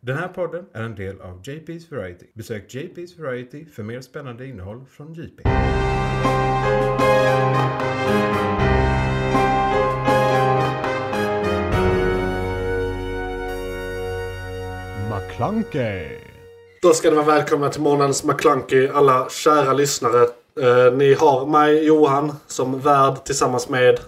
Den här podden är en del av JP's Variety. Besök JP's Variety för mer spännande innehåll från JP. McClunkey. Då ska ni vara välkomna till månadens McClunky, alla kära lyssnare. Eh, ni har mig, Johan, som värd tillsammans med...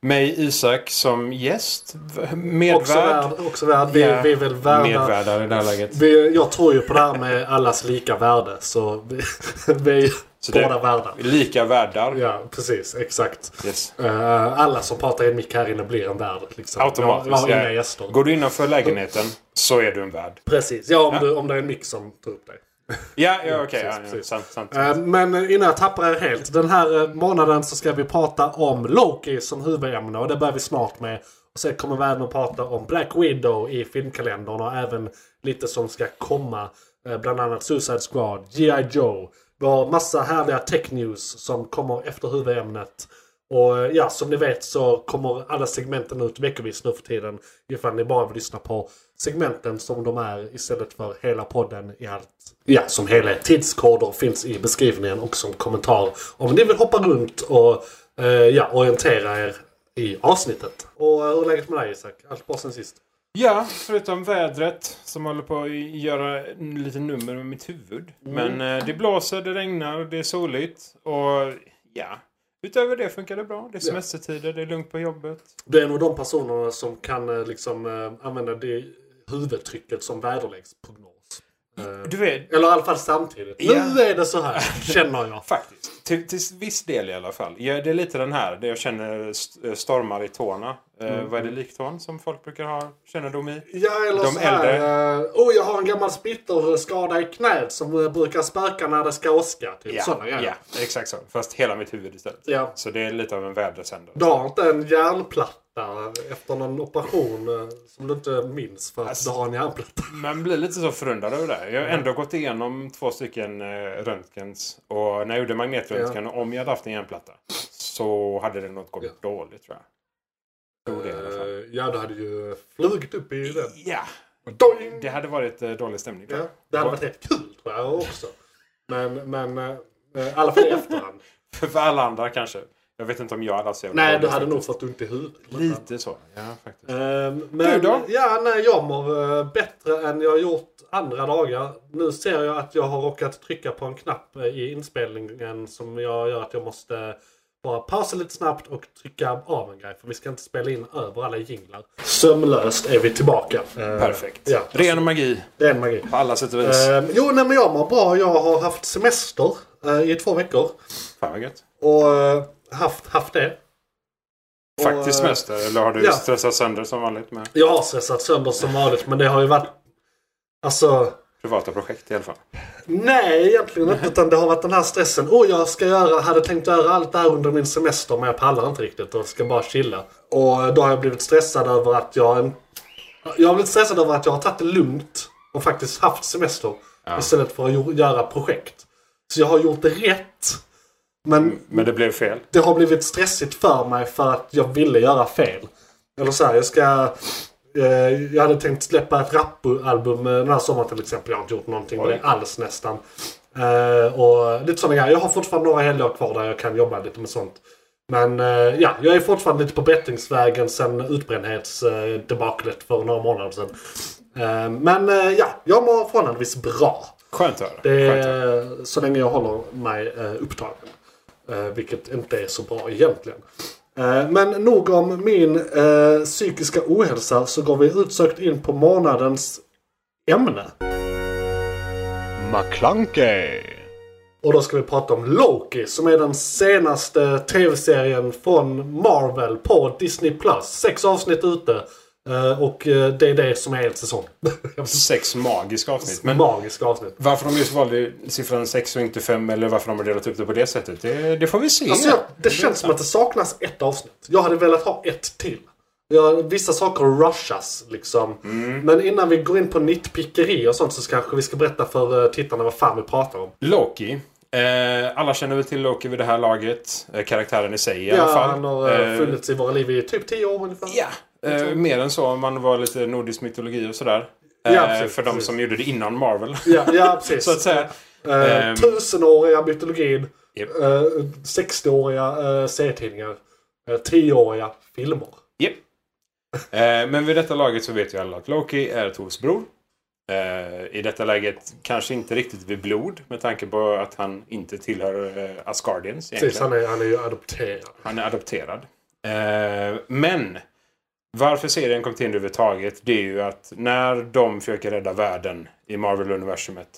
Mig Isak som gäst. v- Också värd. Medvärd. Också värd. Vi, Ja, vi är väl värda. Medvärdar i det här läget. Vi, jag tror ju på det här med allas lika värde, så vi, vi är ju Så det- båda värda. Lika värdar. Ja, precis. Exakt. Yes. Eh, alla som pratar i en mick här inne blir en värd. Liksom. Automatiskt. Jag har inga ja. gäster. Går du innanför lägenheten så är du en värd. Precis. Ja, om, Du, om det är en mick som tar upp dig. Ja, ja okej. precis, ja, ja, precis. sant, sant. Eh, Men innan jag tappar er helt. Den här eh, månaden så ska vi prata om Loki som huvudämne och det börjar vi snart med. Och sen kommer vi även att prata om Black Widow i filmkalendern och även lite som ska komma. eh, Bland annat Suicide Squad, G.I. Joe. Vi har massa härliga tech-news som kommer efter huvudämnet. Och eh, ja, som ni vet så kommer alla segmenten ut veckovis nu för tiden. Ifall ni bara vill lyssna på segmenten som de är istället för hela podden i allt. Ja, som helhet. Tidskoder finns i beskrivningen och som kommentar. Om ni vill hoppa runt och eh, ja, orientera er i avsnittet. Och eh, hur är läget med dig Isak? Allt bra sen sist? Ja, förutom vädret som håller på att göra en liten nummer med mitt huvud. Men eh, det blåser, det regnar, det är soligt och ja. Utöver det funkar det bra. Det är semestertider, det är lugnt på jobbet. Du är nog de personerna som kan eh, liksom eh, använda det huvudtrycket som väderleksprognos. Eh, Du vet, Eller i alla fall samtidigt. Ja. Nu är det så här, känner jag. faktiskt. Till, till viss del i alla fall. Ja, det är lite den här, det jag känner st- eh, stormar i tårna. Eh, Vad är det, liktån som folk brukar ha kännedom i? Ja, eller De så här. äldre. eh, oh, jag har en gammal splitterskada i knät som eh, brukar spöka när det ska åska. Typ Ja, sådana grejer. ja, exakt så. Fast hela mitt huvud istället. Ja. Så det är lite av en vädersändare. Du har inte en hjärnplatta efter någon operation eh, som du inte minns för att Alltså. du har en hjärnplatta. Man blir lite så förundrad över det. Jag har ändå gått igenom två stycken eh, röntgens. Och när jag gjorde magnetröntgen, om jag hade haft en hjärnplatta, så hade det nog gått Ja. dåligt tror jag. Tror det i alla fall. Eh, Ja, du hade ju flugit upp i den. Ja! Doing! Det hade varit eh, dålig stämning. tror Ja, jag. det hade varit rätt kul tror jag också. Men, men eh, eh, i alla fall i efterhand. För alla andra kanske. Jag vet inte om jag hade haft så jävla Nej, du dålig hade nog stämning. fått ont i huvudet. Lite så. Ja, faktiskt. Ehm, men, Du då? Ja, nej, jag mår eh, bättre än jag har gjort andra dagar. Nu ser jag att jag har råkat trycka på en knapp eh, i inspelningen som jag gör att jag måste bara pausa lite snabbt och trycka av en grej. För vi ska inte spela in över alla jinglar. Sömlöst är vi tillbaka. Eh, Perfekt. Ja, Ren magi. det är en magi. På alla sätt och vis. Ehm, jo, nej, men jag mår bra. Jag har haft semester eh, i två veckor. Fan vad gött. Och eh, haft, haft det. och, eh, Faktiskt semester. Eller har du ja. stressat sönder som vanligt med Jag har stressat sönder som vanligt men det har ju varit... Alltså... privata projekt i alla fall? Nej, egentligen inte. Utan det har varit den här stressen. Åh, jag ska göra, hade tänkt göra allt det här under min semester men jag pallar inte riktigt och ska bara chilla. Och då har jag blivit stressad över att jag... Jag har blivit stressad över att jag har tagit det lugnt och faktiskt haft semester. Istället för att jo- göra projekt. Så jag har gjort det rätt. Men Men det blev fel. det har blivit stressigt för mig för att jag ville göra fel. Eller så här, jag ska... Eh, jag hade tänkt släppa ett rapalbum eh, den här sommaren till exempel. Jag har inte gjort någonting med det alls nästan. Eh, och lite sådana grejer. Jag har fortfarande några helger kvar där jag kan jobba lite med sånt. Men eh, ja, jag är fortfarande lite på bättringsvägen sen utbrändhetsdebaclet för några månader sedan. Eh, men eh, ja, jag mår förhållandevis bra. Skönt att höra. Det Skönt att höra. är, eh, så länge jag håller mig eh, upptagen. Eh, vilket inte är så bra egentligen. Eh, men nog om min eh, psykiska ohälsa så går vi utsökt in på månadens ämne. McClunkey. Och då ska vi prata om Loki som är den senaste tv-serien från Marvel på Disney+. Plus. Sex avsnitt ute. Eh, och eh, det är det som är helt säsong. Sex magiska avsnitt. Men Magiska avsnitt. varför de just valde siffran 6 och inte 5 eller varför de har delat upp det på det sättet, det, det får vi se. Alltså, jag, det känns som att det saknas ett avsnitt. Jag hade velat ha ett till. Jag, vissa saker rushas liksom. Mm. Men innan vi går in på nitpickeri och sånt så kanske vi ska berätta för eh, tittarna vad fan vi pratar om. Loki. Eh, alla känner väl till Loki vid det här laget. Eh, karaktären i sig i Ja, alla fall. han har eh, Eh, funnits i våra liv i typ 10 år ungefär. Ja, eh, mer än så om man var lite nordisk mytologi och sådär. Ja, Eh, precis, för de precis. som gjorde det innan Marvel. Ja, ja precis. Så att säga. Eh, Ehm. tusenåriga mytologin. Japp. Eh, 60-åriga eh, serietidningar. Eh, 10-åriga filmer. Japp. Eh, men vid detta laget så vet ju alla att Loki är Tors bror. Eh, I detta läget kanske inte riktigt vid blod med tanke på att han inte tillhör eh, Asgardians egentligen. Precis, han är, han är ju adopterad. Han är adopterad. Eh, men varför serien kom till överhuvudtaget det är ju att när de försöker rädda världen i Marvel-universumet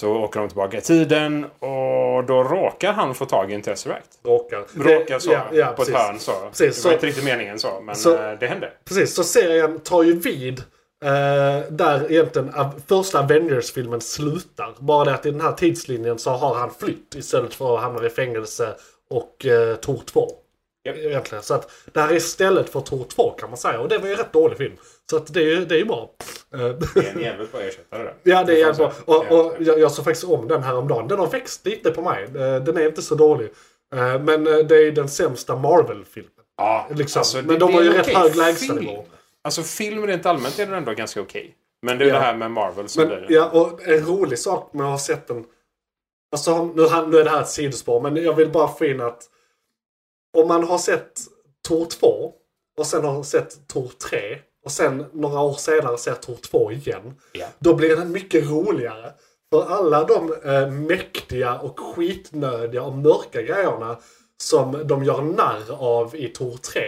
så åker de tillbaka i tiden och då råkar han få tag i en Tesseract. Råkar. Råkar så, Ja, ja, på ett precis. hörn så. Precis, det så- var inte riktigt meningen så, men Så- eh, det hände. Precis, så serien tar ju vid eh, där egentligen av- första Avengers-filmen slutar. Bara det att i den här tidslinjen så har han flytt istället för att hamna i fängelse och eh, Tor 2. Japp. Egentligen. Så att det här är istället för Tor 2 kan man säga. Och det var ju en rätt dålig film. Så att det är ju det är ju bra. Eh, Det är en jävligt bra ersättare där. Ja, det är jävligt bra. fanns- Och, och jag, jag såg faktiskt om den här om dagen. Den har växt lite på mig. Eh, Den är inte så dålig. Eh, Men eh, det är ju den sämsta Marvel-filmen. ja, liksom. alltså, Men de det har ju är en rätt okej hög lägstanivå. film. Alltså film rent allmänt är den ändå ganska okej. Men det är Ja. det här med Marvel som Men, blir... ja, och en rolig sak med att ha sett den... Alltså, nu, han- nu är det här ett sidospår, men jag vill bara få in att om man har sett Tor 2 och sen har sett Tor 3 och sen några år senare ser Tor 2 igen. Ja. Då blir den mycket roligare. För alla de eh, mäktiga och skitnödiga och mörka grejerna som de gör narr av i Tor 3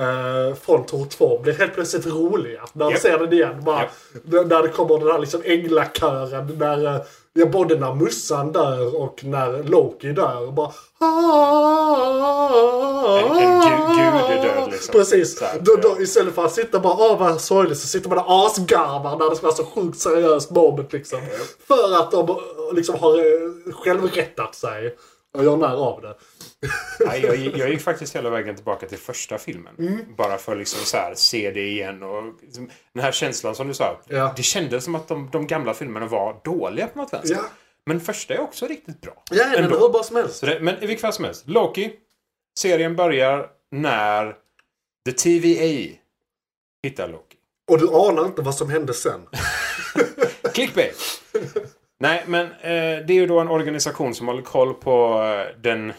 eh, från Tor 2 blir helt plötsligt roliga. När man Japp. ser den igen. Bara, Japp. d- När det kommer den här liksom änglakören. När, eh, ja, både när mussan dör och när Loki dör. Bara, "Ah, En- en gu- gud är död, liksom. ah." Precis. Så här, då, då, ja. Istället för att sitta bara åh vad sorgligt så sitter man och asgarvar när det ska vara så sjukt seriöst moment liksom. För att de eh, liksom har eh, självrättat sig. Och gör narr av det. Nej, jag, gick- jag gick faktiskt hela vägen tillbaka till första filmen. Mm. Bara för att liksom så här, se det igen. Och liksom, den här känslan som du sa. Ja. Det kändes som att de, de gamla filmerna var dåliga på något vänster. Ja. Men första är också riktigt bra. Ja, den Ändå. hur bra som helst. Så det, men i vilket fall som helst. Loki. Serien börjar när The TVA hittar Loki. Och du anar inte vad som hände sen. Clickbait! Nej, men eh, det är ju då en organisation som håller koll på eh, den...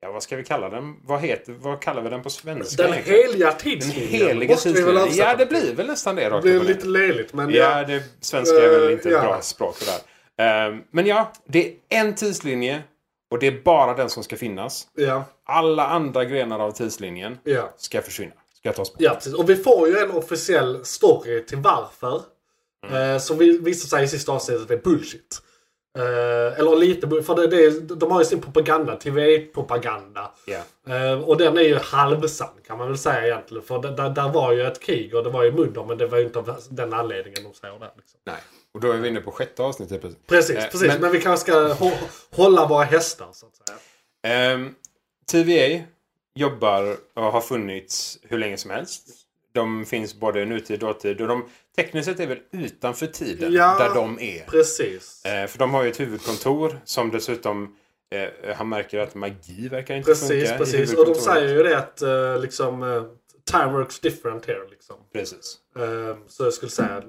Ja, vad ska vi kalla den? Vad, heter, vad kallar vi den på svenska? Den egentligen? heliga Den tidslinjen. heliga måste vi väl tidslinjen. avskaffa. Ja, det blir väl nästan det Det rakt blir upp och ner. lite löjligt men Ja, det svenska är väl inte Eh, ett ja. bra språk för det här. Ehm, Men ja, det är en tidslinje och det är bara den som ska finnas. ja, Alla andra grenar av tidslinjen ja. ska försvinna. Ska tas bort. Ja, precis. Och vi får ju en officiell story till varför. Mm. Eh, som vi- visar sig i sista avsnittet är bullshit. Eh, eller lite bu- för det, det, är- de har ju sin propaganda, TV-propaganda. Ja. Eh, och den är ju halvsann kan man väl säga egentligen. För det, där, där var ju ett krig och det var ju munder men det var ju inte av den anledningen de säger det. Liksom. Nej. Och då är vi inne på sjätte avsnittet. precis. Precis, Eh, precis. Men, men- vi kanske ska hå- hålla våra hästar så att säga. Ehm, TVA jobbar och har funnits hur länge som helst. De finns både i nutid och dåtid. Och de, tekniskt sett är väl utanför tiden Ja. där de är. Precis. Eh, för de har ju ett huvudkontor som dessutom eh, han märker att magi verkar inte Precis, funka i precis. Och de huvudkontoret. säger ju det att eh, liksom, eh, time works different here. Liksom. Precis. Eh, så jag skulle säga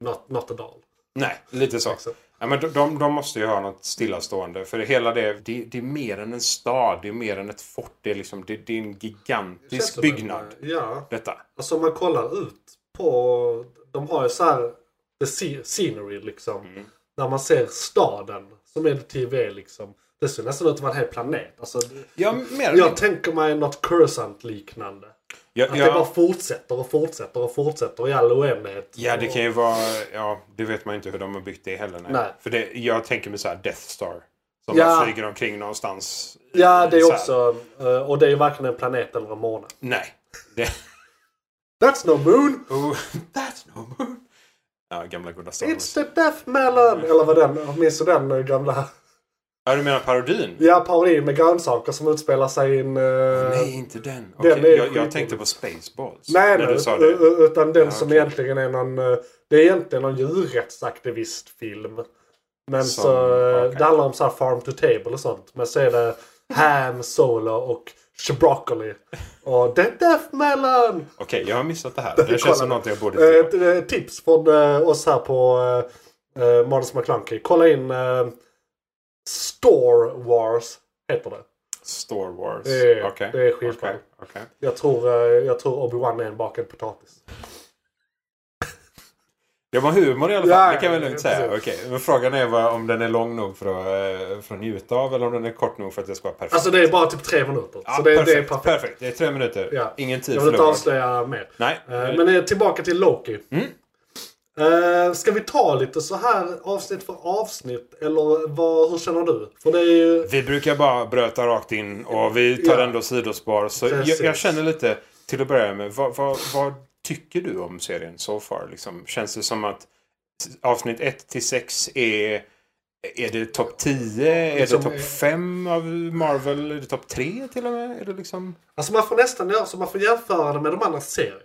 not, not at all. Nej, lite så. Exakt. Ja, men de, de, de måste ju ha något stillastående. För hela det, det, det är mer än en stad. Det är mer än ett fort. Det är, liksom, det, det är en Känns gigantisk som byggnad. en, eh, Ja. Detta. Alltså om man kollar ut på... De har ju så här the sce- scenery liksom. Mm. Där man ser staden som är TV liksom. Det ser nästan ut att vara en hel planet. Alltså, Ja, mer än jag tänker mig något Coruscant-liknande. ja, Att ja, det bara fortsätter och fortsätter och fortsätter i all oändlighet. ja, det Och- kan ju vara... Ja, det vet man ju inte hur de har byggt det heller. Nej. Nej. För det, jag tänker mig så här Death Star. Som Ja. man flyger omkring någonstans. i- Ja, det så är här. också... eh, Och det är ju varken en planet eller en måne. Nej. Det, That's no moon! Oh, that's no moon. Ja, gamla goda Star It's Wars. the death melon! Eller vad den... Minns du den eh, gamla... Ja, du menar parodin? Ja, parodin med grönsaker som utspelar sig i en... eh, Nej, inte den. Okej, är jag, jag skitdålig. tänkte på Spaceballs. Nej, eh, när nej, du sa ut- det. ut- utan den Ja, som okej. egentligen är någon... eh, Det är egentligen någon djurrättsaktivistfilm. Men Som- så... eh, okej. Det handlar om så här farm to table och sånt. Men så är det Ham Solo och Broccoli. Och The Deaf Melon! Okej, jag har missat det här. Det känns som någonting jag borde... typ Eh, t- eh, tips från eh, oss här på eh, eh, Models McClunky. Kolla in eh, Store Wars heter det. Star Wars. Det är- Okej. det är skitbra. Okej, okej. Jag tror, eh, jag tror Obi-Wan är en bakad potatis. Det var humor i alla fall, Ja, det kan jag väl lugnt ja, säga. precis. Okej, Men frågan är vad, om den är lång nog för att, eh, för att njuta av eller om den är kort nog för att det ska vara perfekt. Alltså det är bara typ tre minuter. Ja, så det, perfekt, det är perfekt. perfekt. Det är tre minuter. Ja. Ingen tid Jag vill inte förlorad. avslöja mer. Nej. Eh, Men eh, tillbaka till Loki. Mm. Eh, Ska vi ta lite så här avsnitt för avsnitt? Eller vad, hur känner du? För det är ju... Vi brukar bara bröta rakt in och vi tar Ja. ändå sidospår. Så jag, Precis. jag känner lite, till att börja med, vad, vad, vad tycker du om serien so far? Liksom, känns det som att avsnitt 1 till 6 är är det topp 10? Är Liksom, det topp eh, 5 av Marvel? Är det topp 3 till och med? Är det liksom... Alltså man får nästan göra så, man får jämföra det med de andra serierna.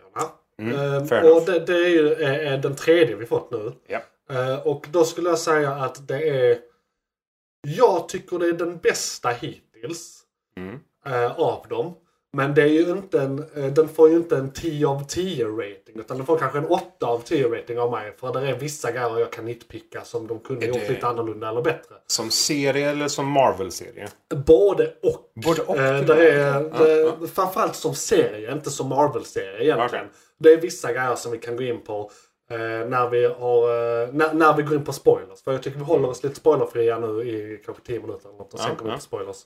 Mm, Ehm, fair och enough. det, det är ju eh, eh, den tredje vi fått nu. Ja. Eh, och då skulle jag säga att det är... Jag tycker det är den bästa hittills. Mm. eh, av dem. Men det är ju inte en, eh, den får ju inte en 10 av 10 rating. Utan den får kanske en 8 av 10 rating av mig. För det är vissa grejer jag kan nitpicka som de kunde Är gjort det- lite annorlunda eller bättre. Som serie eller som Marvel-serie? Både och. Både och, Eh, till där och med. är, Ja, det, Framförallt som serie, inte som Marvel-serie egentligen. Okej. Det är vissa grejer som vi kan gå in på eh, när, vi har, eh, när, när vi går in på spoilers. För jag tycker vi håller oss lite spoilerfria nu i kanske 10 minuter eller något, och sen Mm. Ja, kommer vi ja. på spoilers.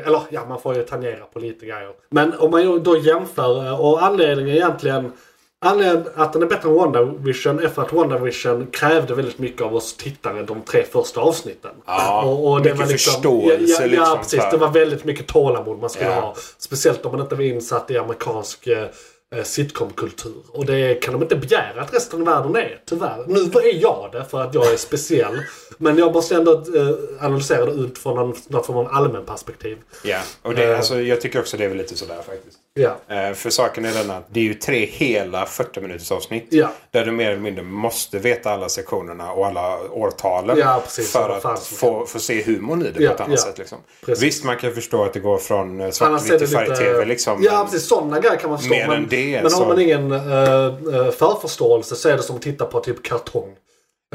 Eh, eller ja, man får ju tangera på lite grejer. Men om man då jämför, eh, och anledningen egentligen Anledningen att den är bättre än WandaVision är för att WandaVision krävde väldigt mycket av oss tittare de tre första avsnitten. Ja, mycket förståelse Ja, ja, ja liksom precis. för- Det var väldigt mycket tålamod man skulle Ja. ha. Speciellt om man inte var insatt i amerikansk eh, eh, sitcomkultur. Och det kan de inte begära att resten av världen är, tyvärr. Nu är jag det för att jag är speciell. Men jag måste ändå eh, analysera det utifrån någon, någon form av allmän perspektiv. Ja, och det, Eh. alltså, jag tycker också det är väl lite sådär faktiskt. Ja. Eh, För saken är den att det är ju tre hela 40 minuters avsnitt. Ja. Där du mer eller mindre måste veta alla sektionerna och alla årtalen. Ja, precis. för Vad fan att som få, få se humorn i det Ja, på ett annat ja. sätt. Liksom. Precis. Visst, man kan förstå att det går från eh, Annars är svartvitt det till färg-tv. Liksom, Ja, precis. Sådana grejer kan man förstå. Mer än det, men har så- man ingen eh, eh, förförståelse så är det som att titta på typ kartong. Eh,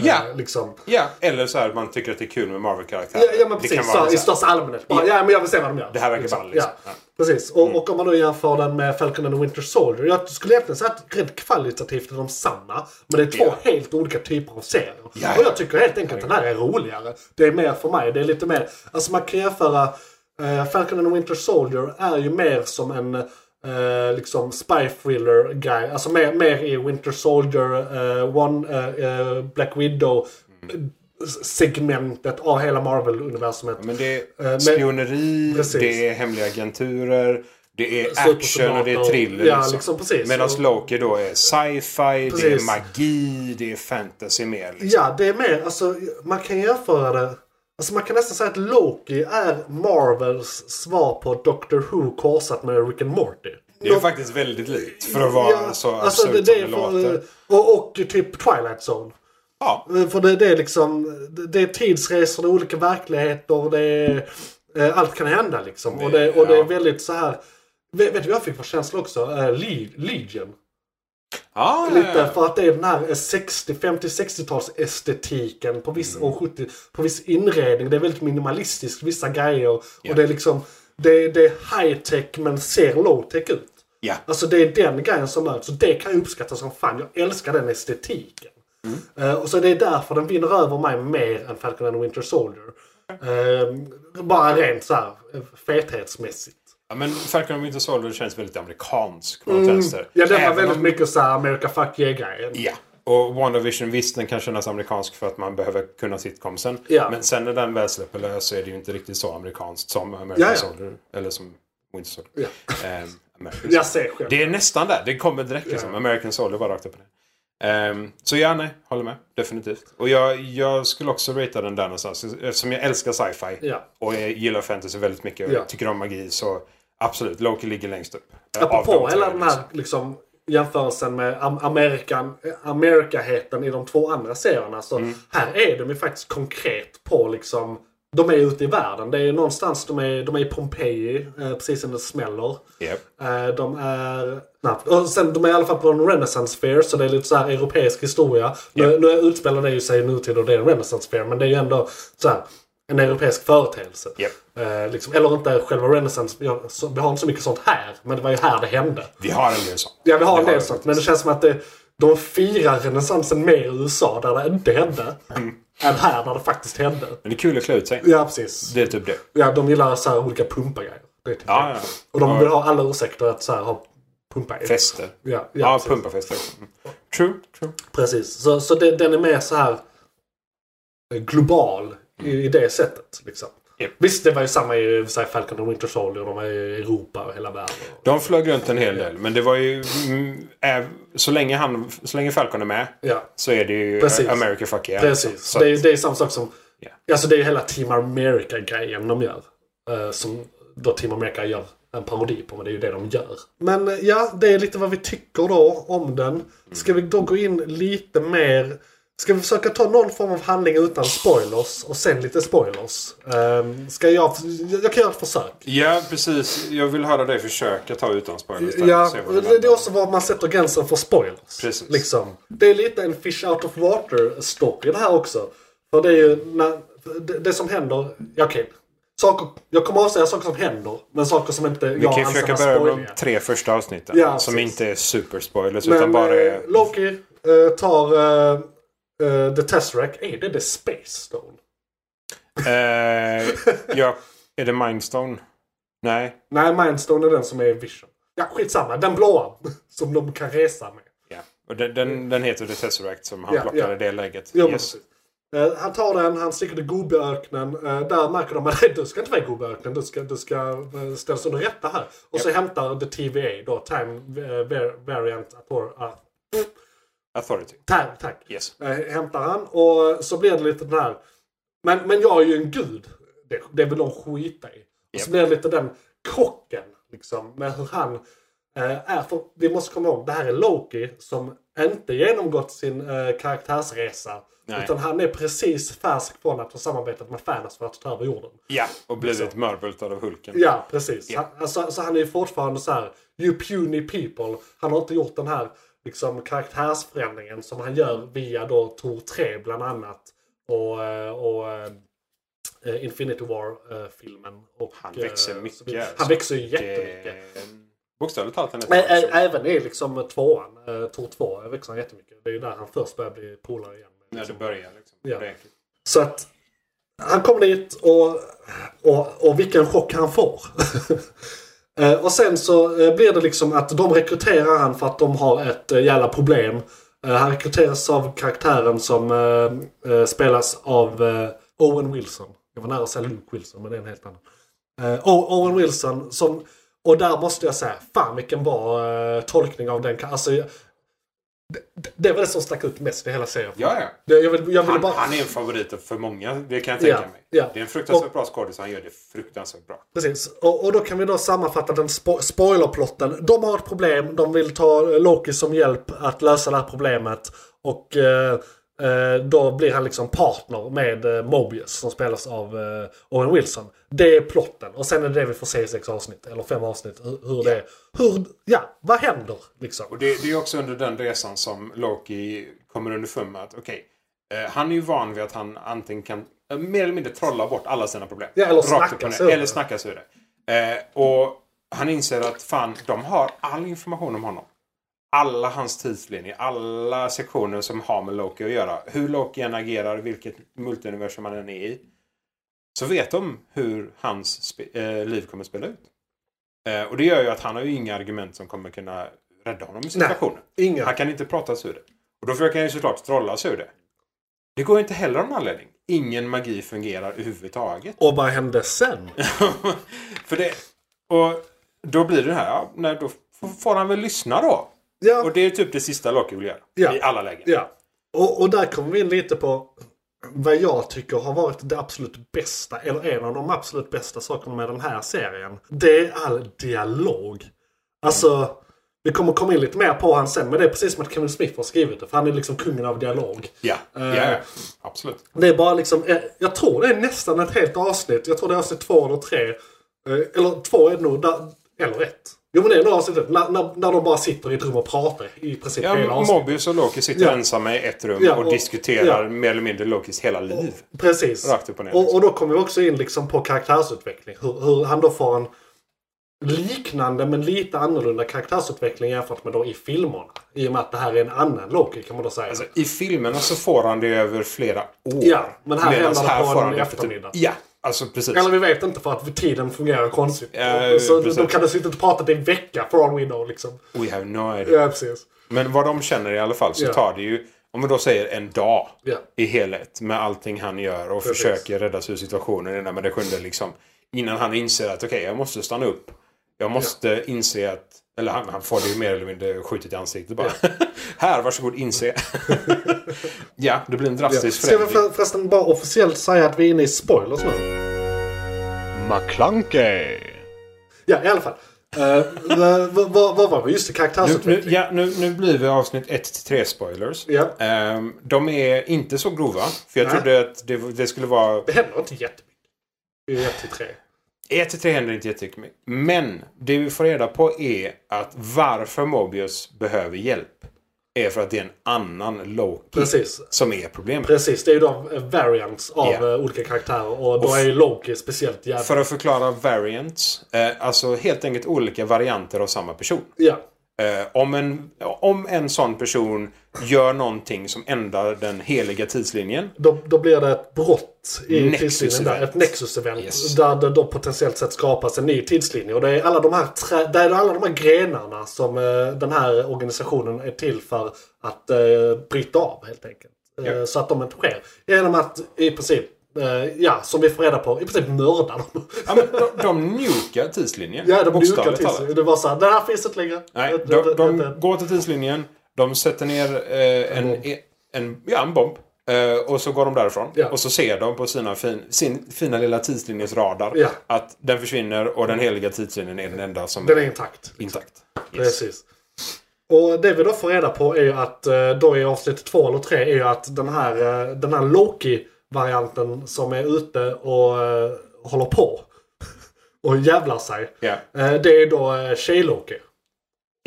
Ja. Liksom. Ja, eller så här, man tycker att det är kul med Marvel-karaktärer. Ja, ja men Det precis. kan vara Så, I så här, största allmänhet. Bara, ja. men jag vill se vad de gör. Det här verkar ball, liksom. Ja. Mm. Ja. Precis. Och, och om man då jämför den med Falcon and the Winter Soldier. Jag skulle egentligen säga att rent kvalitativt är de samma. Men det är två helt olika typer av serier. Ja, Och ja. jag tycker helt enkelt att den här är roligare. Det är mer för mig. Det är lite mer... Alltså man kan jämföra... eh, Falcon and the Winter Soldier är ju mer som en... eh, liksom spy thriller guy. Alltså mer, mer i Winter Soldier, eh, One, eh, eh, Black Widow segmentet av hela Marvel-universumet. Men det är Eh, men- spioneri, Precis. det är hemliga agenturer, det är Supersoldater. action och det är thriller. Ja, liksom, precis. Medan Och- Loki då är sci-fi, det Precis. är magi, det är fantasy mer. Liksom. Ja, det är mer, alltså man kan jämföra det. Alltså man kan nästan säga att Loki är Marvels svar på Doctor Who korsat med Rick and Morty. alltså, Det är ju faktiskt väldigt likt för att vara så absurt det, det är som det låter. för, och, och typ Twilight Zone. Ja, Eh, För det, det är liksom, det- det är tidsresor, det är olika verkligheter, det är, eh, allt kan hända liksom. och, det, och det är ja. väldigt så här Vet, vet du vad jag fick för känsla också? Eh, Le- Legion. Ah, ja, ja, Lite ja. för att det är den här 60, 50, 60-tals estetiken på Mm. viss, och 70, på viss inredning. Det är väldigt minimalistiskt, vissa grejer. Och det är liksom, det, det är high-tech men ser low-tech ut. ja. Alltså det är den grejen som möts. Så det kan jag uppskatta som fan. Jag älskar den estetiken. Mm. Eh, och så det är därför den vinner över mig mer än Falcon and the Winter Soldier. Eh, bara rent så här eh, fethetsmässigt. ja men Falcon and Winter Soldier känns väldigt amerikansk på något vänster. Mm. Ja, det var Även väldigt om- mycket så här America fuck yeah-grejen. Ja. Och WandaVision, visst den kan kännas amerikansk för att man behöver kunna sitcomsen. Ja. Men sen när den väl släpper lös så är det ju inte riktigt så amerikanskt som American Ja, ja. Soldier. Eller som Winter Soldier. Ja. Ehm, American Jag ser själv. Det är nästan där. Det kommer direkt liksom. Ja. American Soldier var rakt upp och ner. Ehm, så ja, nej. Håller med. Definitivt. Och jag, jag skulle också ratea den där någonstans. Eftersom jag älskar sci-fi. Ja. Och jag gillar fantasy väldigt mycket. och Ja. tycker om magi. Så absolut, Loki ligger längst upp. Eh, av de Apropå tre, hela den liksom. här liksom, jämförelsen med am- Amerikan, Amerikaheten i de två andra serierna. Så Här är de ju faktiskt konkret på liksom De är ute i världen. Det är någonstans de är, de är i Pompeji, eh, precis innan det smäller. Yep. Eh, de är... Nej, och sen, de är i alla fall på en renaissance fair, så det är lite så här europeisk historia. Nu, nu utspelar det ju sig i nutid och det är en renaissance fair, men det är ju ändå så här, en europeisk företeelse. Yep. Eh, liksom, eller inte själva renaissance, ja, så, vi har inte så mycket sånt här, men det var ju här det hände. Vi har en del sånt. Ja, vi har en Det har del vi. sånt, men det känns som att det, de firar renässansen mer i USA, där det inte hände, än här, där det faktiskt hände. Men det är kul att klä ut sig. Ja, precis. Det är typ det. Ja, de gillar så här olika pumpagrejer. Det är typ Ja, ja. och de vill ha alla ursäkter att så här, ha pumpa i. Fester. Ja, ja, Ja, precis. pumpafester. Mm. True, true. precis. Så, så det, den är mer så här eh, global i, i det sättet. Liksom. Japp. Visst, det var ju samma i så här, Falcon och Winter Soldier. De var ju i Europa och hela världen. De flög runt en hel del. Men det var ju... Mm, är, så, länge han, så länge Falcon är med Ja, så är det ju Precis. America fuck yeah. precis. Så, det, är- det är samma sak som... Ja. Alltså det är ju hela Team America-grejen de gör. Eh, som då Team America gör en parodi på, men det är ju det de gör. Men eh, ja, det är lite vad vi tycker då om den. Ska vi då gå in lite mer... Ska vi försöka ta någon form av handling utan spoilers och sen lite spoilers? Eh, ska jag... Jag kan göra ett försök. ja, precis. Jag vill höra dig försöka ta utan spoilers. där. Ja, Se vad det, det är också var man sätter gränsen för spoilers. Precis. Liksom. Det är lite en fish out of water story det här också. För det är ju när, det, det som händer, ja, okej. Saker, jag kommer avslöja saker som händer, men saker som inte Vi jag kan ju anser försöka vara börja med spoiliga. de tre första avsnitten. alltså, Ja, som precis. inte är superspoilers utan Men bara eh, är... Loki eh, tar eh, eh, The Tesseract. Är det The Space Stone? Eh, ja, är det Mindstone? Nej. Nej, Mindstone är den som är Vision. Ja, skitsamma. Den blåa som de kan resa med. Ja. Och den, den, den heter The Tesseract som han Ja, plockade ja. i det läget. Ja, men Yes. precis. Eh, han tar den, han sticker till Gobiöknen. Eh, där märker de att "Nej, du ska inte vara i Gobiöknen, du ska, du ska eh, ställas under rätta här. Och så hämtar The TVA, då, Time eh, Var- Variant Author- ah, Authority. Time, tack. Yes. Eh, hämtar han och så blir det lite den här... Men, men jag är ju en gud. Det, det vill de skita i. Och så Japp. blir det lite den krocken liksom, med hur han eh, är. För vi måste komma ihåg, det här är Loki som inte genomgått sin eh, karaktärsresa. Nej. Utan han är precis färsk från att ha samarbetat med Thanos för att ta över jorden. Ja, och blivit mörbultad av Hulken. Ja, precis. Ja. Han, alltså, så han är ju fortfarande så här, you puny people. Han har inte gjort den här liksom, karaktärsförändringen som han gör via då Tor 3 bland annat. Och, eh, och eh, Infinity War-filmen. Han växer mycket, Han alltså. växer ju jättemycket. Det... Bokstavligt talat en Men eh, ä- person. även i liksom tvåan, eh, Tor 2, växer han jättemycket. Det är ju där han först börjar bli polare igen. med När det börjar liksom. Ja. Det är äckligt. så att han kom dit och, och, och vilken chock han får. Eh, och sen så eh, blir det liksom att de rekryterar han för att de har ett eh, jävla problem. Eh, Han rekryteras av karaktären som eh, eh, spelas av eh, Owen Wilson. Jag var nära att säga Luke Wilson men det är en helt annan. Eh, O- Owen Wilson som... Och där måste jag säga, fan vilken bra eh, tolkning av den. ka- Alltså, jag- det, det var det som stack ut mest i hela serien. Ja, ja. Jag, jag vill, jag vill Han, bara... han är en favorit för många, det kan jag tänka Ja, mig. ja. Det är en fruktansvärt bra skådis, han gör det fruktansvärt bra. Precis, och, och då kan vi då sammanfatta den spo- spoilerplotten. De har ett problem, de vill ta eh, Loki som hjälp att lösa det här problemet. Och eh, eh, då blir han liksom partner med eh, Mobius som spelas av eh, Owen Wilson. Det är plotten. Och sen är det det vi får se i sex avsnitt, eller fem avsnitt, hur, hur det... Hur, ja, vad händer liksom? Och det, det är också under den resan som Loki kommer underfund med att okej, eh, han är ju van vid att han antingen kan eh, mer eller mindre trolla bort alla sina problem. Ja, eller Rakt upp snacka och ner. sig ur Eller det. snacka sig ur det. Eh, och han inser att fan, de har all information om honom. Alla hans tidslinjer, alla sektioner som har med Loki att göra. Hur Loki än agerar, vilket multiversum han än är i. Så vet de hur hans spe- eh, liv kommer spela ut. Eh, och det gör ju att han har ju inga argument som kommer kunna rädda honom i situationen. Inga. Han kan inte prata sig ur det. Och då försöker han ju såklart trolla sig ur det. Det går ju inte heller av någon anledning. Ingen magi fungerar överhuvudtaget. Och vad hände sen? För det... Och då blir det här, ja, nej, då f- får han väl lyssna då. Ja, Och det är typ det sista Loki vill göra. Ja. I alla lägen. ja. Och, och där kommer vi in lite på vad jag tycker har varit det absolut bästa, eller en av de absolut bästa sakerna med den här serien. Det är all dialog. Alltså, Vi kommer komma in lite mer på han sen, men det är precis som att Kevin Smith har skrivit det. För han är liksom kungen av dialog. Ja, Eh, ja, ja. absolut. Det är bara liksom, eh, jag tror det är nästan ett helt avsnitt. Jag tror det är avsnitt två eller tre. Eh, Eller två är det nog, där, eller ett. Jo men det är nog avsnitt ett. När, när, när de bara sitter i ett rum och pratar i princip Ja, hela avsnittet. Mobius och Loki sitter Ja. ensamma i ett rum Ja, och, och- diskuterar ja. mer eller mindre Lokis hela liv. Precis. Rakt upp och ner. Och, och då kommer vi också in liksom på karaktärsutveckling. Hur, hur han då får en liknande men lite annorlunda karaktärsutveckling jämfört med då i filmerna. I och med att det här är en annan Loki kan man då säga. Alltså, I filmerna så får han det över flera år. Ja, men här Medans händer det på får en han det eftermiddag. Ja, alltså precis. Eller vi vet inte för att tiden fungerar konstigt. Ja, så precis. de kan dessutom inte prata till en vecka for all we know liksom. We have no idea. Ja, precis. Men vad de känner i alla fall så Ja. tar det ju, om vi då säger en dag Ja. i helhet med allting han gör och försöker rädda sig ur situationen innan men det sjunde liksom. Innan han inser att okej, jag måste stanna upp. Jag måste inse att, eller han, han får det ju mer eller mindre skjutet i ansiktet bara. Här, varsågod inse. ja, det blir en drastisk Ska vi förändring. för- förresten bara officiellt säga att vi är inne i spoilers nu? McClunkey. Ja, i alla fall. Eh, vad- vad vad var vi? Just det, Nu, nu, karaktärsutveckling. ja, nu, nu blir vi avsnitt 1-3 spoilers. Ja. Ehm, de är inte så grova. För jag Nej. trodde att det, det skulle vara... Det händer inte jättemycket. Det är ju 1 till 3. 1-3 E händer inte jättemycket. Men det vi får reda på är att varför Mobius behöver hjälp. Är för att det är en annan Loki Precis. som är problemet. Precis, det är ju de eh, variants av Ja. eh, olika karaktärer och då Och f- är ju Loki speciellt jävla... För att förklara variants. Eh, alltså helt enkelt olika varianter av samma person. Ja, Eh, om, en, om en sån person gör någonting som ändrar den heliga tidslinjen. då, då blir det ett brott i Nexus tidslinjen där. event. Ett Nexus-event. Yes. Där det då potentiellt sett skapas en ny tidslinje. Och det är alla de här, trä, det är alla de här grenarna som eh, den här organisationen är till för att eh, bryta av helt enkelt. Eh, Ja. Så att de inte sker. Genom att i princip, eh, ja, som vi får reda på, i princip mörda dem. Ja, men de, de nukar tidslinjen. Ja, de bokstavligt dukar talat. till Det var såhär, det här finns inte längre. Nej, Det- de, det- de det- går till tidslinjen. De sätter ner eh, en, en, ja, en bomb. Eh, och så går de därifrån. Ja. Och så ser de på sina fin, sin fina lilla tidslinjens radar Ja. att den försvinner och den heliga tidslinjen är den enda som Den är är intakt. intakt. Yes. Precis. Och det vi då får reda på är ju att eh, då i avsnitt två eller tre är ju att den här, eh, den här Loki-varianten som är ute och eh, håller på och jävlar sig. Ja. eh, Det är då eh, Tjej-Loki.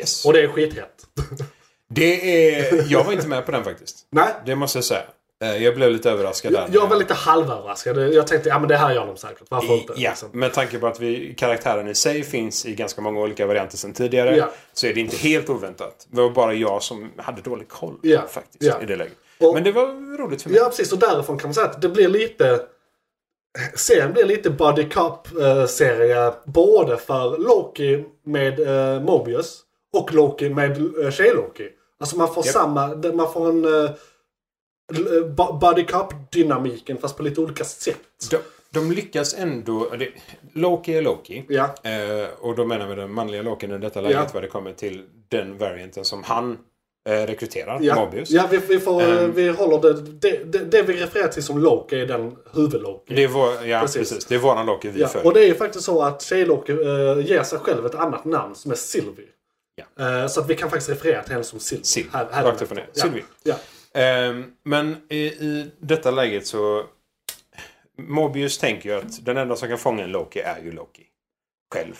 Yes. Och det är skithett. Det är, jag var inte med på den faktiskt. Nej, Det måste jag säga. Eh, jag blev lite överraskad där. jag var lite halvöverraskad. Jag tänkte ja men det här gör de säkert. Varför inte? Ja, Liksom. med tanke på att vi, karaktären i sig finns i ganska många olika varianter sedan tidigare Ja. så är det inte helt oväntat. Det var bara jag som hade dålig koll Ja, faktiskt ja. i det läget. Och- Men det var roligt för mig. Ja, precis. Och därifrån kan man säga att det blir lite... Serien blir lite Buddy Cup-serie både för Loki med eh, Mobius och Loki med eh, Tjej-Loki. Alltså man får Japp. samma... det- Man får en... Eh, l- bu- Buddy Cup-dynamiken fast på lite olika sätt. De, de lyckas ändå... Det, Loki är Loki. Ja, Eh, och då menar vi den manliga Loken i detta läget Ja. vad det kommer till den varianten som han eh, rekryterar, ja. Mobius. ja vi, vi, får, eh, Ehm. vi håller det det, det... det vi refererar till som Loki är den huvud-Loki. Det är vår, ja, precis. Precis. Det är våran Loki vi Ja, följer. och det är ju faktiskt så att Tjej-Loki eh, ger sig själv ett annat namn som är Sylvie. Ja. Eh, så att vi kan faktiskt referera till henne som Sylvie. Sylvie, Här- här- rakt upp och ner. Ja. Sylvie. Ja. Ehm, men i, i detta läget så... Mobius tänker ju att den enda som kan fånga en Loki är ju Loki. Själv.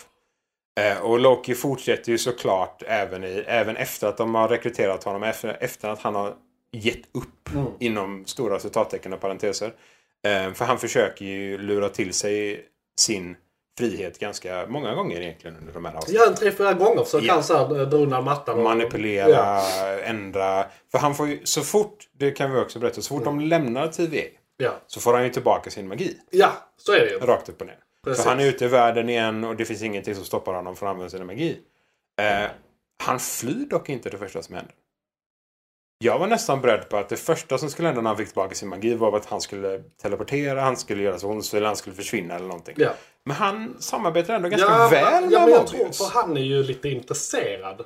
Eh, och Loki fortsätter ju såklart även, i, även efter att de har rekryterat honom. Efter, efter att han har gett upp. Inom stora citattecken och parenteser. Ehm, för han försöker ju lura till sig sin frihet ganska många gånger egentligen under de här avsnitten. ja, en tre, fyra gånger så Ja. kan han så här, eh, dra undan mattan. och- Manipulera, Ja. ändra. För han får ju, så fort, det kan vi också berätta, så fort de lämnar TVA Ja. så får han ju tillbaka sin magi. ja, så är det ju. Rakt upp och ner. Precis. För han är ute i världen igen och det finns ingenting som stoppar honom från att använda sin magi. Eh, han flyr dock inte det första som händer. Jag var nästan beredd på att det första som skulle hända när han fick tillbaka sin magi var att han skulle teleportera, han skulle göra sig ondstig eller han skulle försvinna eller någonting. Ja. Men han samarbetar ändå ganska ja, väl ja, med men jag tror, Mobius. för han är ju lite intresserad.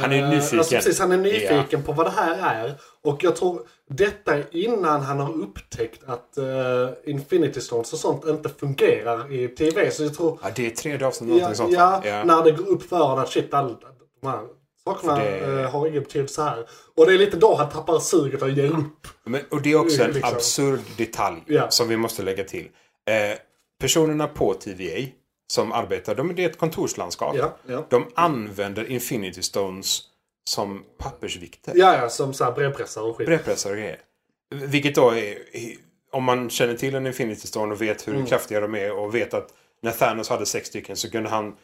Han är ju Eh, nyfiken. Alltså, precis, han är nyfiken på vad det här är. Och jag tror detta är innan han har upptäckt att eh, Infinity Stones och sånt inte fungerar i TV. Så jag tror Ja, det är tredje avsnittet Ja, någonting sånt. ja, va? Ja. när det går upp för honom att shit, all, de här Sakerna Det- eh, har ingen betydelse här. Och det är lite då han tappar suget och ger upp. Men, och det är också en Liksom. absurd detalj Ja. som vi måste lägga till. Eh, personerna på TVA som arbetar, de, det är ett kontorslandskap. Ja, ja. De använder Infinity Stones som pappersvikter. Ja, ja, som så här brevpressar och skit. Brevpressar och grejer. Vilket då är... Om man känner till en Infinity Stone och vet hur Mm. kraftiga de är och vet att när Thanos hade sex stycken så kunde han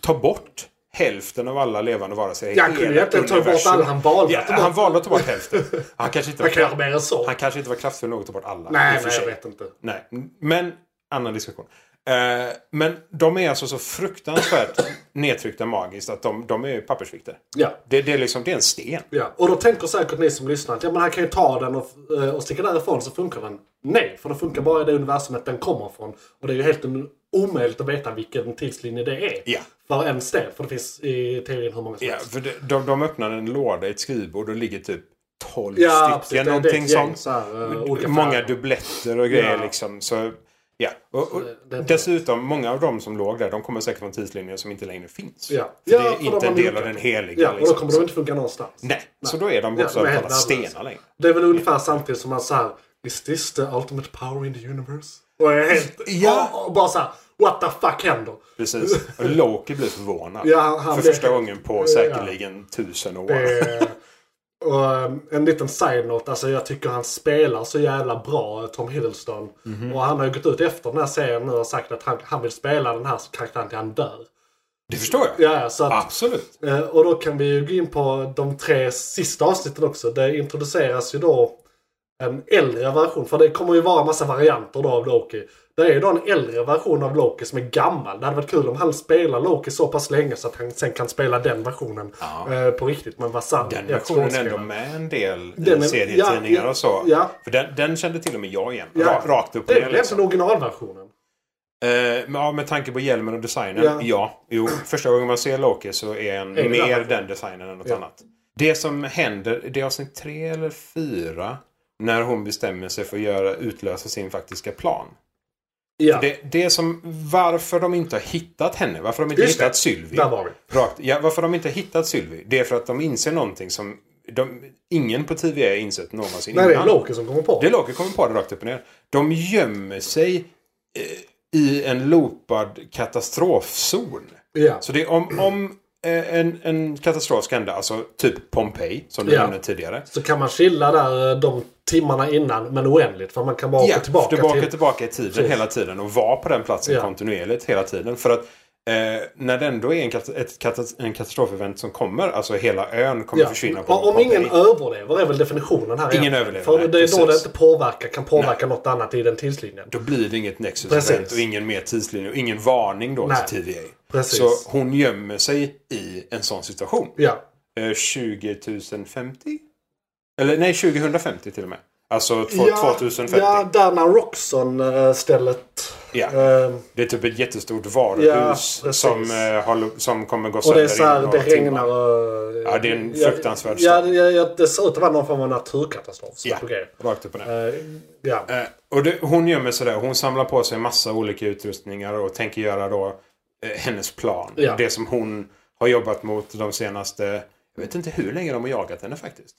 ta bort hälften av alla levande varelser i Ja, kunde hela egentligen ta bort universum. alla, han valde ja, att ta bort- Han valde att ta bort hälften. Han kanske inte Man var, kan göra mer än så. han kanske inte var kraftfull nog att ta bort alla. i Nej, och för nej, jag sig. vet inte. Nej, men annan diskussion. Eh, men de är alltså så fruktansvärt nedtryckta magiskt att de, de är ju pappersvikter. Ja. Det, det, är liksom, det är en sten. Ja, och då tänker säkert ni som lyssnar att ja, men han kan ju ta den och, eh, och sticka därifrån så funkar den. Nej, för den funkar bara i det universumet den kommer från. Och det är ju helt en- omöjligt att veta vilken tidslinje det är. Ja. För en sten, för det finns i teorin hur många som Ja, helst. för de, de, de öppnar en låda i ett skrivbord och det ligger typ 12 Ja, precis. Det stycken. är- det är ett någonting gäng sånt. så här, eh, olika många färger. dubbletter och grejer Ja. liksom. Så, ja. och, och, det är- dessutom, många av dem som låg där, de kommer säkert från tidslinjer som inte längre finns. Ja. För Ja, det är för inte de har en del av lyckats. den heliga. Ja, och då liksom. kommer de inte funka någonstans. Nej, så då är de Ja, bokstavligt de är talat helt värdelösa. stenar längre. Det är väl ungefär samtidigt som man så här Is this the ultimate power in the universe? Och jag är helt... Ja. och, och bara så här, What the fuck händer? Precis. Och Loki blir förvånad. Ja, han- han för blir- första gången på säkerligen tusen år. Eh, och, um, en liten side-note, alltså jag tycker han spelar så jävla bra, Tom Hiddleston. Mhm. Och han har ju gått ut efter den här serien nu och sagt att han, han vill spela den här karaktären till han dör. Det förstår jag. Ja, ja, så att, Absolut. eh, och då kan vi ju gå in på de tre sista avsnitten också. Det introduceras ju då en äldre version, för det kommer ju vara massa varianter då av Loki. Det är ju då en äldre version av Loki som är gammal. Det hade varit kul om han spelar Loki så pass länge så att han sen kan spela den versionen Ja. eh, på riktigt. Men vad sant. Den jag versionen är skådespelare. ändå med en del Den i är- serietidningar ja, ja, och så. ja. För den, den kände till och med jag igen. Ja. Ra- Rakt upp Det och är ner väl liksom. egentligen originalversionen? Eh, men ja, med tanke på hjälmen och designen. Ja. Ja. jo. Första gången man ser Loki så är en Är det mer annat? den designen än något Ja. annat. Det som händer, det är avsnitt tre eller fyra. När hon bestämmer sig för att göra, utlösa sin faktiska plan. Ja, Det, det som, varför de inte har hittat henne, varför de inte Just det. hittat Sylvie. där var vi. Rakt, ja, varför de inte har hittat Sylvie, det är för att de inser någonting som de, ingen på TVA har insett någonsin Nej, det är innan. Loki som kommer på. Det är Loki kommer på det rakt upp och ner. De gömmer sig eh, i en loopad katastrofzon. ja. Så det är om, om eh, en, en katastrof ska hända, alltså typ Pompeji, som du Ja. nämnde tidigare. Så kan man chilla där eh, de timmarna innan, men oändligt. För man kan bara Ja, åka tillbaka, tillbaka, till... tillbaka i tiden Precis. hela tiden och vara på den platsen Ja. kontinuerligt hela tiden. För att eh, när det ändå är en, kat- ett katas- en katastrofevent som kommer, alltså hela ön kommer Ja. försvinna. På Om, om Pompeji. ingen överlever är väl definitionen här. Ingen egentligen. överlever, För nej, det är då det precis. inte påverkar, kan påverka något annat i den tidslinjen. Då blir det inget nexus Precis. event och ingen mer tidslinje och ingen varning då Nej. till TVA. Precis. Så hon gömmer sig i en sån situation. Ja. Eh, 20 050? Eller nej, 2050 till och med. Alltså två, ja, 2050. Ja, där när ehm, Roxon-stället... Ja. Det är typ ett jättestort varuhus Ja, precis. som, eh, har, lo- som kommer gå och sönder det är så här, inom det några timmar. regnar och... Ja, det är en fruktansvärd ja, stad. ja, ja, Det ser ut att vara någon form av naturkatastrof. Så Ja, på grejer. rakt upp och ner. Eh, ja. Eh, och det, hon gömmer sig där. Hon samlar på sig massa olika utrustningar och tänker göra då eh, hennes plan. Ja. Det som hon har jobbat mot de senaste... Jag vet inte hur länge de har jagat henne faktiskt.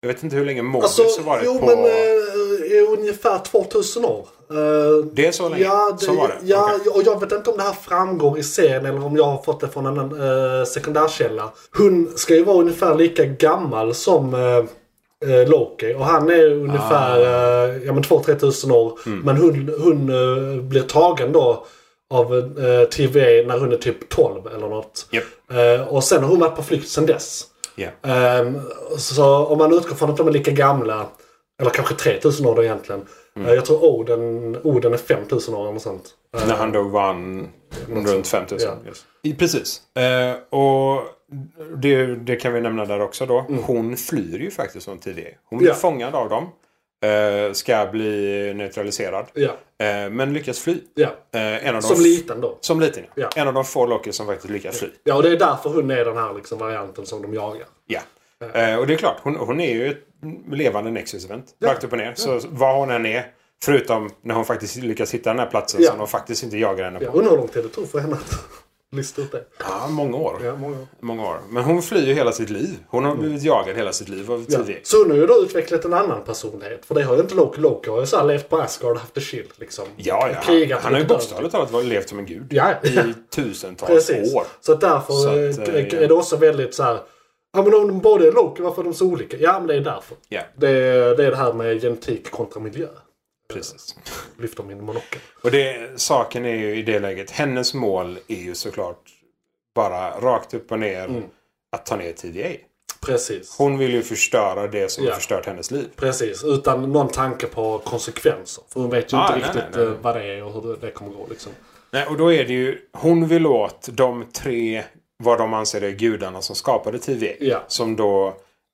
Jag vet inte hur länge Morbius Alltså, har varit jo på... men eh, i ungefär 2000 år. Eh, Det är så länge? Ja, det, Så var det? ja Okej. och jag vet inte om det här framgår i serien eller om jag har fått det från en eh, sekundärkälla. Hon ska ju vara ungefär lika gammal som eh, eh, Loki och han är ungefär Ah. eh, ja, men 2-3 tusen år. Mm. Men hon, hon eh, blir tagen då av eh, TVA när hon är typ 12 eller något. Japp. Eh, och sen har hon varit på flykt sen dess. Ja. Ehm, så om man utgår från att de är lika gamla, eller kanske 3000 år då egentligen. Mm. Eh, Jag tror Oden, Oden är 5000 år eller något sånt. Eh, När han då vann runt 5000. Ja. Yes. I- Precis. Eh, och det, det kan vi nämna där också då. Hon flyr ju faktiskt från TVA. Hon blir Ja. fångad av dem. Eh, ska bli neutraliserad. Ja, Eh, men lyckas fly. ja. Eh, en av Som de liten då. Som liten, ja. Ja. En av de få Loki som faktiskt lyckas fly. Ja, och det är därför hon är den här liksom, varianten som de jagar. Ja. Eh, och det är klart, hon, hon är ju ett levande Nexus-event. Rakt upp och ner. Så vad hon än är, förutom när hon faktiskt lyckas hitta den här platsen Ja. som de faktiskt inte jagar henne på. Jag undrar hur lång tid det tog för henne att Lista ut det. Ja, många år. Ja, många. Många år. Men hon flyr ju hela sitt liv. Hon har blivit jagad hela sitt liv av Mm. Ja. Tidek. Så hon har ju då utvecklat en annan personlighet. För det har ju inte Loki. Loki har ju så här levt på Asgard, haft det chill liksom. Ja, ja. Krigat han har ju mot döden. bokstavligt talat varit- levt som en gud. Ja, ja. I tusentals Precis. år. Så att därför Så att, eh, eh, ja. är det också väldigt så här. Ja men om de båda är Loki, varför är de så olika? Ja men det är därför. Ja, Det är det, är det här med genetik kontra miljö. precis. Lyfter min monokel. Och det, saken är ju i det läget, hennes mål är ju såklart bara rakt upp och ner Mm. att ta ner TDA. Precis. Hon vill ju förstöra det som Ja. har förstört hennes liv. Precis, utan någon tanke på konsekvenser. För hon vet ju Ah, inte nej, riktigt nej, nej. eh, vad det är och hur det- det kommer gå liksom. Nej, och då är det ju, hon vill åt de tre, vad de anser är gudarna som skapade TVA. Ja. Som då,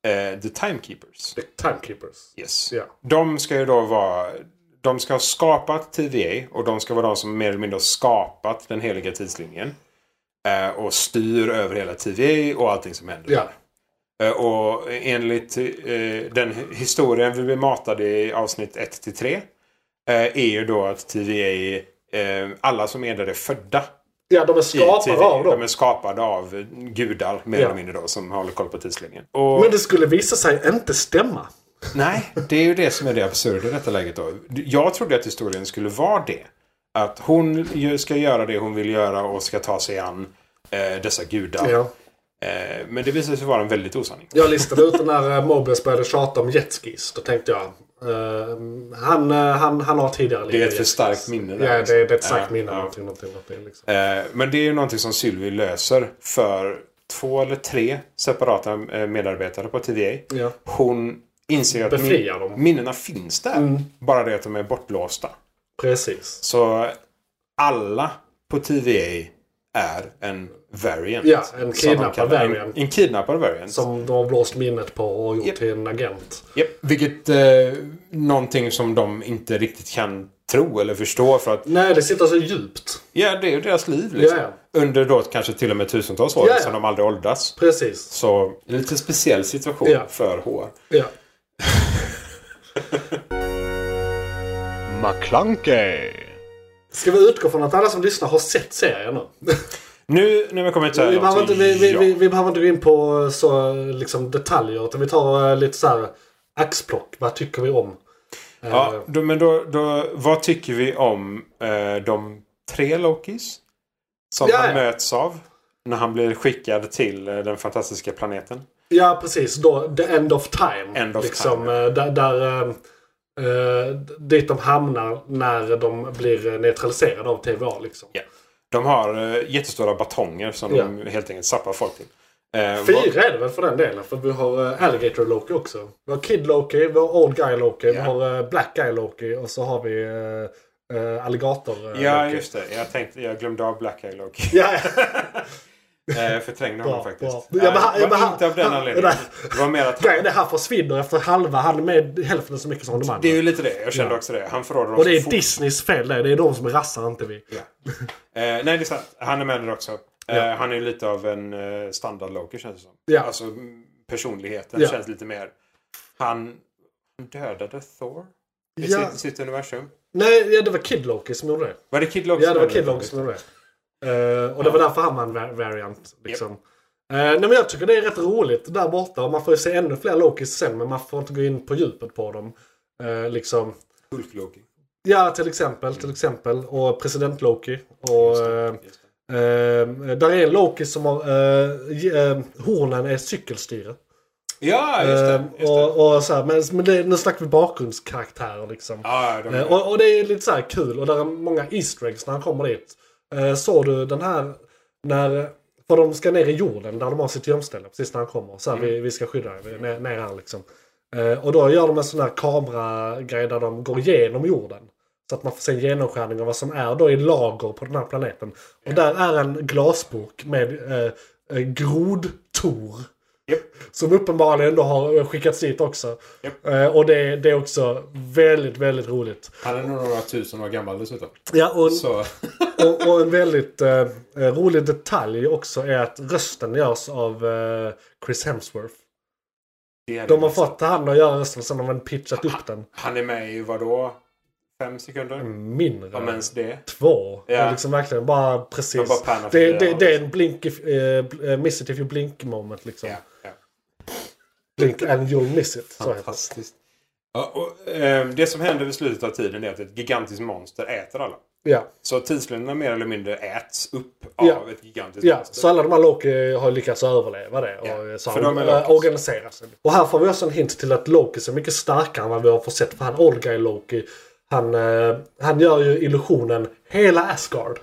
eh, The Timekeepers. The Timekeepers. Yes. Ja. De ska ju då vara... De ska ha skapat TVA och de ska vara de som mer eller mindre har skapat den heliga tidslinjen. Eh, och styr över hela TVA och allting som händer. Ja. Eh, och enligt eh, den historien vi blev matade i avsnitt 1 till 3 eh, är ju då att TVA, eh, alla som är där är födda ja, de är i skapare TVA. av dem. De är skapade av gudar mer Ja. eller mindre då som håller koll på tidslinjen. Och... Men det skulle visa sig inte stämma. Nej, det är ju det som är det absurda i detta läget. Då. Jag trodde att historien skulle vara det. Att hon ju ska göra det hon vill göra och ska ta sig an eh, dessa gudar. Ja. Eh, men det visade sig vara en väldigt osanning. Jag listade ut när Mobius började tjata om jetskis. Då tänkte jag. eh, han, eh, han, han har tidigare Det är lite ett för jetskis. starkt minne. liksom. Ja, det, det är ett starkt Ja, minne. ja. Någonting, någonting, någonting, liksom. Eh, men det är ju någonting som Sylvie löser för två eller tre separata eh, medarbetare på TVA. Ja. Hon inser att Befriar dem. Mm. minnena finns där. Bara det att de är bortlåsta. Precis. Så alla på TVA är en variant. Ja, en som de kidnappad kallar- variant. En, en kidnappad variant. Som de har blåst minnet på och gjort Japp. till en agent. Japp. Vilket eh, någonting som de inte riktigt kan tro eller förstå för att Nej, det sitter så djupt. ja, det är ju deras liv. Liksom. Ja, Under då kanske till och med tusentals år Ja, ja. som de aldrig åldras. Precis. Så en lite speciell situation Ja. för hår. Ja. McClunkey. Ska vi utgå från att alla som lyssnar har sett serien nu? Nu när vi kommer till Vi behöver, inte, vi, vi, ja. vi, vi behöver inte gå in på eh, så, liksom, detaljer utan vi tar eh, lite så här axplock. Vad tycker vi om? Eh, Ja, då, men då, då, vad tycker vi om eh, de tre Lokis? Som Ja, ja. han möts av när han blir skickad till eh, den fantastiska planeten. ja precis. Då, the end of time. End of liksom, time, eh, Där, där, eh, eh, dit de hamnar när de blir eh, neutraliserade av TVA. Liksom. Ja. De har eh, jättestora batonger som Ja. de helt enkelt zappar folk till. Eh, vad- Fyra är det väl för den delen. För vi har eh, Alligator Loki också. Vi har Kid Loki, vi har Old Guy Loki, vi Ja. har eh, Black Guy Loki och så har vi eh, eh, Alligator eh, Ja, Loki. just det. Jag, tänkte, jag glömde av Black Eye Loki. Ja, ja. Eh, förträngde Bra, honom faktiskt. bra. Nej, Ja, men han- det var men han- inte av den han- anledningen. nej. Det var mer att Grejen är han försvinner efter halva. Han är med hälften så mycket som de andra. det är ju lite det. Jag kände också det. Han förråder och oss det är fort. Disneys fel det. Det är de som är rassar, inte vi. Ja. Eh, nej, det är sant. Han är med där också. Eh, Han är ju lite av en eh, standard Loki känns det som. Ja. Alltså mm, personligheten Ja. känns lite mer... Han han dödade Thor i Ja. sitt, sitt universum. Nej, ja, det var Kid Loki som gjorde det. Var det Kid Loki Ja, det som var dödade Kid Thor? Loki som gjorde det. Eh, och det var därför han var en va- variant. Liksom. Eh, nej, men jag tycker det är rätt roligt där borta. Och man får ju se ännu fler Lokis sen, men man får inte gå in på djupet på dem. Eh, liksom. Hulk Loki. Ja, till exempel. Till exempel. Och president Loki. Och, eh, Mm. Just det. eh, där är en Loki som har... eh, ge- eh, hornen är cykelstyre. Ja, just det. Just det. Eh, Och, och så här, men men det, nu snackar vi bakgrundskaraktärer liksom. ja, de, Eh, Och, och det är lite så här kul och där är många Easter eggs när han kommer dit. Eh, Såg du den här när... För de ska ner i jorden där de har sitt gömställe precis när han kommer. Så här, vi, vi ska skydda er, vi- ner, ner här liksom. Eh, Och då gör de en sån här kameragrej där de går igenom jorden. Så att man får se en genomskärning av vad som är då i lager på den här planeten. Och där är en glasburk med eh, eh, grodtor. Japp. Som uppenbarligen då har skickats dit också. Japp. Eh, och det, det är också väldigt, väldigt roligt. Han är nog några tusen år gammal dessutom. Ja, och, Så, och, och en väldigt eh, eh, rolig detalj också är att rösten görs av eh, Chris Hemsworth. det är De har det. fått han att göra rösten, sen har man pitchat upp den. Han är med i vadå? Fem sekunder. Mm. Mindre. Om ens det. Två. Ja. Det är liksom verkligen bara precis. Man bara pannar det, förbi det, det, det är en blink if, eh, bl- eh, miss it if you blink moment liksom. Ja, ja. Blink and you'll miss it. Så heter det. Fantastiskt. Ja, och, eh, det som händer vid slutet av tiden är att ett gigantiskt monster äter alla. Ja. Så tidsländerna mer eller mindre äts upp av Ja. ett gigantiskt Ja, monster. så alla de här Loki har lyckats överleva det och Ja, så för har de, de är Lokis. eh, organiserat sig. Och här får vi också en hint till att Loki är mycket starkare än vad vi har fått sett. För han Olga i Loki, han, eh, han gör ju illusionen hela Asgard.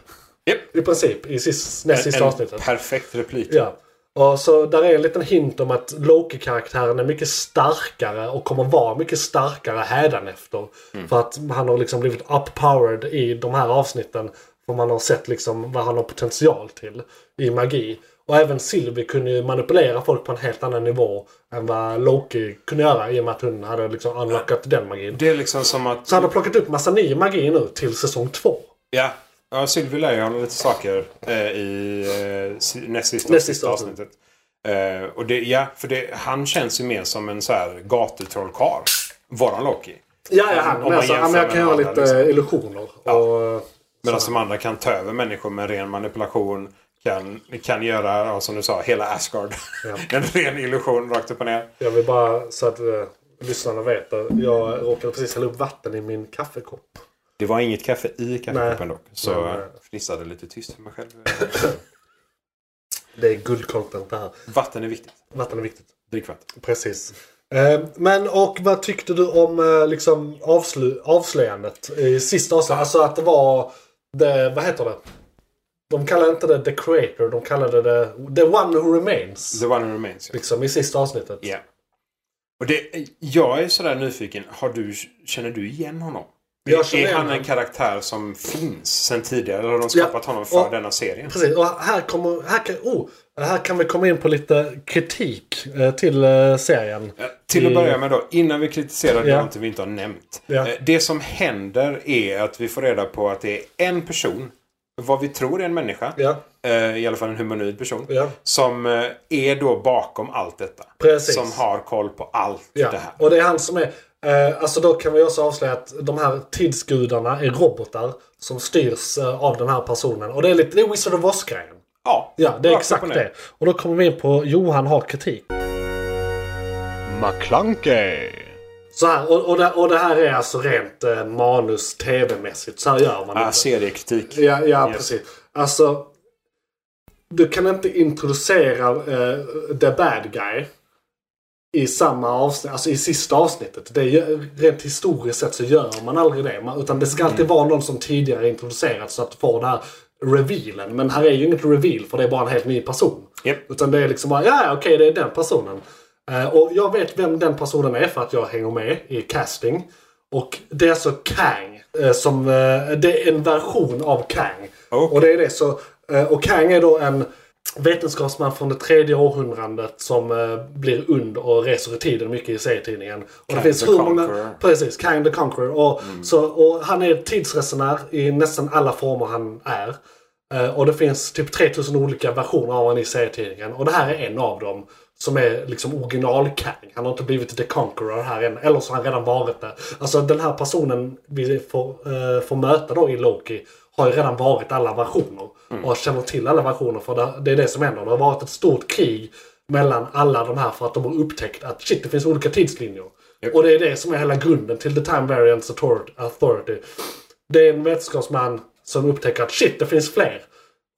Japp. I princip, i sist, näst sista en avsnittet. perfekt replik. Ja. Och så där är en liten hint om att Loki-karaktären är mycket starkare och kommer vara mycket starkare hädanefter. För att han har liksom blivit uppowered i de här avsnitten. För man har sett liksom vad han har potential till i magi. Och även Sylvie kunde ju manipulera folk på en helt annan nivå än vad Loki kunde göra i och med att hon hade liksom unlockat den magin. Det är liksom som att... Så han har plockat upp massa ny magi nu till säsong två. Ja. Ja, Sylvie lär ju honom lite saker eh, i eh, si- näst sista, Näst sista sista avsnittet. Eh, och det, ja, för det, han känns ju mer som en så här gatutrollkarl. Våran Loki. Ja, ja, han, Om men man alltså, ja, men jag jämför kan med göra andra, lite liksom. illusioner. Och, Medan de andra kan ta över människor med ren manipulation. Kan, kan göra, ja, som du sa, hela Asgard. en ren illusion rakt upp och ner. Jag vill bara så att eh, lyssnarna vet att jag råkade precis hälla upp vatten i min kaffekopp. Det var inget kaffe i kaffekoppen Nej. dock. Så Nej, jag nej. fnissade lite tyst för mig själv. Det är good content det här. Vatten är viktigt. Vatten är viktigt. Drick vatten. Precis. Eh, men och vad tyckte du om eh, liksom avslu- avslöjandet i sista avsnittet? Alltså att det var... Det, vad heter det? De kallade inte det The Creator, de kallade det The One Who Remains. The one who remains. ja. Liksom i sista avsnittet. Ja. Och det, jag är sådär nyfiken. Har du, känner du igen honom? Jag känner är igen han en honom. karaktär som finns sen tidigare? Eller har de skapat honom för och- denna serien? Precis, och här, kommer, här, kan, oh, här kan vi komma in på lite kritik eh, till eh, serien. Eh, Till att börja med då, innan vi kritiserar Ja. någonting vi inte har nämnt. Ja. Eh, Det som händer är att vi får reda på att det är en person, vad vi tror är en människa, Ja. eh, i alla fall en humanoid person, Ja. som eh, är då bakom allt detta. Precis. Som har koll på allt Ja, det här. och det är han som är... Eh, alltså då kan vi också avslöja att de här tidsgudarna är robotar som styrs eh, av den här personen. Och det är lite det är Wizard of Oz-grejen. Ja, Ja, det är rakt upp och exakt ner. det. Och då kommer vi in på Johan har kritik. McClunkey. Så här, och, och, det, och det här är alltså rent eh, manus tv-mässigt. Så här gör man Ah, inte. seriekritik. Ja, ja precis. Alltså, du kan inte introducera eh, the bad guy i samma avsnitt, alltså i sista avsnittet. Det är, ju- rent historiskt sett så gör man aldrig det. Man, utan det ska alltid vara någon som tidigare introducerats så att få den här revealen. Men här är ju inget reveal för det är bara en helt ny person. Japp. Utan det är liksom bara, ja ja, okej det är den personen. Eh, och jag vet vem den personen är för att jag hänger med i casting. Och det är alltså Kang. eh, som, eh, det är en version av Kang. Okej. Och det är det så. eh, och Kang är då en vetenskapsman från det tredje århundradet som eh, blir ond och reser i tiden mycket i serietidningen. Och det Kang finns the hur många... Conqueror. Precis, Kang the Conqueror. Och, så, och han är tidsresenär i nästan alla former han är. Eh, Och det finns typ 3000 olika versioner av honom i serietidningen. Och det här är en av dem. Som är liksom original Kang. Han har inte blivit The Conqueror här än. Eller så har han redan varit det. Alltså den här personen vi får, eh, får möta då i Loki. Har ju redan varit alla versioner. Och känner till alla versioner. För det, det är det som händer. Det har varit ett stort krig mellan alla de här för att de har upptäckt att shit, det finns olika tidslinjer. Och det är det som är hela grunden till The Time Variance Author- Authority. Det är en vetenskapsman som upptäcker att shit, det finns fler.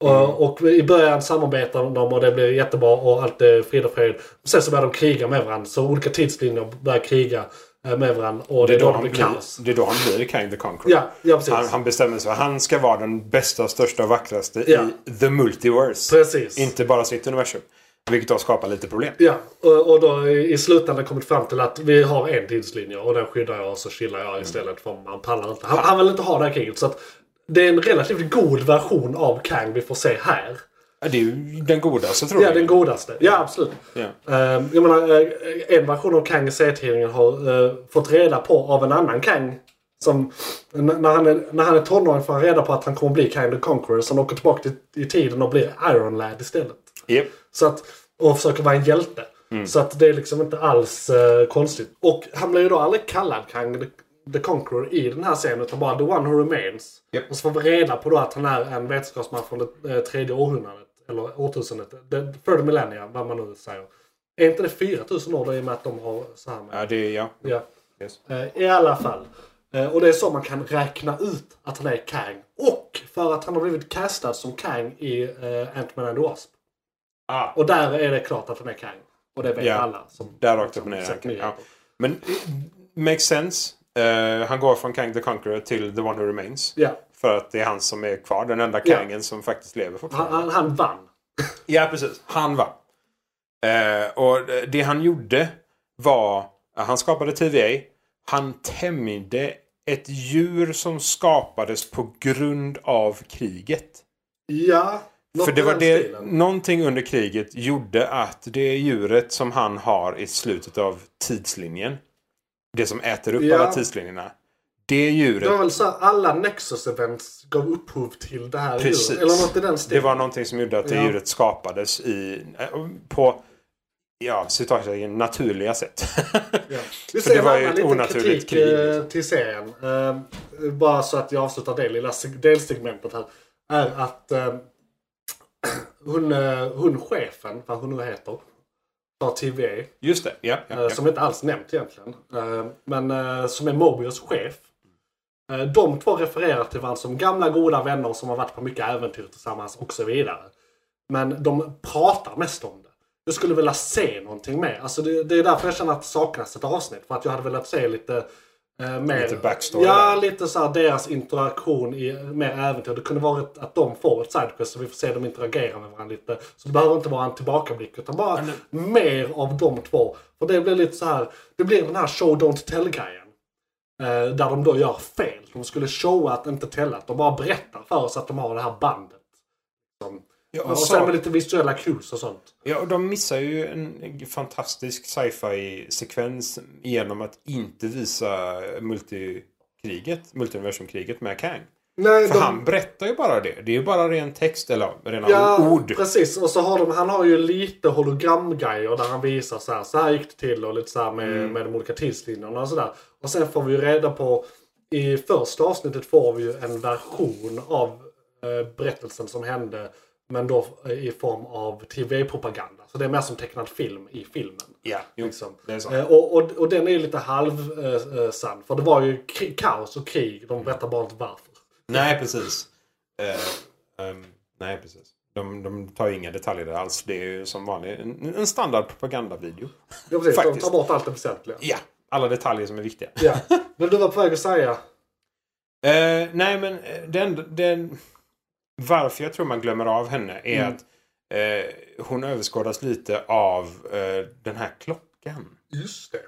Och, och i början samarbetar de och det blir jättebra och allt är frid och fröjd. Sen så börjar de kriga med varandra. Så olika tidslinjer börjar kriga eh, med varandra. Och det är då det han blir blir, kaos. det är då han blir Kang the Conqueror. Ja, ja precis. Han, han bestämmer sig för att han ska vara den bästa, största och vackraste Ja. i the multiverse. Precis. Inte bara sitt universum. Vilket då skapar lite problem. Ja, och, och då i i slutändan kommit fram till att vi har en tidslinje och den skyddar jag och så chillar jag istället för man pallar inte. Han, han vill inte ha det här kriget. Så att det är en relativt god version av Kang vi får se här. Ja, Det är ju den godaste tror Ja, jag. den godaste. Ja, absolut. Ja. Eh, jag menar, eh, en version av Kang i serietidningen har eh, fått reda på av en annan Kang. Som, n- när, han är, när han är tonåring får han reda på att han kommer bli Kang the Conqueror. Så han åker tillbaka till, i tiden och blir Iron Lad istället. Japp. Så att, och försöker vara en Mm. hjälte. Så att det är liksom inte alls eh, konstigt. Och han blir ju då aldrig kallad Kang the, The Conqueror i den här scenen utan bara The One Who Remains. Japp. Och så får vi reda på då att han är en vetenskapsman från det eh, tredje århundradet. Eller årtusendet. The third millennium, vad man nu säger. Är inte det 4000 år då i och med att de har så här med? Ja, det är ja. Ja. Yes. Eh, I alla fall. Eh, Och det är så man kan räkna ut att han är Kang. Och för att han har blivit castad som Kang i eh, Ant-Man and the Wasp. Ah, Och där är det klart att han är Kang. Och det vet Ja. alla. Som, där rakt upp och ner. Säkert. Okej, Ja. Men eh, makes sense. Eh, han går från Kang the Conqueror till The One Who Remains. ja. För att det är han som är kvar. Den enda Ja. Ah, Kangen som faktiskt lever Han, fortfarande. han, han vann. Ja, precis. Han vann. Eh, och det han gjorde var... Han skapade TVA. Han tämjde ett djur som skapades på grund av kriget. Ja. något För det i var den det, stilen. någonting under kriget gjorde att det djuret som han har i slutet av tidslinjen. Det som äter upp Ja. alla tidslinjerna. Det Det var djuret. väl så här, alla Nexus events gav upphov till det här Precis. djuret. Eller något i den Det stilen. var någonting som gjorde att det Ja. djuret skapades i, eh, på ja, citattecken naturliga sätt. Ja. Vi För ser det var en ju annan ett liten onaturligt kritik krig, eh, liksom. till serien. Eh, bara så att jag avslutar det lilla seg- delsegmentet här. Är att eh, hon, eh, hon chefen, vad hon nu heter, för TVA, eh, Just det, ja. ja, ja. som inte alls nämnt egentligen. Eh, men eh, som är Mobius chef. Eh, de två refererar till varandra som gamla goda vänner som har varit på mycket äventyr tillsammans och så vidare. Men de pratar mest om det. Jag skulle vilja se någonting mer. Alltså det, det är därför jag känner att det saknas ett avsnitt. För att jag hade velat se lite eh, mer... Lite backstory Ja, där. lite så här deras interaktion i mer äventyr. Det kunde varit att de får ett sidequest så vi får se dem interagera med varandra lite. Så det behöver inte vara en tillbakablick utan bara mer av de två. För det blir lite så här... Det blir den här show don't tell-grejen. Eh, där de då gör fel. De skulle showa att inte tälla. Att de bara berättar för oss att de har det här bandet. Som, Ja, och, och sen så- med lite visuella cues och sånt. Ja, och de missar ju en fantastisk sci-fi-sekvens genom att inte visa multikriget, multiversumkriget med Kang. Nej, För han berättar ju bara det. Det är ju bara ren text, eller rena ja, ord. precis. Och så har de, han har ju lite hologramgrejer där han visar så här, så här gick det till och lite så här med, Mm. med de olika tidslinjerna och sådär. Och sen får vi ju reda på, i första avsnittet får vi ju en version av eh, berättelsen som hände. Men då eh, i form av TV-propaganda. Så det är mer som tecknad film i filmen. Ja, jo, Liksom. det är sant. Eh, och, och, och den är ju lite halvsann. Eh, sann, för det var ju kri- kaos och krig. De berättar bara inte varför. Nej, precis. Eh, ehm, nej, precis. De, de tar ju inga detaljer där alls. Det är ju som vanligt en, en standard propagandavideo. Ja, precis, de Faktiskt. tar bort allt det väsentliga. Ja, alla detaljer som är viktiga. Ja. Men du var på väg att säga. Eh, nej, men eh, den, den, varför jag tror man glömmer av henne är att eh, hon överskådas lite av eh, den här klockan. Just det.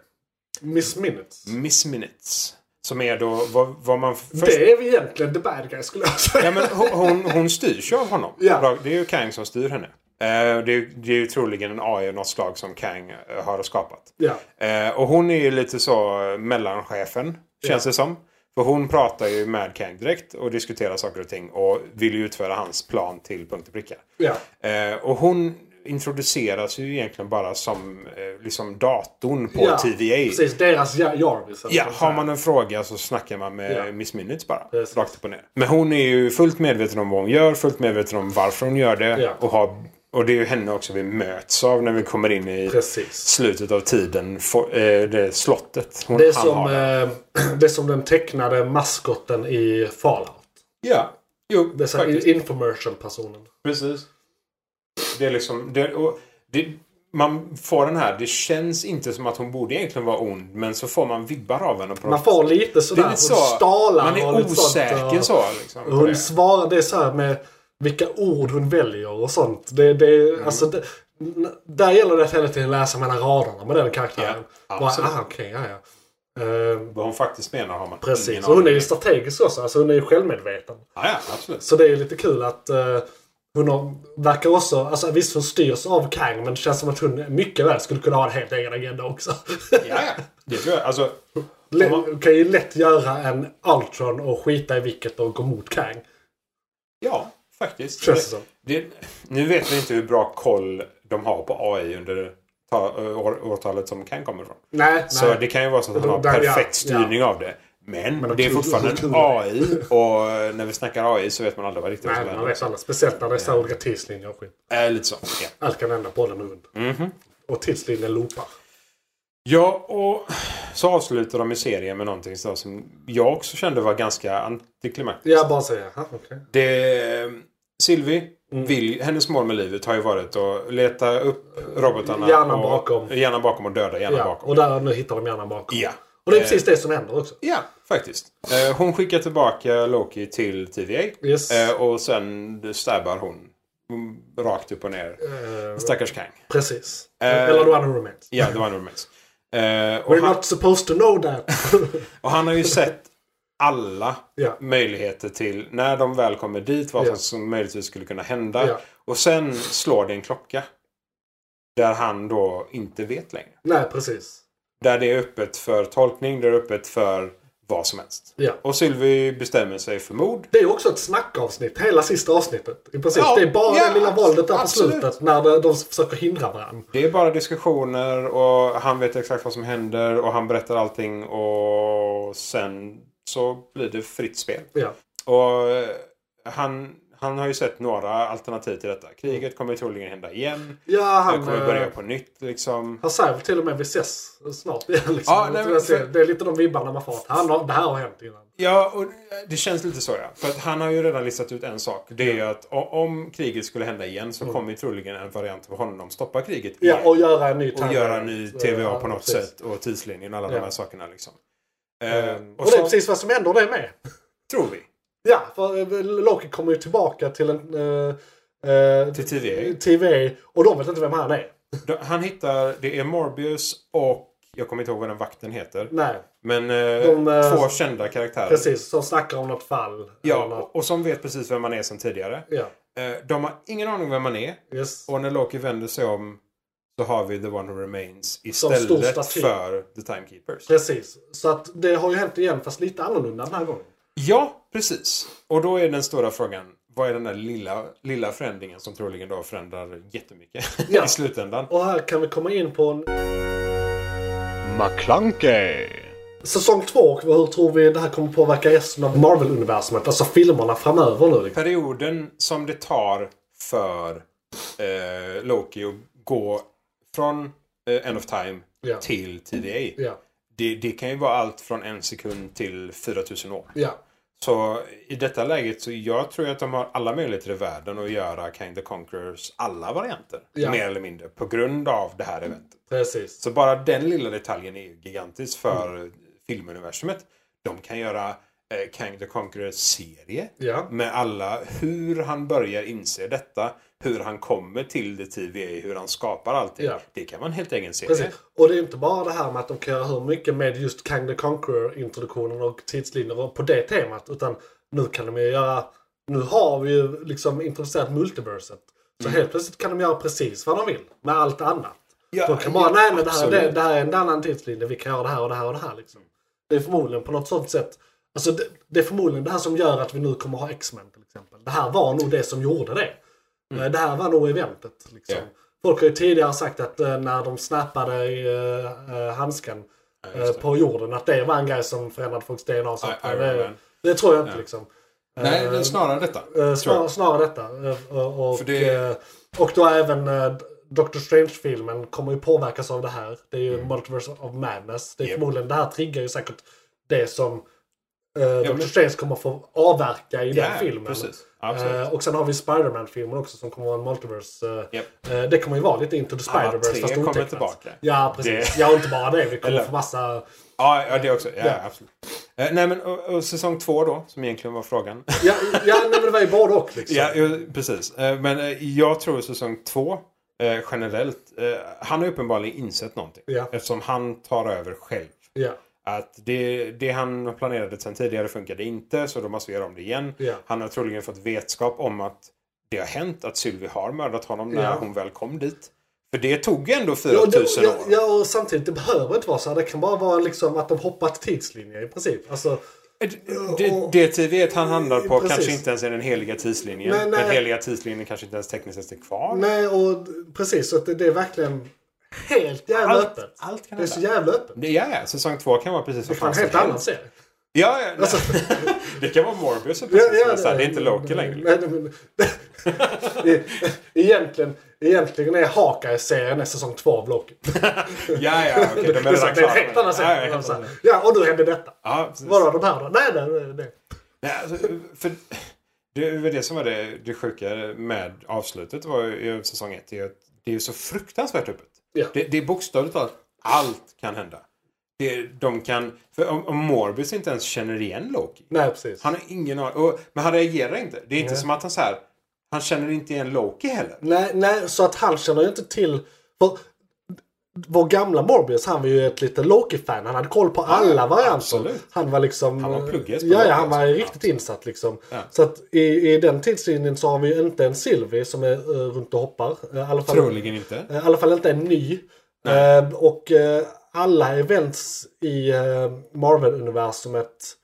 Miss Minutes. Miss Minutes. Som är då vad, vad man först... Det är vi egentligen the bad guy skulle jag säga. Ja, men hon, hon, hon styrs ju av honom. Ja. Det är ju Kang som styr henne. Eh, det, är, det är ju troligen en AI av något slag som Kang eh, har skapat. Ja. Eh, och hon är ju lite så eh, mellanchefen, känns det som. För hon pratar ju med Kang direkt och diskuterar saker och ting och vill ju utföra hans plan till punkt och pricka. Ja. Eh, och hon introduceras ju egentligen bara som eh, liksom datorn på ja. TVA. Precis, deras ja- Jarvis. eller Ja, vad man har säger. man en fråga så snackar man med Ja. Miss Minutes bara. Precis. Rakt upp och ner. Men hon är ju fullt medveten om vad hon gör, fullt medveten om varför hon gör det. Ja. Och, har, och det är ju henne också vi möts av när vi kommer in i Precis. slutet av tiden. For, eh, det slottet hon, Det är, han som, har. där. eh, det är som den tecknade maskotten i Fallout. Ja, jo, Det är så här faktiskt. infomercial-personen. Precis. Det är liksom... Det, och det, man får den här, det känns inte som att hon borde egentligen vara ond. Men så får man vibbar av henne. På Man får lite det sådär. är Hon lite så, stalar. man och är lite sånt, osäker och- så. Liksom, på Hon det. svarar, det är så här med vilka ord hon väljer och sånt. Det, det, Mm. alltså, det, n- där gäller det att hela tiden läsa mellan raderna med den karaktären. Ja, Bara, absolut. ah, okej, ja, ja. Ehm, Vad hon faktiskt menar har man precis. ingen Och hon är aning ju om. strategisk också. Alltså, hon är ju självmedveten. Ja, ja, absolut. Så det är ju lite kul att eh, hon har, verkar också... Alltså, visst, hon styrs av Kang, men det känns som att hon mycket väl skulle kunna ha en helt egen agenda också. Ja, ja. Det tror jag. Alltså, Lä- kan ju lätt göra en Ultron och skita i vilket och gå mot Kang. ja, faktiskt. Känns det som. Det, nu vet vi inte hur bra koll de har på AI under ta, år, årtalet som kan komma ifrån. Nej, Så nej. det kan ju vara så att han har Där, ja, perfekt styrning av det. Men, de det är tror- fortfarande de en tror AI. Och eh, när vi snackar AI så vet man aldrig vad riktigt vad Nej, som man händer. vet alla. Speciellt när det är så olika tidslinjer och skit. Äh, lite så. Ja. Allt kan hända, bollen är rund. Mhm. Och tidslinjen loopar. Ja, och så avslutar de ju serien med någonting så som jag också kände var ganska antiklimax. Jag bara säger, jaha okej. Det... Silvi, Mm. vill, hennes mål med livet har ju varit att leta upp robotarna. Hjärnan och, bakom. Hjärnan bakom och döda hjärnan Ja, bakom. och där, nu hittar de hjärnan bakom. Ja. Eh. Och det är precis det som händer också. Ja, faktiskt. Eh, Hon skickar tillbaka Loki till TVA. Yes. Eh, Och sen stabbar hon mm, rakt upp och ner. Eh, Stackars Kang. precis. Eh, Eller då han är roommate. Ja, det var nog mest. Eh, Och We're han, not supposed to know that. och han har ju sett alla Ja. möjligheter till när de väl kommer dit vad Ja. som möjligtvis skulle kunna hända. Ja. Och sen slår det en klocka. Där han då inte vet längre. Nej, precis. Där det är öppet för tolkning, där det är öppet för vad som helst. Ja. Och Sylvie bestämmer sig för mord. Det är också ett snackavsnitt, hela sista avsnittet. I princip. Ja, det är bara ja, det lilla våldet där på absolut. slutet när de, de försöker hindra varandra. Det är bara diskussioner och han vet exakt vad som händer och han berättar allting och sen så blir det fritt spel. Ja. Och eh, han, han har ju sett några alternativ till detta. Kriget kommer troligen hända igen. Ja, Det han, kommer börja eh, på nytt liksom. han säger väl till och med vi ses snart. Ja, liksom. Ja, nej, men för- Det är lite de vibbarna man får. att Han har, det här har hänt innan. Ja, och eh, det känns lite så ja. För att han har ju redan listat ut en sak. Det är ju att o- om kriget skulle hända igen så kommer ju troligen en variant av honom stoppa kriget igen. Mm. Ja, och göra en ny och timeline. göra en ny TVA Ja, på något precis. sätt. Och tidslinjen och alla Ja. de här sakerna liksom. Eh, Eh, och, Och det är så precis vad som händer det med. tror vi. Ja, för eh, Loki kommer ju tillbaka till en... eh, eh, Till TVA. TV och de vet inte vem han är. Då- Han hittar, det är Morbius och, jag kommer inte ihåg vad den vakten heter. Nej, Men eh, eh, två kända karaktärer. precis. Som snackar om något fall. Ja, Eller- och- och som vet precis vem man är sen tidigare. ja. Eh, de har ingen aning om vem man är. Yes. Och när Loki vänder sig om så har vi The One Who Remains stor istället staty. för The Timekeepers. Precis. Så att det har ju hänt igen fast lite annorlunda den här gången. Ja, precis. Och då är den stora frågan. Vad är den där lilla, lilla förändringen som troligen då förändrar jättemycket Ja. i slutändan? Och här kan vi komma in på en McClunkey. säsong två och hur tror vi det här kommer påverka resten av Marvel-universumet? Alltså filmerna framöver nu. Liksom. Perioden som det tar för eh, Loki att gå från eh, End of Time Ja. till TVA. Ja. Det, det kan ju vara allt från en sekund till 4000 år. Ja. Så i detta läget så jag tror att de har alla möjligheter i världen att göra King the Conquerors alla varianter. Ja. Mer eller mindre. På grund av det här eventet. Precis. Så bara den lilla detaljen är ju gigantisk för filmuniversumet. De kan göra eh, King the Conqueror-serie. Ja. Med alla, hur han börjar inse detta. Hur han kommer till det TVA, hur han skapar allting. Ja. Det kan vara en helt egen serie. Precis. Och det är inte bara det här med att de kan göra hur mycket med just Kang the Conqueror-introduktionen och tidslinjer och på det temat. Utan nu kan de ju göra... Nu har vi ju liksom introducerat multiverset. Så Mm. helt plötsligt kan de göra precis vad de vill med allt annat. Ja, de kan bara, nej men det här, absolut. det, det här är en annan tidslinje. Vi kan göra det här och det här och det här. Liksom. Det är förmodligen på något sånt sätt. Alltså det, det är förmodligen det här som gör att vi nu kommer ha X-Men till exempel. Det här var nog det som gjorde det. Eh, Det här var nog eventet. Liksom. Mm. Ja. Folk har ju tidigare sagt att eh, när de snappade eh, eh, handsken eh, på jorden, att det var en grej som förändrade folks DNA. Och sånt. I- Iron eh, det, Man. det tror jag inte liksom. Nej, Eh, det är snarare detta. Eh, tror jag. Snar, snarare detta. Eh, Och, För det- eh, och då även eh, Doctor Strange-filmen kommer ju påverkas av det här. Det är ju Mm. Multiverse of Madness. Det är Japp. förmodligen, det här triggar ju säkert det som eh, Doctor men- Strange kommer få avverka i Ja, den filmen. precis. Absolut. Eh, och sen har vi Spider-Man-filmen också som kommer vara en multiverse. eh, Japp. eh, det kommer ju vara lite Into the Alla Spider-Verse tre fast kommer otecknat. tillbaka. Ja, precis. Det- Ja, och inte bara det. Vi kommer Eller- få massa... Ja, ja det också. Ja, Ja. absolut. Eh, nej, men och, och säsong två då, som egentligen var frågan. Ja, ja nej, men det var ju både och liksom. ja, ju, precis. Eh, men eh, jag tror säsong två, eh, generellt, eh, han har uppenbarligen insett någonting. Ja. Eftersom han tar över själv. Ja. Att det, det han planerade sedan tidigare funkade inte, så då måste vi göra om det igen. Ja. Han har troligen fått vetskap om att det har hänt, att Sylvie har mördat honom när Ja. hon väl kom dit. För det tog ju ändå Ja, 4000 ja, år. ja, ja, och samtidigt, det behöver inte vara så här. Det kan bara vara liksom att de hoppat tidslinjer i princip. Alltså, Det, det TV1 han handlar på Precis. eh, kanske inte ens är den heliga tidslinjen. Nej, nej. Den heliga tidslinjen kanske inte ens tekniskt ens är kvar. nej, och precis. Så att det, det är verkligen helt jävla Allt- öppet. allt kan Det är så hända. jävla öppet. Det, ja, ja, säsong två kan vara precis Det vad kan vara fan en som helt Alltså- annan helst. serie. Ja, ja. nej. det kan vara Morbius. som precis som jag sa. det är inte Loki längre. Nej, nej, men- E- egentligen, egentligen är Hawkeye-serien är säsong två av Loki. Ja, ja, okej. det, de är är så- redan det är en klara. helt annan Ja, ja, serie. helt Alltså, annan. ja, och då hände detta. Ja, precis. Vadå, de här då? Nej, nej, nej. nej. Nej, alltså, för det var det som var det, det sjuka med avslutet var ju, i säsong 1. Det är, att det är så fruktansvärt öppet. Ja. Det, det är bokstavligt talat allt kan hända. Det, de kan, för om, om Morbius inte ens känner igen Loki. Nej, precis. Han har ingen aning. och- Men han reagerar inte. Det är inte som att han så här, han känner inte igen Loki heller. Nej, nej, så att han känner ju inte till... För, vår gamla Morbius, han var ju ett lite Loki-fan. Han hade koll på alla varianter. absolut. Han var liksom... Han var plugges på Ja, ja, Loki, han var alltså. riktigt insatt liksom. Ja. Så att i, i den tidslinjen så har vi ju inte en Sylvie som är eh, runt och hoppar. Eh, I alla fall, Troligen inte. eh, I alla fall inte en ny. Eh, och eh, alla events i eh, Marvel-universumet...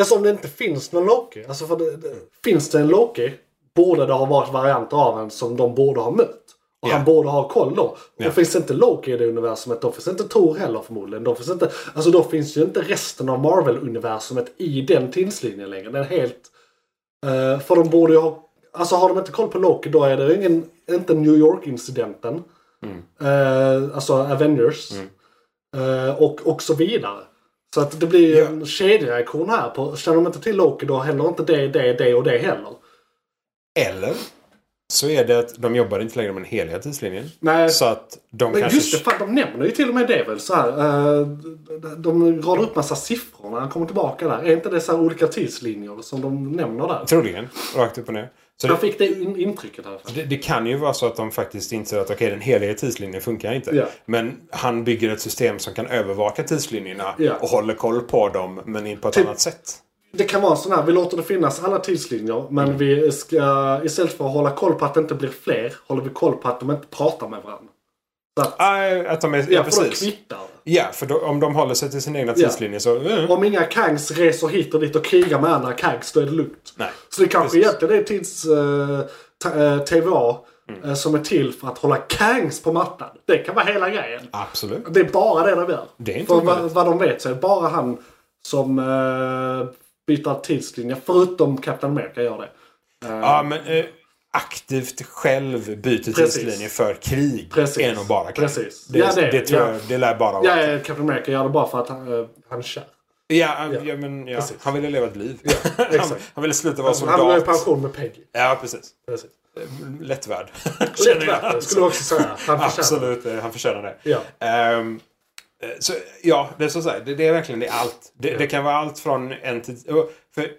Alltså om det inte finns någon Loki. Alltså för det, det, finns det en Loki borde det ha varit varianter av en som de borde ha mött. Och Ja. han borde ha koll då. Ja. Och finns det inte Loki i det universumet då finns det inte Thor heller förmodligen. Då finns, det inte, alltså då finns ju inte resten av Marvel-universumet i den tidslinjen längre. Den är helt... eh, för de borde ju ha... Alltså har de inte koll på Loki då är det ju ingen, inte New York-incidenten. Eh, alltså Avengers. Eh, och, och så vidare. Så att det blir ju Ja. en kedjereaktion här. På, känner de inte till Loki då händer inte det, det, det och det heller. Eller så är det att de jobbar inte längre med den heliga tidslinjen. Nej. Så att de Men kanske... just det, fan, de nämner ju till och med det väl så här. eh, de- De radar upp massa siffror när han kommer tillbaka där. Är inte det så här olika tidslinjer som de nämner där? Troligen. Rakt upp och ner. Så det, Jag fick det in- intrycket här. Det, det kan ju vara så att de faktiskt inser att okej, den heliga tidslinjen funkar inte. Ja. Men han bygger ett system som kan övervaka tidslinjerna Ja. och håller koll på dem, men in på ett Typ- annat sätt. Det kan vara en sån här, vi låter det finnas alla tidslinjer Mm. men vi ska istället för att hålla koll på att det inte blir fler håller vi koll på att de inte pratar med varandra. Så att, Ah, att de är, ja, ja, för de precis. kvittar. Ja, för då, om de håller sig till sin egna Ja. tidslinje så... eh, Om inga kangs reser hit och dit och krigar med andra kangs då är det lugnt. nej. Så det kanske Precis. egentligen är tids eh, ta- eh, TVA Mm. eh, som är till för att hålla kangs på mattan. Det kan vara hela grejen. Absolut. Det är bara det de gör. Det är inte för vad, omöjligt. vad de vet så är det bara han som eh, byter tidslinje. Förutom Captain America gör det. Ja, men eh, aktivt själv byter Precis. tidslinje för krig. Precis. Är nog bara kan. Precis. Det, Ja, det, det- tror ja. jag, det lär bara vara. Ja, Ja, eh, Captain America gör det bara för att han, eh, han är kär. ja, ja, men, ja. Precis. Han ville leva ett liv. han, exakt. han ville sluta vara Han går i soldat. pension med Peggy. Ja, precis. Precis. Eh, Lätt värd. Lätt värt det, skulle jag också säga. Han förtjänar Absolut, eh, han förtjänar det. Ja. Ehm, eh, så, ja, det är så så här, det, det är verkligen det är allt. Det, det kan vara allt från en till... och För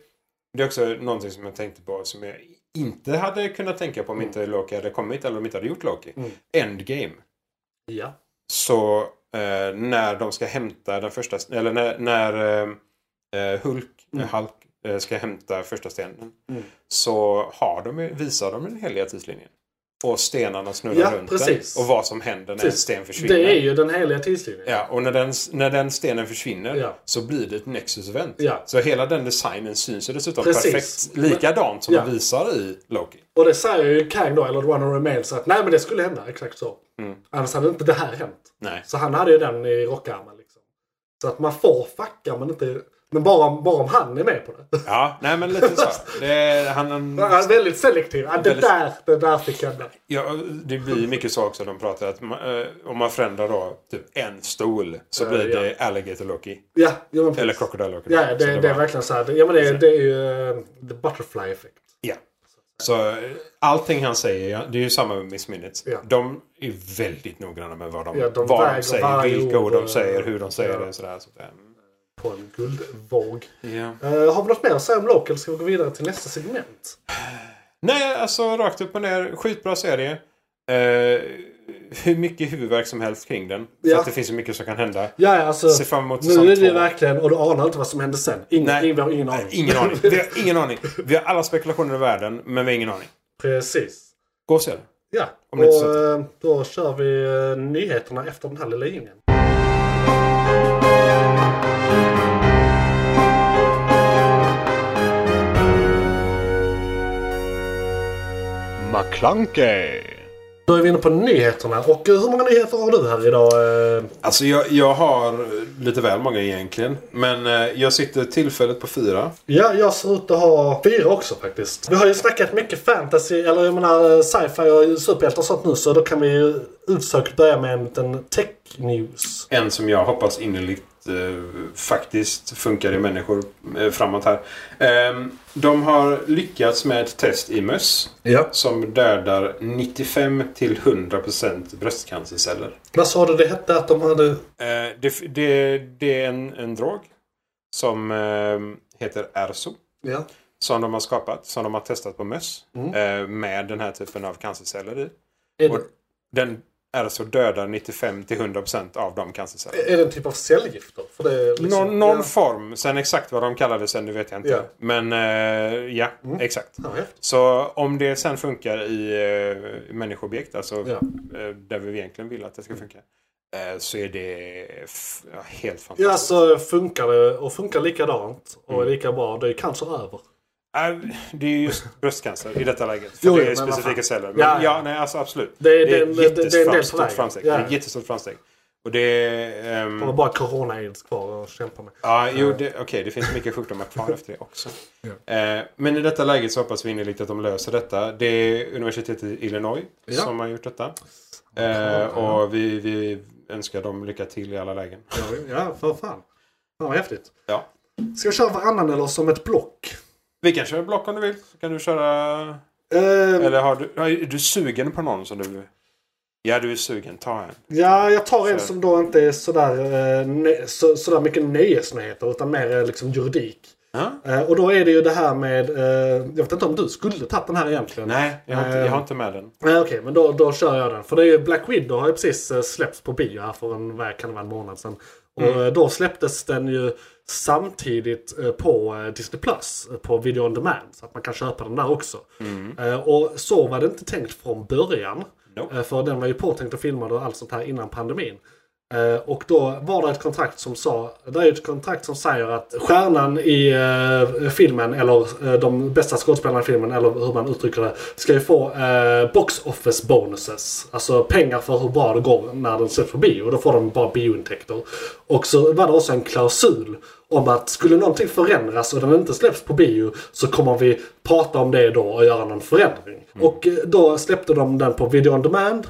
det är också någonting som jag tänkte på som jag inte hade kunnat tänka på om Mm. inte Loki hade kommit eller om inte hade gjort Loki. Endgame. Ja. Så eh, när de ska hämta den första... Eller när, när eh, eh, Hulk, Mm. eh, Hulk eh, ska hämta första stenen. Så har de, ju- visar de den heliga tidslinjen. Och stenarna snurrar Ja, runt precis. den. Och vad som händer när en Precis. sten försvinner. Det är ju den heliga tidslinjen. Ja, och när den, när den stenen försvinner Ja. så blir det ett Nexus Event. Ja. Så hela den designen syns ju dessutom Precis. perfekt likadant som Ja. de visar i Loki. Och det säger ju Kang då, eller The One Who Remains, att nej men det skulle hända. Exakt så. Mm. Annars hade inte det här hänt. Nej. Så han hade ju den i rockärmen. Liksom. Så att man får fucka men inte... Men bara, om- bara om han är med på det. Ja, nej men lite så. Det, är- han, han, Han är väldigt selektiv. Ja, det, Väldigt- där, det där fick hända. Ja, det blir mycket så också. De pratar att ma- eh, om man förändrar då typ en stol så Eh, blir det Alligator Loki. Ja, ja, men precis. Eller Crocodile Loki. Ja, det, Så det, var- Mm. är verkligen så här. Ja, men det, det är ju eh, the butterfly effect. Ja. Så eh, allting han säger, ja, det är ju samma med Miss Minutes. Ja. De är väldigt noggranna med vad de, Ja, de vad de väger säger, varje vilka ord de ord, eh, säger, hur de säger ja. det och sådär. Så, mm. På en guldvåg. ja. Eh, har vi något mer att säga om Loki eller ska vi gå vidare till nästa segment? Nej, alltså rakt upp och ner. Skitbra serie. Eh, hur mycket huvudvärk som helst kring den. För Ja. att det finns så mycket som kan hända. Ja, ja, alltså. Se fram emot säsong Nu är det två. verkligen, och du anar inte vad som hände sen. Ingen, Nej. ingen, vi har ingen aning. Ingen aning. Vi har ingen aning. Vi har alla spekulationer i världen, men vi har ingen aning. Precis. Gå och se den. Ja, Om det inte och eh, då kör vi eh, nyheterna efter den här lilla jingeln. McClunkey. Då är vi inne på nyheterna. Och eh, hur många nyheter har du här idag? eh? Alltså jag, jag har lite väl många egentligen. Men eh, jag sitter tillfället på fyra. Ja, jag ser ut att ha fyra också faktiskt. Vi har ju snackat mycket fantasy, eller jag menar eh, sci-fi och superhjältar och sånt nu. Så då kan vi ju utsökt börja med en liten tech-news. En som jag hoppas innerligt eh, faktiskt funkar i människor eh, framåt här. Ehm, de har lyckats med ett test i möss Ja. som dödar 95 till 100% bröstcancerceller. Vad sa du det hette att de hade? Eh, det, det, det är en, en drog som eh, heter Erso. Ja. Som de har skapat, som de har testat på möss. Mm. Eh, med den här typen av cancerceller i. Är, Och den Erso dödar 95-100% av de cancercellerna. är det en typ av cellgift då? För det är liksom, Någon, någon ja. form. Sen exakt vad de kallade sen, det vet jag inte. Ja. Mm. Men eh, ja, exakt. Ja, häftigt. Så om det sen funkar i eh, människoobjekt, alltså Ja. eh, där vi egentligen vill att det ska funka. Eh, så är det f- ja, helt fantastiskt. Ja, alltså funkar det och funkar likadant och är lika bra, då är cancer över. Nej, Det är just bröstcancer i detta läget. För Jo, jo, det är men vad specifika fan. celler. Men Ja, ja, ja. nej, alltså absolut. Det är- det är det- ett det- det är en del på jättestort vägen. framsteg. Ja. Det är ett jättestort framsteg. Och det är... ehm, De har bara corona-aids kvar att kämpa med. Ja, jo, det, okej, det finns mycket sjukdomar kvar efter det också. Eh, men i detta läget så hoppas vi innerligt att de löser detta. Det är universitetet i Illinois Ja. som har gjort detta. Eh, och vi, vi önskar dem lycka till i alla lägen. Ja, ja för fan. Ja, vad häftigt. Ja. Ska vi köra varannan eller som ett block? Vi kan köra block om du vill. Så kan du köra... Eh, Eller har du, ja, är du sugen på någon som du... Ja, du är sugen. Ta en. ja, jag tar en Så. som då inte är sådär, eh, ne- så, sådär mycket nöjesnyheter utan mer eh, liksom juridik. Ja? Eh, och då är det ju det här med, eh, jag vet inte om du skulle tagit den här egentligen. Nej, jag har, inte, jag har inte med den. Nej, okej, men då, då kör jag den. För det är ju Black Widow har ju precis eh, släppts på bio här för en, vad kan det vara, en månad sedan. Och eh, då släpptes den ju samtidigt eh, på eh, Disney Plus, eh, på Video On Demand. Så att man kan köpa den där också. Eh, Och så var det inte tänkt från början. Nope. Eh, För den var ju påtänkt att filma och allt sånt här innan pandemin. Eh, Och då var det ett kontrakt som sa, det är ett kontrakt som säger att stjärnan i eh, filmen, eller eh, de bästa skådespelarna i filmen, eller hur man uttrycker det, ska ju få eh, box office bonuses. Alltså pengar för hur bra det går när den släpps på bio. Då får de bara biointäkter. Och så var det också en klausul om att skulle någonting förändras och den inte släpps på bio så kommer vi prata om det då och göra någon förändring. Och eh, då släppte de den på video on demand.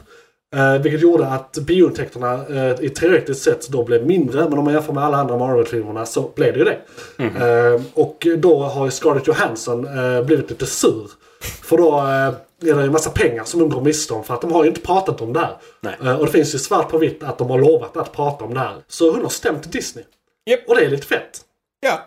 Eh, vilket gjorde att biointäkterna eh, i teoretiskt sett då blev mindre. Men om man jämför med alla andra Marvel-filmerna så blev det ju det. Mhm. Eh, och då har ju Scarlett Johansson eh, blivit lite sur. För då eh, är det ju en massa pengar som de går miste om. För att de har ju inte pratat om det här. Nej. Eh, och det finns ju svart på vitt att de har lovat att prata om det här. Så hon har stämt Disney. Japp. Och det är lite fett. Ja,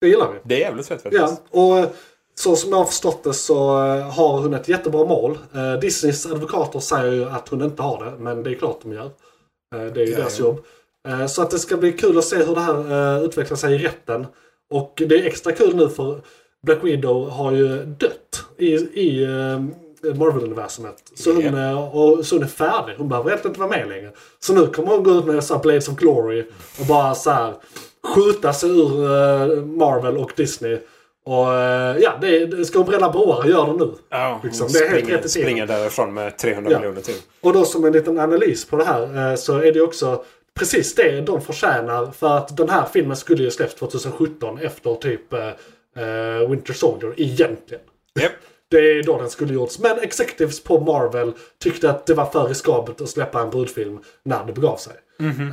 Det gillar vi. det är jävligt fett faktiskt. Ja, och eh, så som jag har förstått det så eh, har hon ett jättebra mål. Eh, Disneys advokater säger ju att hon inte har det, men det är klart de gör. Eh, Det är ju deras jobb. Eh, Så att det ska bli kul att se hur det här eh, utvecklar sig i rätten. Och det är extra kul nu för Black Widow har ju dött i, i eh, Marvel-universumet. Så, hon, Ja. eh, och, så hon är färdig. Hon behöver egentligen inte vara med längre. Så nu kommer hon gå ut med så här Blades of Glory och bara så här skjuta sig ur eh, Marvel och Disney. Och eh, ja, det, det ska hon bränna broar? Gör det nu. Ja, Liksom, det är helt springer, rätt i tiden. springer därifrån med 300 Ja. miljoner till. Och då som en liten analys på det här eh, så är det också precis det de förtjänar. För att den här filmen skulle ju släppts 2017 efter typ eh, eh, Winter Soldier egentligen. Japp. Det är då den skulle gjorts. Men executives på Marvel tyckte att det var för riskabelt att släppa en brudfilm när det begav sig.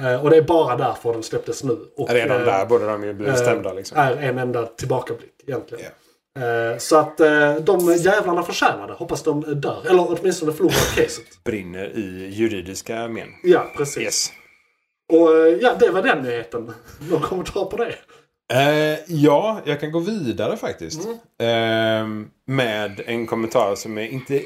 Eh, och det är bara därför den släpptes nu. Och, Mhm. Redan eh, där borde de ju bli eh, stämda liksom. Är en enda tillbakablick egentligen. Eh, Så att eh, de jävlarna förtjänar det. Hoppas de dör. Eller åtminstone förlorar caset. brinner i juridiska men. Ja, precis. Yes. Och eh, ja, det var den nyheten. Någon kommentar på det? Eh, ja, jag kan gå vidare faktiskt. Mm. Ehm, med en kommentar som är inte...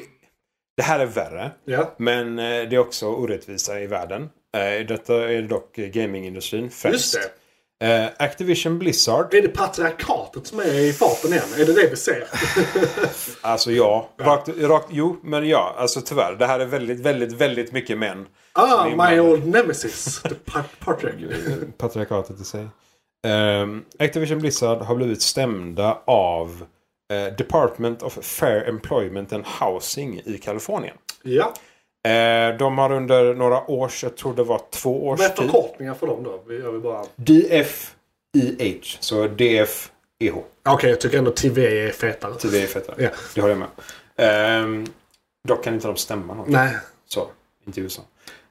Det här är värre. Ja. Men eh, det är också orättvisa i världen. Eh, detta är dock gamingindustrin Just främst. det. Eh, Activision Blizzard. Är det patriarkatet som är i farten igen? Är det det vi ser? Alltså ja. Rakt, rakt, jo, men ja. Alltså tyvärr. Det här är väldigt, väldigt, väldigt mycket män. Ah, my inblandade. old nemesis. The pat- patriarch. patriarkatet i sig. Ehm, Activision Blizzard har blivit stämda av eh, Department of Fair Employment and Housing i Kalifornien. Ja. Eh, de har under några års, jag tror det var två års Med tid. förkortningar för dem då. Vi gör vi bara... Okej, DFIH. Så DFEH. jag tycker ändå TV är fetare. TV är fetare. Ja. Det håller jag med. Ehm, dock kan inte de stämma någonting. Nej. Så, inte i USA.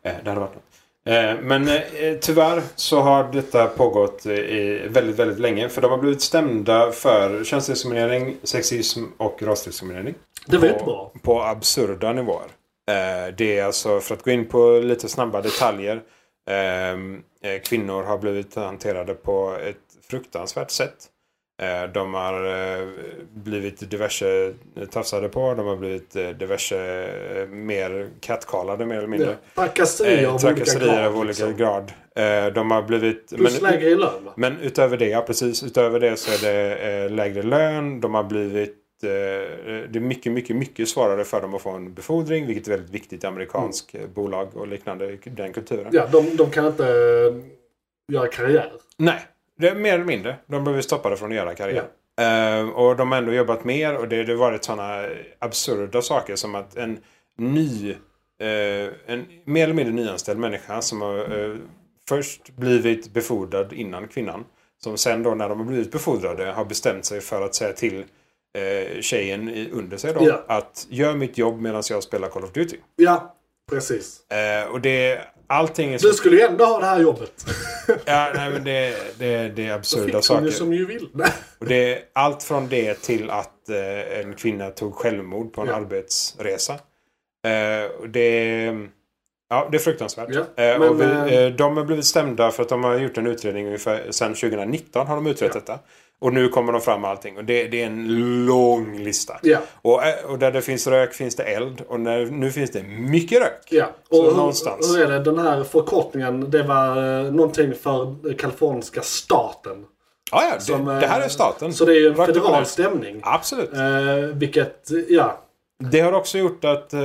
Eh, det hade varit något. Eh, men eh, tyvärr så har detta pågått eh, i väldigt, väldigt länge. För de har blivit stämda för könsdiskriminering, sexism och rasdiskriminering. Det var ju på- inte bra. På absurda nivåer. Eh, det är alltså, för att gå in på lite snabba detaljer. ehm, Eh, kvinnor har blivit hanterade på ett fruktansvärt sätt. Eh, de har eh, blivit diverse tafsade på. De har blivit eh, diverse eh, mer kattkalade mer eller mindre. Ja. Trakasserier Eh, av Trakasserier av olika olika liksom. grad. Eh, De har blivit... Plus men- lägre i lön va? men utöver det, ja precis. Utöver det så är det eh, lägre lön. De har blivit... eh, Det är mycket, mycket, mycket svårare för dem att få en befordring. Vilket är väldigt viktigt i amerikansk eh, bolag och liknande. Den kulturen. Ja, de, de kan inte eh, göra karriär. Nej, det är mer eller mindre. De blev ju stoppade från att göra karriär. Eh, och de har ändå jobbat mer och det det har varit sådana absurda saker som att en ny, eh, en mer eller mindre nyanställd människa som har eh, först blivit befordrad innan kvinnan. Som sen då när de har blivit befordrade har bestämt sig för att säga till eh, tjejen i- under sig då Ja. att gör mitt jobb medan jag spelar Call of Duty. Ja, precis. Eh, och det, allting är så... Du skulle ju ändå ha det här jobbet. Ja, nej, men det, det, det är absurda Fick saker. hon ju som ju vill. Och det är allt från det till att eh, en kvinna tog självmord på en Ja. arbetsresa. Eh, och det, är- ja, det är fruktansvärt. Ja, Eh, och vi, men, eh, eh, de har blivit stämda för att de har gjort en utredning ungefär sedan 2019 har de utrett detta. Och nu kommer de fram med allting. Och det, det är en lång lista. Ja. Och, eh, och där det finns rök finns det eld. Och när, nu finns det mycket rök. Ja, och Så hur, någonstans. hur är det? Den här förkortningen, det var eh, någonting för eh, kaliforniska staten. Ja, ja, det, Som, eh, det här är staten. Så det är ju en Rakt upp och ner. federal stämning. Absolut. Eh, vilket, ja. Det har också gjort att eh,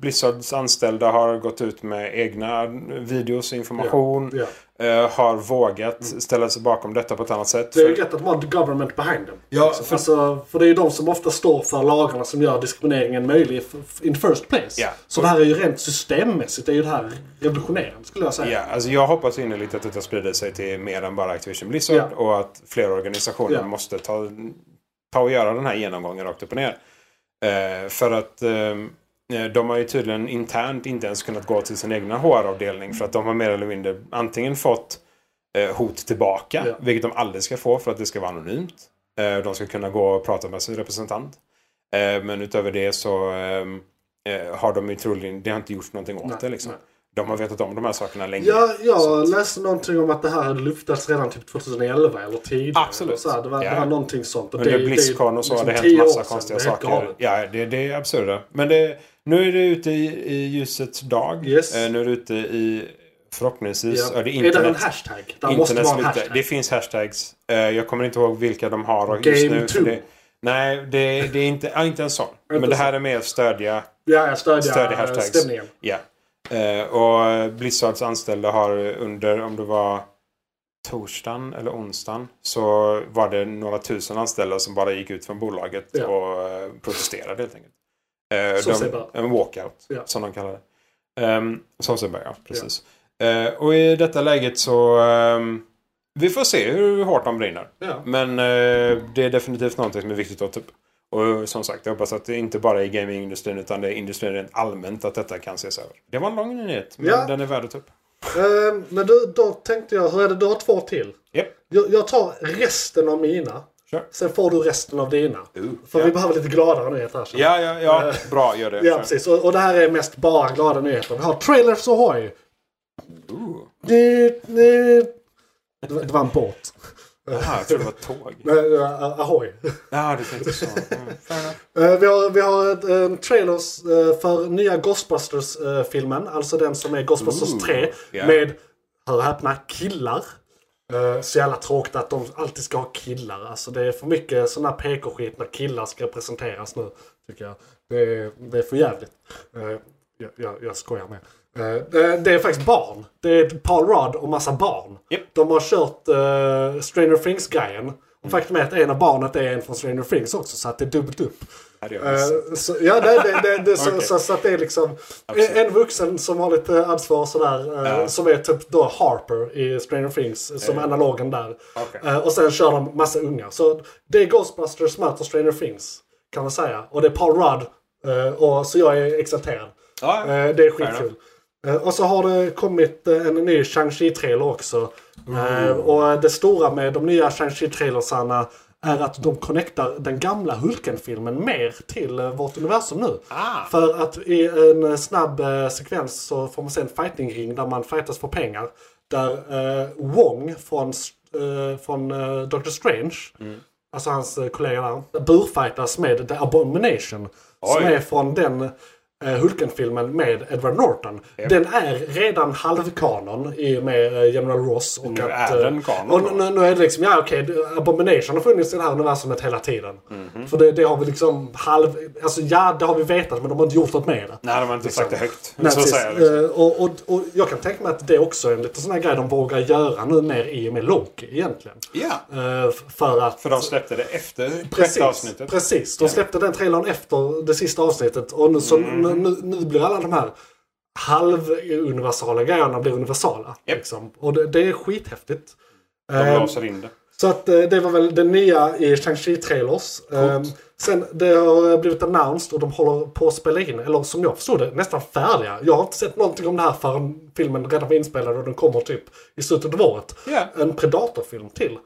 Blizzards anställda har gått ut med egna videos och information. ja. Eh, har vågat ställa sig bakom detta på ett annat sätt. Det är ju För- rätt att man har the government behind them. Ja, Alltså, för- alltså, för det är ju de som ofta står för lagarna som gör diskrimineringen möjlig f- f- in first place. Ja. Så det här är ju rent systemmässigt, det är ju det här revolutionerande skulle jag säga. Ja, alltså jag hoppas innerligt att detta sprider sig till mer än bara Activision Blizzard Ja. och att fler organisationer Ja. måste ta, ta och göra den här genomgången rakt upp och ner. Eh, för att eh, de har ju tydligen internt inte ens kunnat gå till sin egna HR-avdelning för att de har mer eller mindre antingen fått eh, hot tillbaka, Ja. vilket de aldrig ska få för att det ska vara anonymt. Eh, de ska kunna gå och prata med sin representant. Eh, men utöver det så ehm, eh, har de ju troligen, det har inte gjort någonting åt Nej, det liksom. nej. De har vetat om de här sakerna länge. Ja, Så jag att- läste någonting om att det här hade luftats redan typ 2011 eller tidigare. Absolut. Så här, det, var, Ja. det var någonting sånt. Och Under det- det är Blizzcon och så har det liksom hänt 10 år massa sedan. konstiga Det är helt saker. galet. Ja, det, det är absurda. Men det, nu är det ute i, i ljusets dag. Yes. Eh, nu är det ute i förhoppningsvis... Ja. Ja. det är det en internet, hashtag? Det måste internets vara en lite. hashtag. Det finns hashtags. Eh, jag kommer inte ihåg vilka de har just Game nu. för two. Det, nej, det, det är inte, ja, inte en sån. Men det här är mer stödja Ja, jag stödjer, stödja stödjer hashtags. stämningen. Ja. Eh, och Blizzards anställda har under, om det var torsdagen eller onsdagen, så var det några tusen anställda som bara gick ut från bolaget Ja. och eh, protesterade helt enkelt. Eh, Som sig de, bör. en walkout, Ja. som de kallar det. Ehm, som sig bör, ja. Precis. Eh, och i detta läget så... ehm, vi får se hur hårt de brinner. Ja. Men eh, det är definitivt någonting som är viktigt att ta upp. Och som sagt, jag hoppas att det inte bara är i gamingindustrin utan det är industrin rent allmänt att detta kan ses över. Det var en lång nyhet, men Ja. den är värd att ta upp. Eh, men du, då tänkte jag, hur är det? Du har två till. Japp, Jag, jag tar resten av mina. kör. Sen får du resten av dina. För ja. vi behöver lite gladare nyheter här. känner jag. Ja, ja, ja. Bra, gör det. ja precis. Och, och det här är mest bara glada nyheter. Vi har Trailers Ahoy. Ooh. Du, du. Det var- det var en båt. Ah, jag trodde det var tåg. Nej, det var a- Ahoy. Ja, du tänkte så. Mm, fair enough. Eh, Vi har, vi har ett, eh, trailers eh, för nya Ghostbusters-filmen. Alltså den som är Ghostbusters Ooh, 3. ja. Med, hör och häpna, killar. Eh, Så jävla tråkigt att de alltid ska ha killar. Alltså det är för mycket sån här PK-skit när killar ska presenteras nu. Tycker jag. Det är, det är för jävligt. Eh, Jag, jag, jag skojar med. Eh, det- Det är faktiskt barn. Det är Paul Rudd och massa barn. Japp. De har kört eh, Stranger Things-grejen. Faktum är att en av barnet är en från Stranger Things också, så att det är dubbelt upp. Hade jag missat. Eh, så, ja, nej, det, det, det, så, Okej. så, så att det är liksom Absolut. en vuxen som har lite ansvar och sådär. eh, Ja. Som är typ då Harper i Stranger Things, som Ja. analogen där. Okej. Eh, och sen kör de massa unga. Så det är Ghostbusters möter Stranger Things, kan man säga. Och det är Paul Rudd. eh, och, så jag är exalterad. Ja, ja. Eh, det är Fair enough. skitkul. Eh, och så har det kommit eh, en ny Shang-Chi trailer också. Mm. Eh, och det stora med de nya Shang-Chi trailersarna är att de connectar den gamla Hulken-filmen mer till eh, vårt universum nu. Ah. För att i en eh, snabb eh, sekvens så får man se en fighting-ring där man fightas för pengar. Där eh, Wong från, eh, från eh, Doctor Strange, Mm. alltså hans eh, kollega där, burfightas med The Abomination. Som Oj. är från den eh, Hulken-filmen med Edward Norton. Den är redan halvkanon i och med eh, General Ross. Och Nu att, är eh, den kanon Och då. nu, nu är det liksom, ja okej, Abomination har funnits i det här universumet hela tiden. Mhm. För det, det har vi liksom halv... Alltså ja, det har vi vetat men de har inte gjort något med det. Nej, de har inte sagt det högt. Nej, så precis. säger jag liksom. Eh, och, och, och jag kan tänka mig att det också är en liten sån här grej de vågar göra nu mer i och med Loki egentligen. Ja. Eh, f- för att... För de släppte det efter Precis, sjätte avsnittet. precis. De släppte den trailern efter det sista avsnittet. Och nu, så, Mm. nu, nu, nu blir alla de här halvuniversala grejerna blir universala. Japp. Liksom. Och det, det är skithäftigt. De Ehm, låser in det. så att eh, det var väl det nya i Shang-Chi trailers. Ehm, sen det har eh, blivit announced och de håller på att spela in, eller som jag förstod det, nästan färdiga. Jag har inte sett någonting om det här förrän filmen redan var inspelad och den kommer typ i slutet av året. Ja. En Predator-film till.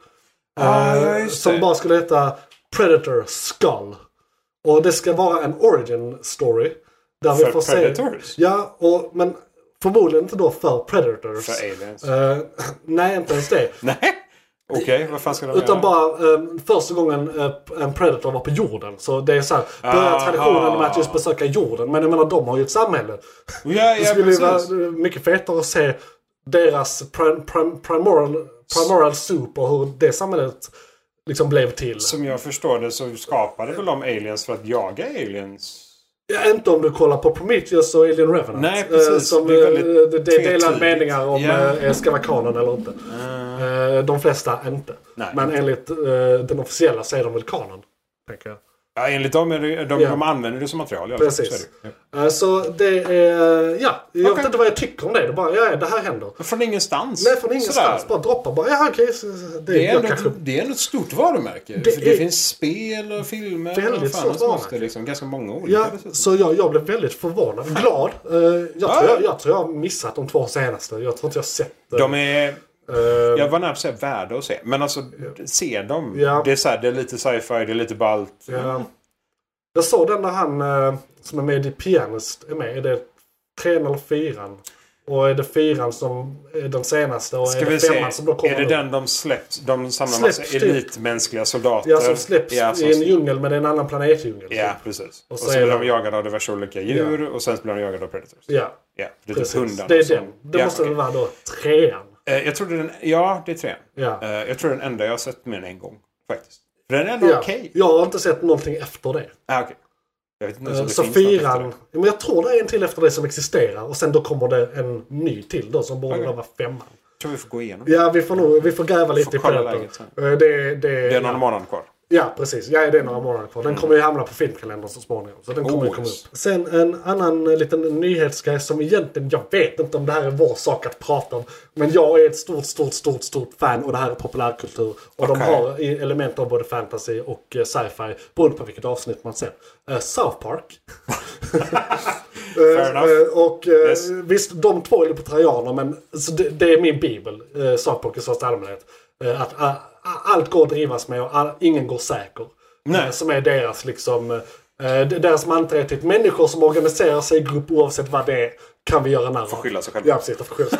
Ah, Eh, ja, just som det. bara skulle heta Predator Skull. Och det ska vara en origin story. Där vi För får Predators? Se, ja, och, men förmodligen inte då för Predators. För aliens. Eh, nej, inte ens det. Nej. Okej, vad fan ska de Utan göra? bara um, första gången eh, en predator var på jorden. Så det är så här, börjar Aha. traditionen med att just besöka jorden. Men jag menar, de har ju ett samhälle. Ja, Det ja, skulle ju precis. vara eh, mycket fetare att se deras prim, prim, primal, primal soup och hur det samhället liksom blev till. Som jag förstår det så skapade väl de aliens för att jaga aliens? Ja, inte om du kollar på Prometheus och Alien Revenant. Nej, precis. Eh, Som, Det det, är är väldigt det är delade tvetydigt. meningar om Ja. yeah. ska vara kanon eller inte. Eh, De flesta inte. Nej. Men enligt eh, den officiella så är de väl kanon. Tänker jag. Ja, enligt dem är det, de, Ja. de använder det som material. Ja. Så är Precis. det. Ja. Eh, Så det är... eh, Ja, jag Okej. vet inte vad jag tycker om det. Det är bara, ja, det här händer. Men Från ingenstans. Nej, från ingenstans. Sådär. Bara droppa. Bara, ja, okej. så- så- Det, Det är, jag ändå, kanske... det är ändå ett stort varumärke. Det Det, För det är- finns spel och filmer. Väldigt och stort annat som måste varumärke. liksom, Ganska många olika. Ja, dessutom. så jag, jag blev väldigt förvånad. Glad. Eh, Jag Ja. tror jag, jag tror jag har missat de två senaste. Jag tror inte jag har sett... eh, De är... eh, Jag var nära att säga värda att se. Men alltså, se dem. Ja. Det, är så här, det är lite sci-fi, det är lite ballt. Ja. Jag såg den när han eh, som är med i Pianist är med. Är det trean eller fyran? Och är det fyran som är den senaste och Ska är det vi se. femman som då kommer Är det nu? den de släpps? De samlar Släpps massa typ. elitmänskliga soldater. Ja, som släpps Ja, som i en släpps. djungel men det är en annan planetdjungel. Ja, precis. Och, Typ. så så är blir de- de jagade av diverse olika djur och sen blir de jagade av predators. Ja, Ja, det är typ precis. hundarna Det är som- den. Det Ja, måste okej. väl vara då trean? Eh, Jag trodde den... Ja, det är tre. Ja. Eh, Jag tror den enda jag har sett mer än en gång. Faktiskt. För den är ändå Ja. okej. Jag har inte sett någonting efter det. Ah, okej. Jag vet inte ens om Eh, det Så finns något efter fyran, det. Ja, men jag tror det är en till efter det som existerar och sen då kommer det en ny till då som borde Okej. då vara femman. Jag tror vi får gå igenom. Ja, vi får, nog, vi får gräva lite i kolla Predator. läget sen. Eh, Det, det, Det är någon ja. månad kvar. Ja, precis. Ja, det är några månader kvar. Den kommer ju hamna på filmkalendern så småningom. Så den kommer ju Oh, komma yes. upp. Sen en annan eh, liten nyhetsgrej som egentligen, jag vet inte om det här är vår sak att prata om. Men jag är ett stort, stort, stort, stort fan och det här är populärkultur. Och de Okej. har i- element av både fantasy och eh, sci-fi. Beroende på vilket avsnitt man ser. Eh, South Park. Eh, enough. eh, och eh, Yes. visst, de två är libertarianer men så det, det är min bibel. Eh, South Park i största allmänhet. Eh, att eh, allt går att drivas med och all, ingen går säker. Nej. Eh, Som är deras liksom... eh, eh, deras mantra är typ människor som organiserar sig i grupp oavsett vad det är kan vi göra narr av. skylla sig själva. Ja, precis. De får skylla sig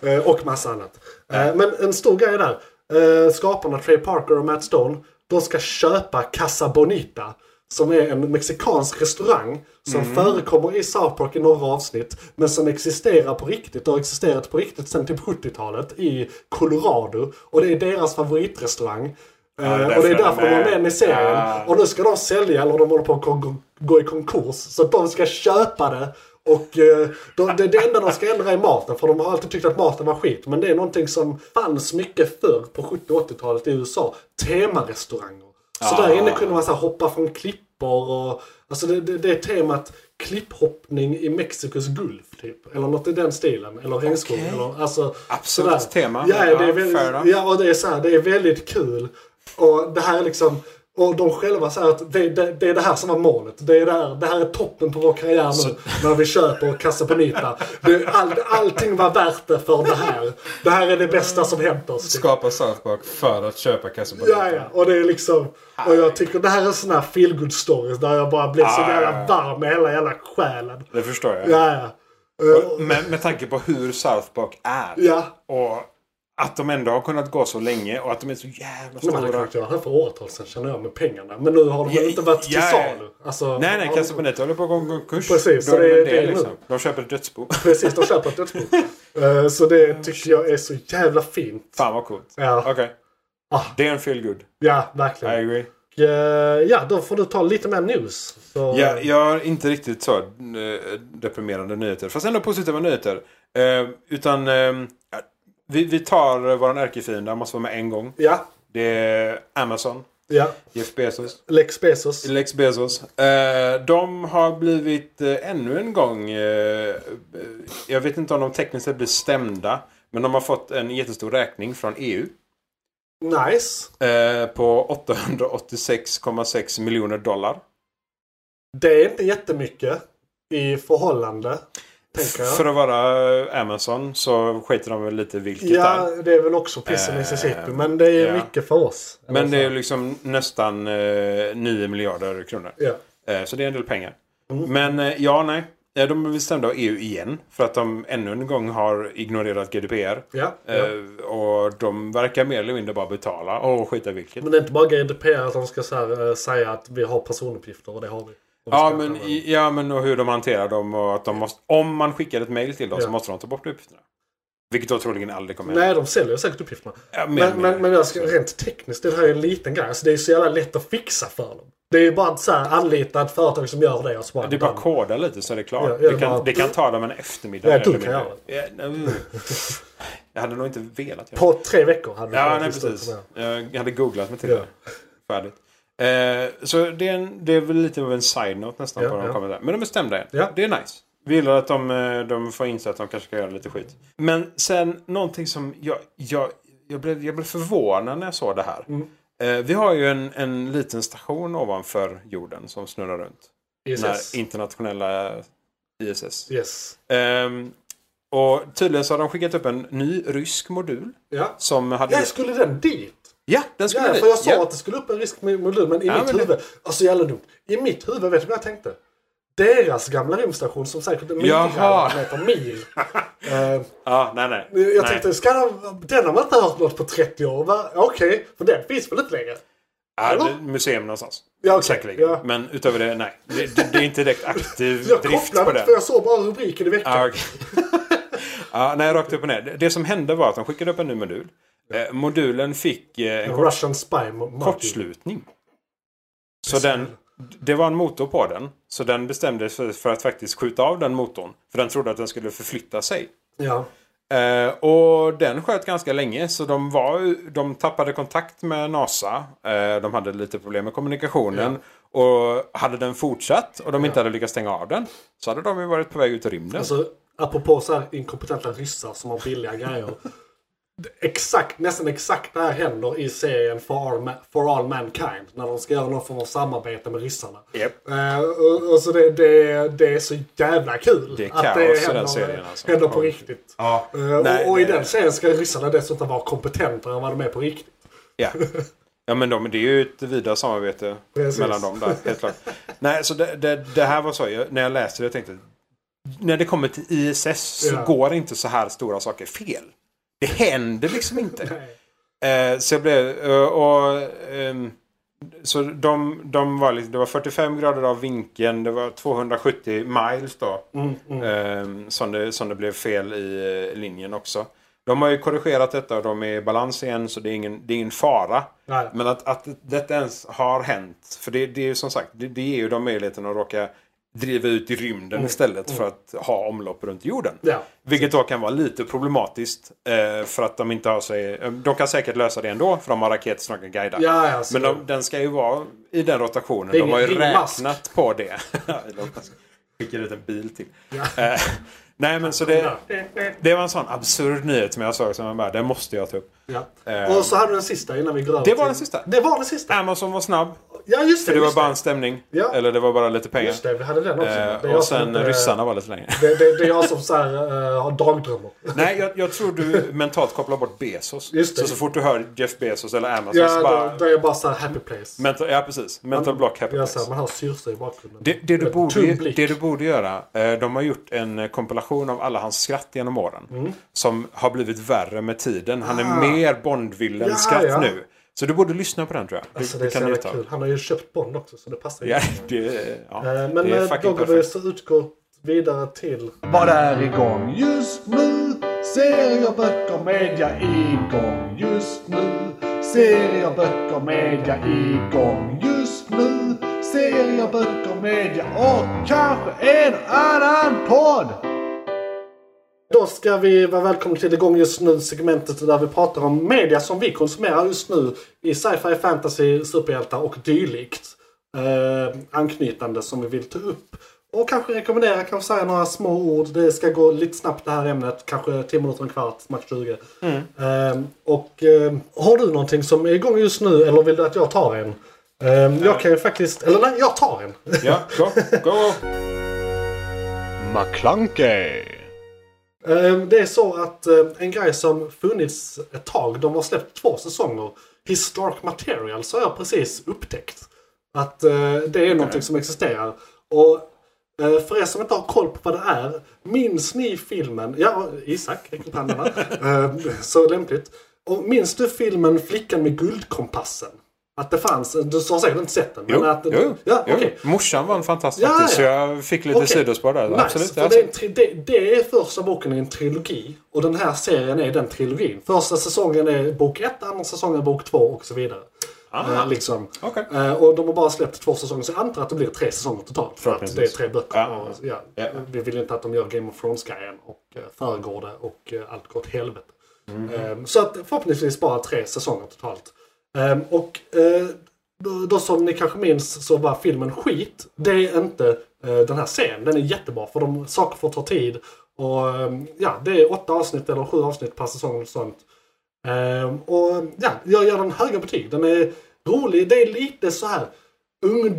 själva. Eh, och massa annat. Eh, men en stor grej där. Eh, skaparna Trey Parker och Matt Stone. De ska köpa Casa Bonita. Som är en mexikansk restaurang som förekommer i South Park i några avsnitt. Men som existerar på riktigt och har existerat på riktigt sedan typ 70-talet i Colorado. Och det är deras favoritrestaurang. Eh, därför och det är är de därför de är med. med i serien. Ah. Och nu ska de sälja, eller de håller på att kon- gå i konkurs. Så de ska köpa det Och eh, de, det, det enda de ska ändra är maten, för de har alltid tyckt att maten var skit. Men det är någonting som fanns mycket förr på 70 och 80-talet i USA. Temarestauranger. Så där inne kunde man så här, hoppa från klippor och... Alltså det, det, det är temat klipphoppning i Mexikos Gulf, typ. Eller något i den stilen. Eller regnskog. Okej. Eller, alltså, Absolut sådär. tema. Ja, det är Ja, fair väldigt, enough. ja, och det är så här, det är väldigt kul. Och det här är liksom... Och de själva säger att det, det, det är det här som var målet. Det, är det, här, det här är toppen på vår karriär nu. När vi köper Casa Bonita. Det, all, allting var värt det för det här. Det här är det bästa som hänt oss. typ. Skapa South Park för att köpa kassabonetter. Ja, ja. Och det är liksom... Och jag tycker det här är en sån här feel good stories där jag bara blir så Ja, ja, jävla varm i hela jävla själen. Det förstår jag. Ja, ja. Eh, Och Med, med tanke på hur South Park är. Ja. Och att de ändå har kunnat gå så länge och att de är så jävla De hade stora. kunnat göra det här för åratal sedan känner jag med pengarna. Men nu har de Ja, väl inte varit till ja, ja. salu. Alltså, Nej, nej, har de- Casaboneta håller på att gå en konkurs. Precis, Då så är det- väl liksom. det är nu. De köper ett dödsbo. Precis, de köper ett dödsbo. Eh, Så det tycker jag är så jävla fint. Fan vad coolt. Ja. Oh, Okej. Ah. Det är en feel good. Ja, I verkligen. agree. Eh, Ja, då får du ta lite mer news. Så, Ja, jag har inte riktigt så eh, deprimerande nyheter. Fast ändå positiva nyheter. Eh, utan eh, vi, vi tar eh, våran ärkefiende. Han måste vara med en gång. ja, Det är Amazon. ja. Jeff Bezos. Lex Bezos. Lex Bezos. Eh, de har blivit eh, ännu en gång... Eh, jag vet inte om de tekniskt sett blir stämda. Men de har fått en jättestor räkning från EU. Nice. Eh, på 886,6 miljoner dollar. Det är inte jättemycket i förhållande, tänker jag. För att vara eh, Amazon så skiter de väl lite vilket Ja, där. det är väl också piss i Eh, Mississippi. Men det är ja. mycket för oss. Men det är liksom nästan eh, 9 miljarder kronor. Ja. Eh, så det är en del pengar. Men eh, ja, nej. Eh, De är bestämda av EU igen. För att de ännu en gång har ignorerat GDPR. Ja, ja. Eh, och de verkar mer eller mindre bara betala och skita vilket. Men det är inte bara GDPR att de ska så här, eh, säga att vi har personuppgifter och det har vi. Och vi Ja ska men, inte använda i- ja, men och hur de hanterar dem och att de måste... Om man skickar ett mail till dem Ja. så måste de ta bort uppgifterna. Vilket då troligen aldrig kommer dem. Nej, de säljer säkert uppgifterna. Ja, mer Men, eller mindre. men, men jag ska, rent tekniskt, det här är en liten grej. Alltså, det är så jävla lätt att fixa för dem. Det är ju bara att så här, anlita ett företag som gör det och så bara... Det är bara att koda lite så är det klart. Ja, ja, det, kan, bara- det kan ta dem en eftermiddag. Ja, eller du kan mindre. Ja, nej, Jag hade nog inte velat göra det. På tre veckor hade du Ja, kunnat nej, lista ut precis. det här. Jag hade googlat mig till Ja. det. Färdigt. Eh, så det är, en, det är väl lite av en side-note nästan Ja, på de ja. kommer där. Men de bestämde det. Ja. Det är nice. Vi gillar att de, eh, de får inse att de kanske ska göra lite skit. Men sen någonting som jag, jag, jag, blev, jag blev förvånad när jag såg det här. Mm. Eh, vi har ju en, en liten station ovanför jorden som snurrar runt. Yes. Den här internationella ISS. yes. Ehm, och tydligen så har de skickat upp en ny rysk modul. Ja. Som hade... ja, skulle den dit? Ja, den skulle Ja, dit. för jag sa ja. att det skulle upp en risk med modul, men i Ja, mitt men det- huvud, alltså jävla dumt. I mitt huvud, vet du vad jag tänkte? Deras gamla rymdstation som säkert är Jaha. meter mil. Eh, Ja, nej, nej. jag nej. tänkte, ska de, den har man inte hört något på 30 år. va? Okej, för den finns väl inte längre? Ja, Eller? det- museum någonstans. Ja, okej. Säkerligen. Ja. Men utöver det, nej. Det, det, det är inte direkt aktiv Jag drift kopplade på inte den. för jag såg bara rubriken i veckan. Ja, okej. ja, nej, rakt upp och ner. Det- Det som hände var att de skickade upp en ny modul. Eh, modulen fick eh, en kort, Russian Spy Mo- kortslutning. Så den, det var en motor på den. Så den bestämde sig för att faktiskt skjuta av den motorn. För den trodde att den skulle förflytta sig. Ja. Eh, och den sköt ganska länge så de, var, ju- de tappade kontakt med NASA. Eh, de hade lite problem med kommunikationen. Och hade den fortsatt och de inte hade lyckats stänga av den så hade de ju varit på väg ut i rymden. Alltså, apropå så här inkompetenta ryssar som har billiga grejer. Exakt, nästan exakt det här händer i serien For All, Ma- For All Mankind. När de ska göra någon form av samarbete med ryssarna. Japp. Eh, och, och så det, det, det är så jävla kul. Det är att kaos i det den händer, serien, alltså. händer på Ja. riktigt. Ja. Eh, Nej, och, och i det- den serien ska ryssarna dessutom vara kompetentare än vad de är på riktigt. Ja. Ja men de, det är ju ett vidare samarbete Precis. mellan dem där, helt klart. Nej, så det, det, det här var så, jag, när jag läste det jag tänkte när det kommer till ISS så Ja. går inte så här stora saker fel. Det händer liksom inte. Eh, så jag blev... eh, och, ehm, så de, de var liksom, det var 45 grader av vinkeln, det var 270 miles då. Mm, Ehm, som, det, som det blev fel i eh, linjen också. De har ju korrigerat detta och de är i balans igen så det är ingen, det är ingen fara. Nej. Men att, att detta ens har hänt, för det, det är ju som sagt, det, det ger ju dem möjligheten att råka driva ut i rymden istället för att ha omlopp runt jorden. Mm. Ja. Vilket då kan vara lite problematiskt eh, för att de inte har sig... eh, De kan säkert lösa det ändå för de har raketer som de kan guida. Ja, ja, så- Men de, den ska ju vara i den rotationen. Det är De har ju ingen Elon Musk. räknat på det. Elon Musk Skickar ut en bil till. Eh, Nej men så det, det var en sån absurd nyhet som jag såg som jag bara, det måste jag ta upp. Ja. Eh, Och så hade du den sista innan vi går över Det var till- den sista. Det var den sista. Amazon var snabb. Ja, just det. Det var just, bara en stämning. Ja. Eller det var bara lite det. pengar. just det, vi hade den också. Eh, det är jag och som sen inte- ryssarna var lite längre. Det, det, det är jag som så här, eh, har dagdrömmar. Nej, jag, jag tror du mentalt kopplar bort Bezos. Just det. Så, så fort du hör Jeff Bezos eller Amazon Ja, så då, bara... då är jag bara så här happy place. Mental, ja, precis. Mental block happy jag place. så här, man hör syrsa i bakgrunden. Det, det, du Med tung borde, blick. det du borde göra, eh, de har gjort en eh, kompilation av alla hans skratt genom åren. Mm. Som har blivit värre med tiden. Han är mer Bondvillen Ah. Ja, skratt ja. nu. Så du borde lyssna på den tror jag. Du, Alltså, det du är så kan jävla njuta av. kul. Han har ju köpt Bond också, så det passar ju. Ja, det, ja, Eh, Men det är eh, då fucking går vi perfekt. så utgår vidare till... Vad är igång just nu? Serier, böcker, media igång just nu. Serier, böcker, media igång just nu. Serier, böcker, media och kanske en annan podd. Då ska vi vara välkomna till igång just nu segmentet där vi pratar om media som vi konsumerar just nu i sci-fi, fantasy, superhjältar och dylikt. Eh, anknytande som vi vill ta upp. Och kanske rekommendera, kanske säga några små ord. Det ska gå lite snabbt det här ämnet. Kanske 10 minuter, en kvart, max 20. Eh, och eh, har du någonting som är igång just nu eller vill du att jag tar en? Eh, jag kan ju faktiskt, eller nej, jag tar en. Ja, go, go. McClunkey. Eh, Det är så att eh, en grej som funnits ett tag, de har släppt två säsonger. His Dark Materials har jag precis upptäckt. Att eh, det är någonting som existerar. Och eh, för er som inte har koll på vad det är, minns ni filmen, ja Isak räck upp handen här. Eh, så lämpligt. Och minns du filmen Flickan med guldkompassen? Att det fanns, du har säkert inte sett den. Jo, men att, jo, ja, jo. okej. Morsan var en fantastisk Ja, faktiskt, så ja. jag fick lite Okej. sidospår där. Nice, Absolut. för Ja, det, är en tri- det, det är första boken i en trilogi. Och den här serien är den trilogin. Första säsongen är bok ett, andra säsongen är bok två och så vidare. Eh, liksom. Ah. Okej. Eh, och de har bara släppt två säsonger, så jag antar att det blir tre säsonger totalt. För att det är Förhoppningsvis. tre böcker. Ja. Och, ja, Ja. Vi vill inte att de gör Game of Thrones-grejen och eh, föregår det och eh, allt går åt helvete. Eh, så att förhoppningsvis bara tre säsonger totalt. Eh, och eh, då, då som ni kanske minns så var filmen skit. Det är inte eh, den här serien. Den är jättebra för de saker får ta tid. Och eh, ja, det är åtta avsnitt eller sju avsnitt per säsong och sånt. Ehm, och ja, jag ger den höga betyg. Den är rolig. Det är lite så här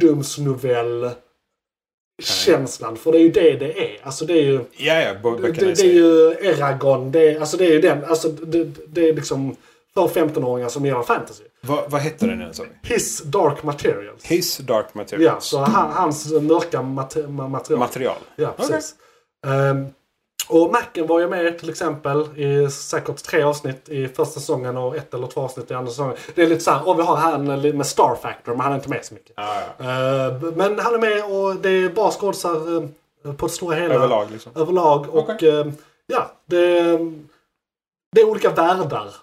ungdomsnovell-känslan. För det är ju det det är. Alltså det är ju... ja, ja, bo- Det, böckerna i det sig. är ju Eragon. Det är, alltså det är ju den. Alltså det, det är liksom för 15-åringar som gillar fantasy. Vad, vad hette den nu? sa vi? His Dark Materials. His Dark Ja, Materials. så han, hans mörka mate, ma- material. Material. Ja, precis. Ehm, och Macken var ju med till exempel i säkert tre avsnitt i första säsongen och ett eller två avsnitt i andra säsongen. Det är lite såhär, åh vi har han med Star Factor men han är inte med så mycket. Ehm, men han är med och det är bra skådisar eh, på det stora hela. Överlag liksom. Överlag och ehm, ja, det, det är olika världar.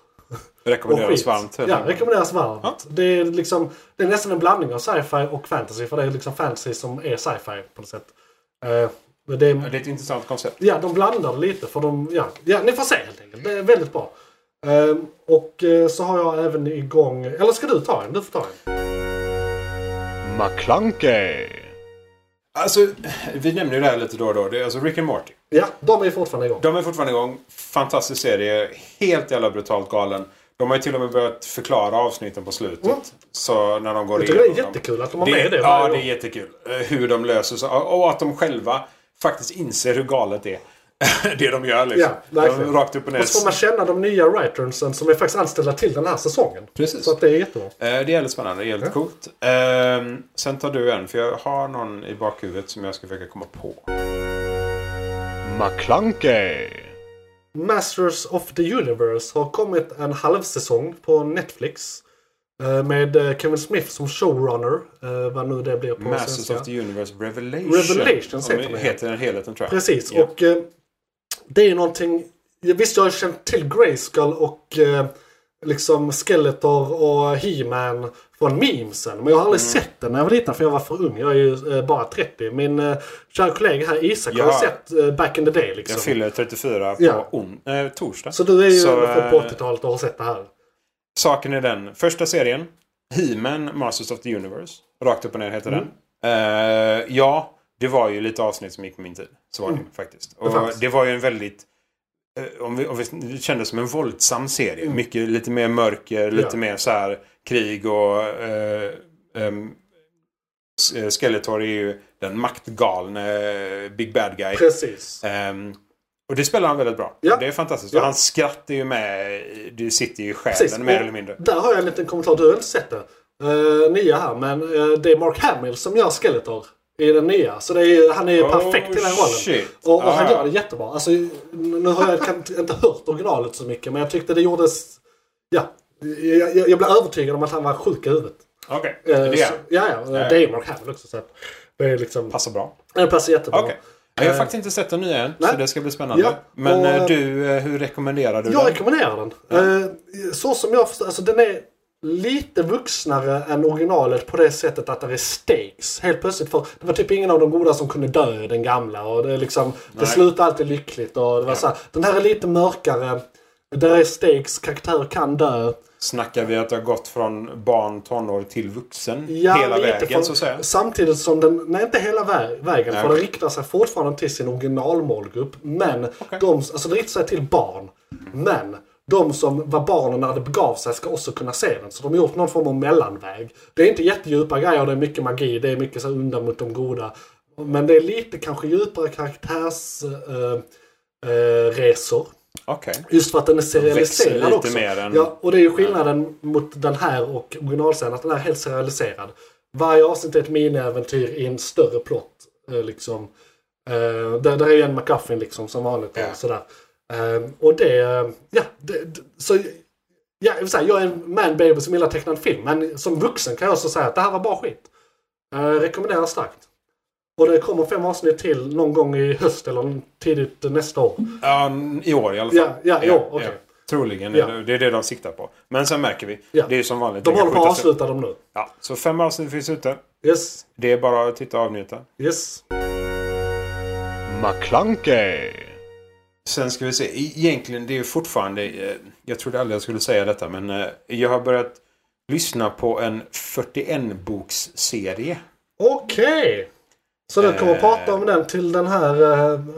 Och Rekommenderas skit. varmt. helt Ja, enkelt. rekommenderas varmt. Det, är liksom, det är nästan en blandning av sci-fi och fantasy. För det är liksom fantasy som är sci-fi på något sätt. Eh, men det är Ja, Det är ett intressant koncept. Ja, de blandar lite för de... Ja, ja ni får se helt enkelt. Det är väldigt bra. Ehm, och eh, så har jag även igång... Eller ska du ta en? Du får ta en. McClunkey. Alltså, vi nämner ju det här lite då och då. Det är alltså Rick and Morty. Ja, de är ju fortfarande igång. De är fortfarande igång. Fantastisk serie. Helt jävla brutalt galen. De har ju till och med börjat förklara avsnitten på slutet. Så när de går Mm. Jag tycker det är igenom dem. jättekul att de har med det Ja, varje det är år. jättekul. Eh, Hur de löser sig. Och att de själva faktiskt inser hur galet det är. det de gör liksom. Ja, verkligen. de, rakt upp och ner. Och så får man känna de nya writersen som är faktiskt anställda till den här säsongen. Precis. Så att det är jättebra. Eh, Det är väldigt spännande. Det är väldigt coolt. Ehm, sen tar du en. För jag har någon i bakhuvudet som jag ska försöka komma på. McClunkey. Masters of the Universe har kommit en halvsäsong på Netflix. eh, Med eh, Kevin Smith som showrunner. eh, Vad nu det blir på Masters svenska. of the Universe Revelation. Revelation Om heter det den. heter den helheten tror jag. Precis, Ja. och eh, det är någonting... jag- Visst, jag har känt till Grayskull och eh, liksom Skeletor och He-Man från memesen. Men jag har aldrig Mm. sett den när jag var liten för jag var för ung. Jag är ju eh, bara 30. Min eh, kära kollega här Isak Ja. har sett eh, back in the day liksom. Jag fyller 34 på Ja. on- eh, torsdag. Så du är ju Så, ändå från eh, på 80-talet och har sett det här. Saken är den. Första serien. He-Man, Masters of the Universe. Rakt upp och ner heter den. Mm. Eh, ja, det var ju lite avsnitt som gick på min tid. Så var det ju faktiskt. Och fanns. det, var ju en väldigt... eh, Om vi, om vi, det kändes som en våldsam serie. Mycket, lite mer mörker, lite Mm. Ja. mer så här krig och... eh, ehm, S- eh, Skeletor är ju den maktgalne eh, Big Bad Guy. Precis. Ehm, och det spelar han väldigt bra. Ja. Det är fantastiskt. Ja. Och hans skratt är ju med. i- Det sitter ju i själen Precis. mer Och eller mindre. Där har jag en liten kommentar. Du har inte sett det. Uh, nya här. Men eh, det är Mark Hamill som gör Skeletor i den nya. Så det är, ju- han är ju Oh, perfekt i den här rollen. shit. Och, och han Ah. gör det jättebra. Alltså, nu har jag kan, inte hört originalet så mycket men jag tyckte det gjordes... Ja, jag, jag, jag blev övertygad om att han var sjuk i huvudet. Okej, Eh, det är så, ja, ja, Det är Mark Hamill också. Så att det är liksom... Passar bra. Det passar jättebra. Okej. Ja, Jag har faktiskt inte sett den nya än, Eh, nej. så det ska bli spännande. Ja, Men och, eh, du, eh, hur rekommenderar du Jag den? rekommenderar den. Eh, Så som jag förstår, alltså den är lite vuxnare än originalet på det sättet att det är stakes. Helt plötsligt. För det var typ ingen av de goda som kunde dö i den gamla. Och det, är liksom, det slutar alltid lyckligt. Och det var så här, den här är lite mörkare. Där är stakes, karaktärer kan dö. Snackar vi att det har gått från barn, tonår till vuxen? Ja, hela lite vägen, från- så att säga. Samtidigt som den, nej inte hela vä- vägen, Nej, för den okej. riktar sig fortfarande till sin originalmålgrupp. Men de, alltså den riktar sig till barn. Men de som var barnen när det begav sig ska också kunna se den. Så de har gjort någon form av mellanväg. Det är inte jättedjupa grejer, det är mycket magi, det är mycket så här undan mot de goda. Men det är lite kanske djupare karaktärsresor. Eh, eh, resor. Okej. Just för att den är serialiserad lite också. mer än- Ja, och det är ju skillnaden mot den här och originalserien, att den här är helt serialiserad. Varje avsnitt är ett miniäventyr i en större plott. eh, Liksom. Eh, där, där är ju en McGuffin liksom som vanligt. Och, sådär. Eh, och det... eh, Ja, det, det, så, ja, jag, vill säga, jag är en man-baby som gillar tecknad film, men som vuxen kan jag också säga att det här var bara skit. Eh, rekommenderar starkt. Och det kommer fem avsnitt till någon gång i höst eller tidigt nästa år. Ja, i år i alla fall. Ja, ja, i år, okej. Troligen. Ja. Är det, det är det de siktar på. Men sen märker vi. Ja. Det är ju som vanligt. De det kan håller på att skjutas upp. avsluta dem nu. Ja, så fem avsnitt finns ute. Yes, Det är bara att titta och avnjuta. yes. McClunkey. Sen ska vi se. E- Egentligen, det är ju fortfarande... eh, Jag trodde aldrig jag skulle säga detta, men eh, jag har börjat lyssna på en 41-boksserie. Okej! Så du kommer Eh. prata om den till den här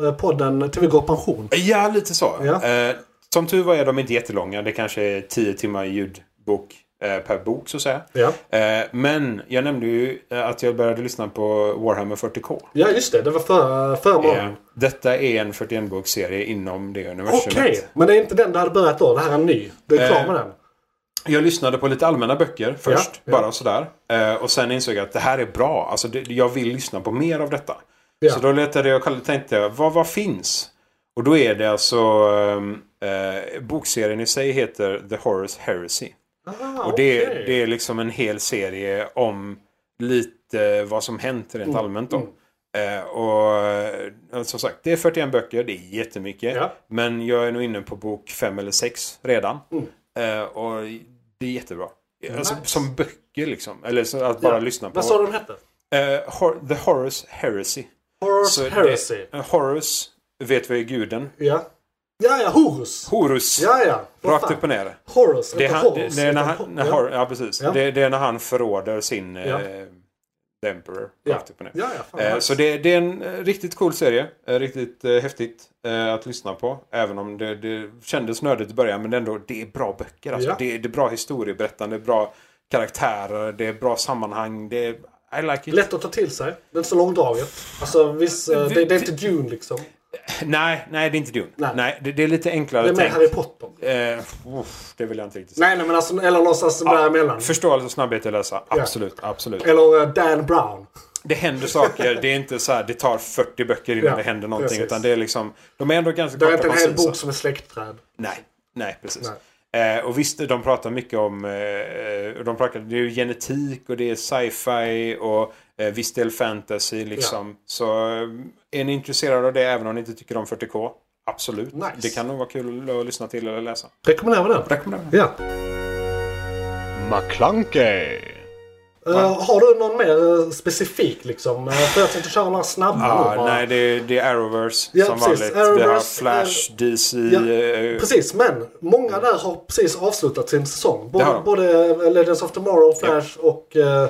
eh, podden till vi går i pension? Ja, lite så. Ja. Eh, som tur var är de inte jättelånga. Det kanske är 10 timmar ljudbok eh, per bok, så att säga. Ja. Eh, men jag nämnde ju eh, att jag började lyssna på Warhammer 40K. Ja, just det. Det var förra, förra Eh, månaden. detta är en 41-bokserie inom det Okej! universumet. Men det är inte den du hade börjat då. Det här är en ny. Du är klar Eh. med den. Jag lyssnade på lite allmänna böcker först, Ja, ja. bara sådär. Eh, och sen insåg jag att det här är bra. Alltså, det, jag vill lyssna på mer av detta. Ja. Så då letade jag och kollade- tänkte jag, vad, vad finns? Och då är det alltså... ehm, Eh, bokserien i sig heter The Horus Heresy. Ah, Och det, okej. det är liksom en hel serie om lite vad som hänt Mm. rent allmänt då. Eh, och eh, som sagt, det är 41 böcker, det är jättemycket. Ja. Men jag är nog inne på bok 5 eller 6 redan. Mm. Eh, och det är jättebra. Alltså, Som böcker liksom. Eller så att bara Ja. lyssna på. Vad sa du den hette? Eh, Hor- The Horus Heresy. Horus Så det- Heresy. eh, Horus vet vi är guden. Ja. Ja, ja. Horus! Horus. Ja, ja. Vad Rakt fan. upp och ner. Horus. Det är, inte han, det, Horus. det är när utan han, Hor- när ja. Hor- ja, precis. Ja. Det, det är när han förråder sin Ja. eh, The Emperor. Ja. Rakt upp och ner. Ja, ja. Fan, Eh, nice. Så det, det är en eh, riktigt cool serie. Eh, Riktigt eh, häftigt eh, att lyssna på. Även om det, det kändes nödigt i början. Men ändå, det är bra böcker. Alltså. Ja. Det, är- det är bra historieberättande, bra karaktärer, det är bra sammanhang. Det är, I like it. Lätt att ta till sig. Det är inte så långdraget. Alltså, visst, eh, det, det är inte Dune liksom. Nej, nej, det är inte Dune. Nej. Nej. det, det är lite enklare Det är mer Harry Potter. Eh, uff, det vill jag inte riktigt säga. Nej, nej men alltså, eller någonstans däremellan. Förståelse och snabbhet i att läsa. Absolut, absolut. Eller eh, Dan Brown. Det händer saker. Det är inte så här, det tar 40 böcker innan Ja, det händer någonting. precis. Utan det är liksom, de är ändå ganska Det är korta inte en hel koncisa. bok som är släktträd. Nej, nej precis. Eh, och visst, de pratar mycket om... Eh, de pratar, det är ju genetik och det är sci-fi och eh, viss del fantasy. Liksom. Så eh, är ni intresserade av det, även om ni inte tycker om 40K, absolut. Nice. Det kan nog vara kul att lyssna till eller läsa. Rekommenderar vi den? Rekommenderar. Ja. McClunkey. Eh, har du någon mer eh, specifik liksom? Eh, för jag tänkte köra några snabba Ja, nu bara. Ah, nej, det är, det är Arrowverse Ja, som precis. vanligt. Vi har Arrowverse, Flash, DC... ja, eh, Precis, men många där har precis avslutat sin säsong. Det har Både, de. både eh, Legends of Tomorrow, Flash och eh,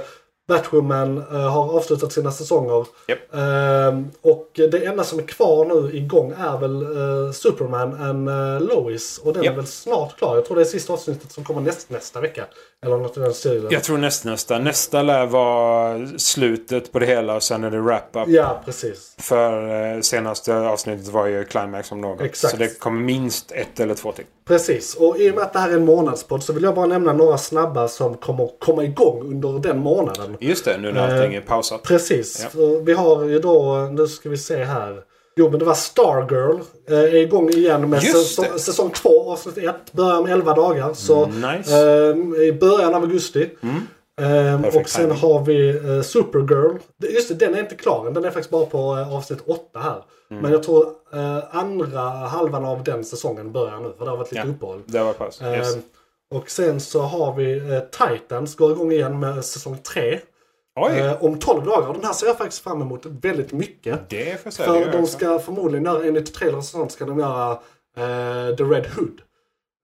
Batwoman eh, har avslutat sina säsonger. Japp. Ehm, och det enda som är kvar nu igång är väl eh, Superman and eh, Lois. Och den Japp. är väl snart klar. Jag tror det är sista avsnittet som kommer näst, nästa vecka. Eller något i den stilen. Jag tror nästnästa. Nästa lär vara slutet på det hela och sen är det wrap-up. Ja, precis. För eh, senaste avsnittet var ju Climax om något. Exakt. Så det kommer minst ett eller två till. Precis, och i och med att det här är en månadspodd så vill jag bara nämna några snabba som kommer komma igång under den månaden. Just det, nu när Eh, allting är pausat. Precis, Ja. för vi har ju då, nu ska vi se här. Jo men det var Stargirl. Eh, är igång igen med Just säsong, det. säsong två avsnitt ett. Börjar om 11 dagar. Så Nice. eh, i början av augusti. Eh, och Perfekt sen timing. har vi eh, Supergirl. Det- Just det, den är inte klar än. Den är faktiskt bara på eh, avsnitt åtta här. Mm. Men jag tror eh, andra halvan av den säsongen börjar nu. För det har varit lite Ja. uppehåll. Det var paus. Yes. Eh, och sen så har vi eh, Titans. Går igång igen med säsong tre. Oj! Eh, om 12 dagar. Den här ser jag faktiskt fram emot väldigt mycket. Det får jag säga. det gör För jag de också. ska förmodligen göra, enligt trailers och sånt, ska de göra eh, The Red Hood.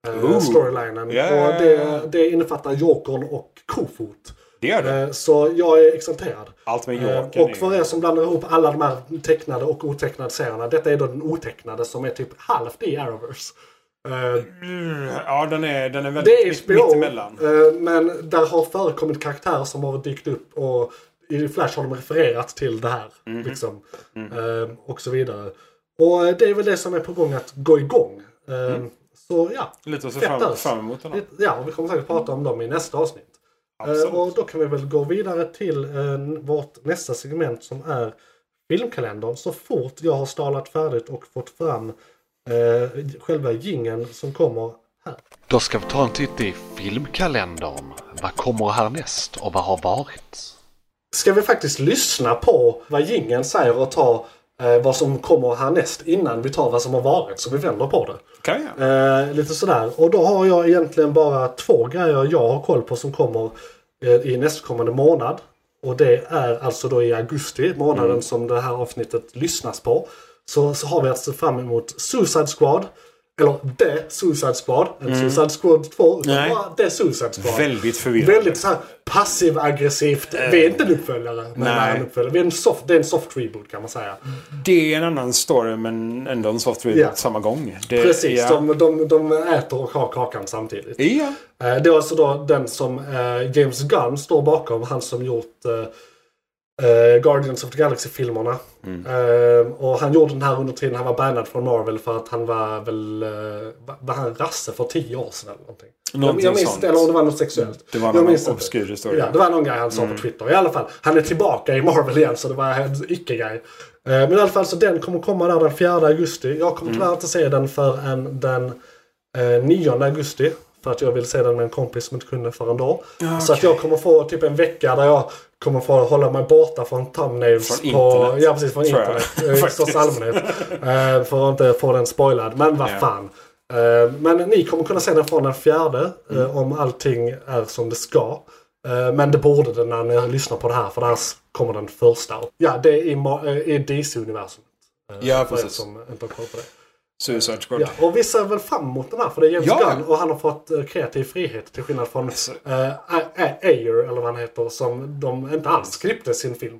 Eh, Ooh. Storylinen. Ja, Och ja, det, ja. det innefattar Jokern och Kofot. Det gör det. Eh, så jag är exalterad. Allt med Eh, Yorken. och för er som blandar ihop alla de här tecknade och otecknade serierna. Detta är då den otecknade som är typ halvt i Arrowverse. Eh, Mm, Ja, den är, den är det är väldigt mitt, HBO, mittemellan. eh, men där har förekommit karaktärer som har dykt upp och i Flash har de refererat till det här. Mhm. Liksom, Mm. eh, och så vidare. Och eh, det är väl det som är på gång att gå igång. Eh, Så ja. Lite att se fett Mm. fram, alltså. fram emot den. här. Ja, och vi kommer säkert prata om dem i nästa avsnitt. Eh, Absolut. Och då kan vi väl gå vidare till eh, vårt nästa segment som är filmkalendern. Så fort jag har stalat färdigt och fått fram eh, själva gingen som kommer här. Då ska vi ta en titt i filmkalendern. Vad kommer härnäst och vad har varit? ska vi faktiskt lyssna på vad gingen säger och ta eh, vad som kommer härnäst innan vi tar vad som har varit så vi vänder på det. Kan vi göra. Eh, lite sådär. Och då har jag egentligen bara två grejer jag har koll på som kommer eh, i nästkommande månad. Och det är alltså då i augusti, månaden Mm. som det här avsnittet lyssnas på. Så, så har vi att se fram emot Suicide Squad. Eller The Suicide Squad. Inte Suicide Squad 2. Utan Mm. Nej. bara The Suicide Squad. Väldigt förvirrande. Väldigt så här passiv-aggressivt. Vi är inte en uppföljare. Men nej. Eh, vi är en uppföljare. Vi är en soft, det är en soft reboot kan man säga. Det är en annan story men ändå en soft reboot Ja. samma gång. Det, Precis, Ja. de, de, de äter och har kakan samtidigt. ja. Eh, Det är alltså då den som eh, James Gunn står bakom. Han som gjort eh, eh, Guardians of the Galaxy-filmerna. Mm. Eh, och han gjorde den här under tiden han var bannad från Marvel för att han var väl... Eh, var- var han rasse för tio år sedan eller någonting? Någonting jag minns sånt. inte, eller om det var något sexuellt. Det var jag någon minns inte. obskyr historia. Mm. Ja, det var någon grej han sa på Twitter. I alla fall, han är tillbaka i Marvel igen så det var en icke-grej. Eh, Men i alla fall, så den kommer komma där den 4 augusti. Jag kommer Mm. tyvärr inte se den förrän den eh, 9 augusti. För att jag vill se den med en kompis som inte kunde förrän då. Så att jag kommer få typ en vecka där jag kommer få hålla mig borta från thumbnails. Från på, internet. Ja, precis. Från Tror jag. internet. eh, I största Faktiskt. allmänhet. Eh, För att inte få den spoilad. Men vad Ja. fan. Eh, Men ni kommer kunna se den från den fjärde. eh, Mm. Om allting är som det ska. Eh, Men det borde den när ni lyssnar på det här. För där kommer den första. Ja, det är i, Ma- eh, i DC-universum. ja, För er precis. Eh, som inte har koll på det. Suicide Squad. Ja, och vi ser väl fram emot den här för det är James Ja, ja. Alltså. Gunn och han har fått eh, kreativ frihet till skillnad från eh, A- A- Ayer eller vad han heter som de inte alls klippte sin film.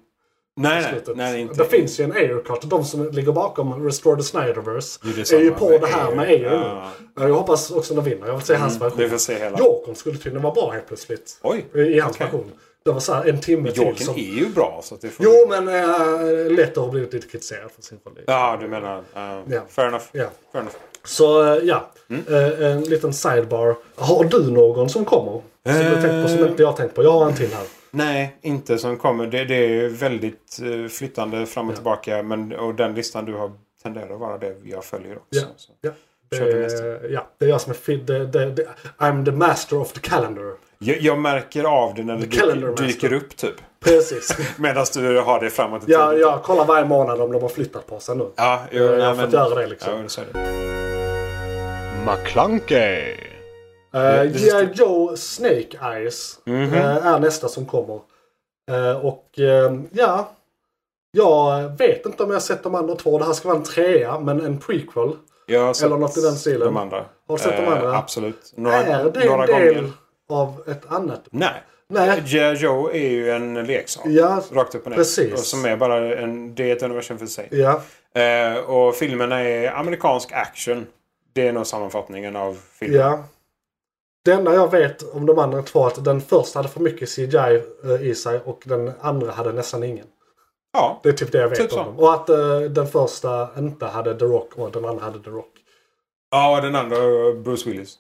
Nej, i nej, slutet. nej, inte. Det finns ju en Ayer-kart. De som ligger bakom Restore the Snyderverse Det är ju samma på med det här Ayer. med Ayer Ja. Mm, nu. Eh, Jag hoppas också de vinner. Jag vill se hans version. Vi får se hela. Jokern skulle tydligen vara bra helt plötsligt. Oj, I- I hans okej. version. Det var så här en timme till. Jokern Som... är ju bra så att det får... Jo, men äh, Leto har blivit lite kritiserad för sin roll. i- Ja, du menar... eh, Ja. Fair enough. Ja. Fair enough. Så eh, ja, Mm. Eh, en liten sidebar. Har du någon som kommer? Som du har tänkt på som Eh. inte jag har tänkt på? Jag har en till här. Nej, inte som kommer. Det, det är väldigt eh, flyttande fram och tillbaka. Men, och den listan du har tenderar att vara det jag följer också. Ja. Så. Ja. Kör du Det, ja, det är jag som är fi- det, det, det, I'm the master of the calendar. Jag, jag märker av det när det Calendar dyker, Master. dyker upp typ. Precis. Medan du har det framåt i ja, tiden. jag kollar varje månad om de har flyttat på sig nu. Ja, jo, Jag har nej, fått göra det, liksom. Ja, så är det. McClunkey. Eh, G.I. Joe Snake Eyes Mhm. eh, är nästa som kommer. Eh, och eh, ja, jag vet inte om jag har sett de andra två. Det här ska vara en trea, men en prequel. Jag har sett Eller något i den stilen. De andra. Har du sett de Eh, andra? absolut. Några, är det en några del gånger. av ett annat? Nej. Nej. G.I. Joe är ju en leksak. Ja, Rakt upp och ner. precis. Och som är bara en, det är ett universum för sig. Ja, Eh, och filmerna är amerikansk action. Det är nog sammanfattningen av filmen. ja. Det enda jag vet om de andra två är att den första hade för mycket CGI eh, i sig och den andra hade nästan ingen. Ja. Det är typ det jag vet Typ så. om dem. Och att eh, den första inte hade The Rock och den andra hade The Rock. ja, och den andra eh, Bruce Willis.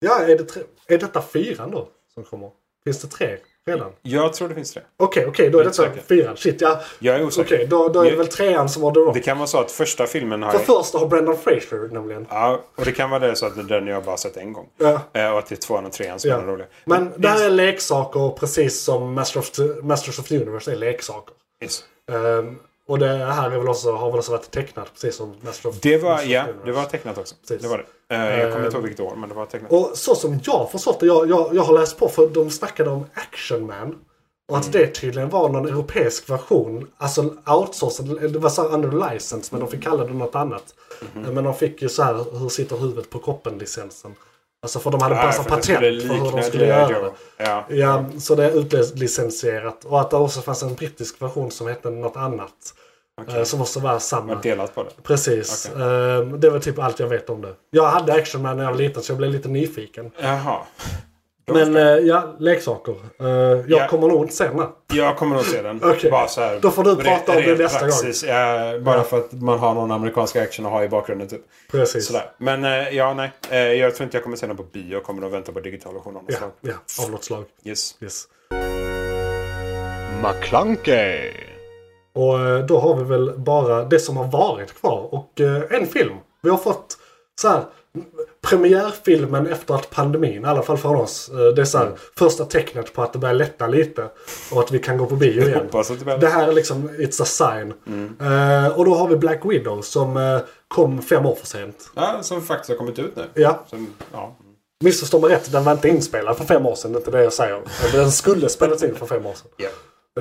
Ja, är, det tre, är detta fyran då som kommer? Finns det tre redan? Jag tror det finns tre. Okej, okej, då är Jag är detta inte fyran. Shit, ja. Jag är Okej, osäker. då, då är det väl trean som har The Det Rock. kan vara så att första filmen har... För första har Brendan Fraser nämligen. Ja, och det kan vara det så att det är den jag bara sett en gång. Ja. Eh, och att det är tvåan och trean som Ja. är roliga. Men det här är leksaker precis som Master of, Masters of the Universe är leksaker. Yes. Ehm, och det här är väl också, har väl också varit tecknat precis som Master of Det var, Masters of the ja, Universe. det var tecknat också. Precis. Ehm, Det var det. Eh, jag kommer inte ihåg vilket år, men det var tecknat. Och så som jag förstått det, jag, jag, jag har läst på för de snackade om Action Man. Och Mm. att det tydligen var någon europeisk version. Alltså outsourcad, det var så här under license men de fick kalla det något annat. Mhm. Men de fick ju så här, hur sitter huvudet på kroppen-licensen. Alltså för de hade Nej, massa för att det patent skulle för hur de likna skulle G.I. göra Joe. det. Ja. Ja, så det är utlicensierat. Och att det också fanns en brittisk version som hette något annat. eh, Som också var samma. Jag har delat på det. Precis. Okej. Ehm, Det var typ allt jag vet om det. Jag hade Action Man när jag var liten så jag blev lite nyfiken. Jaha. Men eh, ja, leksaker. Eh, Jag Ja. kommer nog inte se den här. Jag kommer nog se den. Okej. Bara så här, Då får du re- prata om det ren nästa gång. praxis. Ja, bara för att man har någon amerikansk action att ha i bakgrunden. Typ. Precis. Sådär. Men eh, ja, nej. Eh, jag tror inte jag kommer se den på bio. Jag kommer nog vänta på digital version av något Ja, slag. ja, av något slag. Yes. Yes. McClunkey. Och eh, då har vi väl bara det som har varit kvar och eh, en film. Vi har fått så här, m- premiärfilmen efter att pandemin, i alla fall från oss. eh, Det är så här, Mm. första tecknet på att det börjar lätta lite och att vi kan gå på bio igen. Hoppas att det Mm. blir- Det här är liksom, it's a sign. Eh, och då har vi Black Widow som eh, kom fem år för sent. Ja, som faktiskt har kommit ut nu. Ja, Som, ja. Missförstå mig rätt, den var inte inspelad för fem år sedan. Det är inte det jag säger. Den skulle spelats in för fem år sedan. Ja.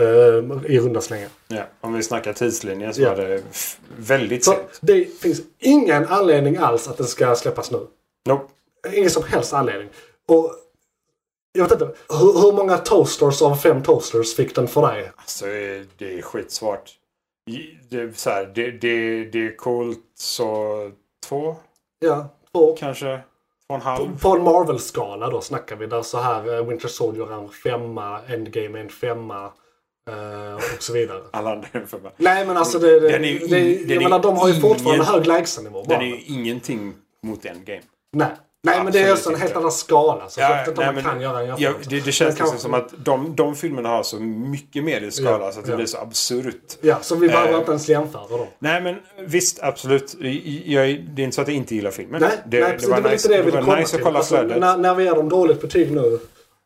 Ehm, I runda slängar. Ja, om vi snackar tidslinjen så Ja. var det f- väldigt Så sent. det finns ingen anledning alls att den ska släppas nu. Nope. Ingen som helst anledning. Och jag vet inte, hur, hur många toasters av fem toasters fick den för dig? Alltså, eh, det är skitsvårt. I- Det, är så här, det, det, det är coolt så två Ja, två. kanske. Två och en halv. På en Marvel-skala då snackar vi där så här eh, Winter Soldier är en femma, Endgame är en femma eh, och så vidare. Alla andra är för mig. Nej men alltså det, det, Den är ju in- det, den är jag menar, de har ju ingen- fortfarande hög lägstanivå. bara. Den är ju ingenting mot Endgame. Nej. Nej men det är Absolut också en helt inte. annan skala. Så jag Ja, vet inte nej, om man men- kan göra en Ja, jämförelse. det, det känns Men liksom som kanske- att de, de filmerna har så mycket mer i skala Ja, så att det ja. blir så absurt. Ja, så vi behöver Eh, inte ens jämföra dem. Nej men visst, absolut. Jag, det är inte så att jag inte gillar filmen. Nej, det, nej precis, det var nice, inte det jag det ville var komma nice till. att kolla Alltså, flödet. när, när vi ger dem dåligt betyg nu.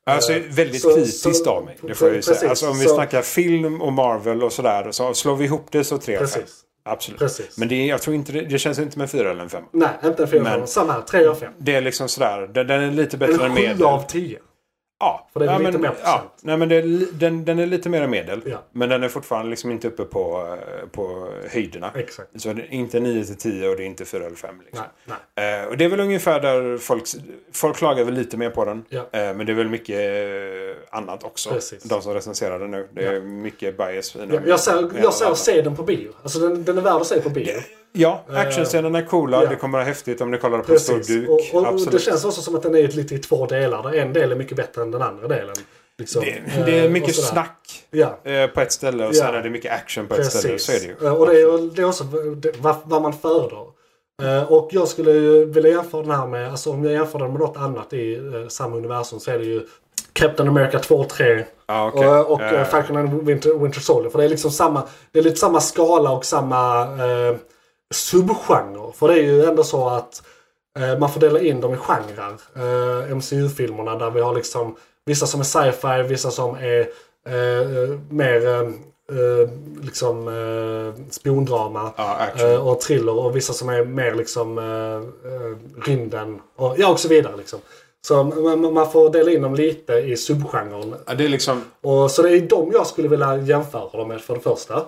Alltså väldigt så- kritiskt så- av mig. Det får jag ju precis, säga. Alltså om vi så- snackar film och Marvel och sådär. Så slår vi ihop det så tre av fem. Precis. Absolut. Precis. Men det, är- jag tror inte det, det känns inte som en fyra eller en fem. Nej, inte en 4 av Men- Samma här, 3 av 5. Det är liksom sådär. Den, den är lite bättre än En 7 medel. av 10. Ja. För det är ja, lite men, mer ja. procent. Nej, men det är, li- den, den är lite mer än medel. Ja. Men den är fortfarande liksom inte uppe på, eh, på höjderna. Exakt. Så det är inte 9 till 10 och det är inte 4 eller 5. Liksom. Nej, nej. Eh, och det är väl ungefär där folk, folk klagar väl lite mer på den. Ja. Eh, men det är väl mycket eh, annat också. Precis. De som recenserar den nu. Det är mycket bias. i den. Eh, Jag, jag säger, jag säger Alla. se den på bio. Alltså den, den är värd att se på bio. Ja, actionscenerna är coola. ja. Det kommer vara häftigt om ni kollar på en Precis. stor duk. Och, och, och Absolut. det känns också som att den är lite i två delar. Där en del är mycket bättre än den andra delen. Liksom. det, det är Eh, mycket och sådär. snack Ja. eh, på ett ställe och Ja. sen är det mycket action på ett ställe. Precis. Så är det ju. Eh, Och det är, ju- det är också det- vad, vad man föredrar. Eh, Och jag skulle ju vilja jämföra den här med, alltså om jag jämför den med något annat i eh, samma universum så är det ju Captain America 2 och 3 Ja, okej. och, och eh, Eh. Falcon and Winter, Winter Soldier. För det är liksom samma, det är lite samma skala och samma eh, subgenre. För det är ju ändå så att eh, man får dela in dem i genrer. Eh, MCU-filmerna där vi har liksom vissa som är sci-fi, vissa som är eh, mer eh, eh, liksom eh, spiondrama. Ja, action. Eh, och thriller och vissa som är mer liksom eh, eh, rymden. Och, ja, och så vidare liksom. Så man, man får dela in dem lite i subgenren. Ja, det är liksom... Och, så det är dem jag skulle vilja jämföra dem med för det första.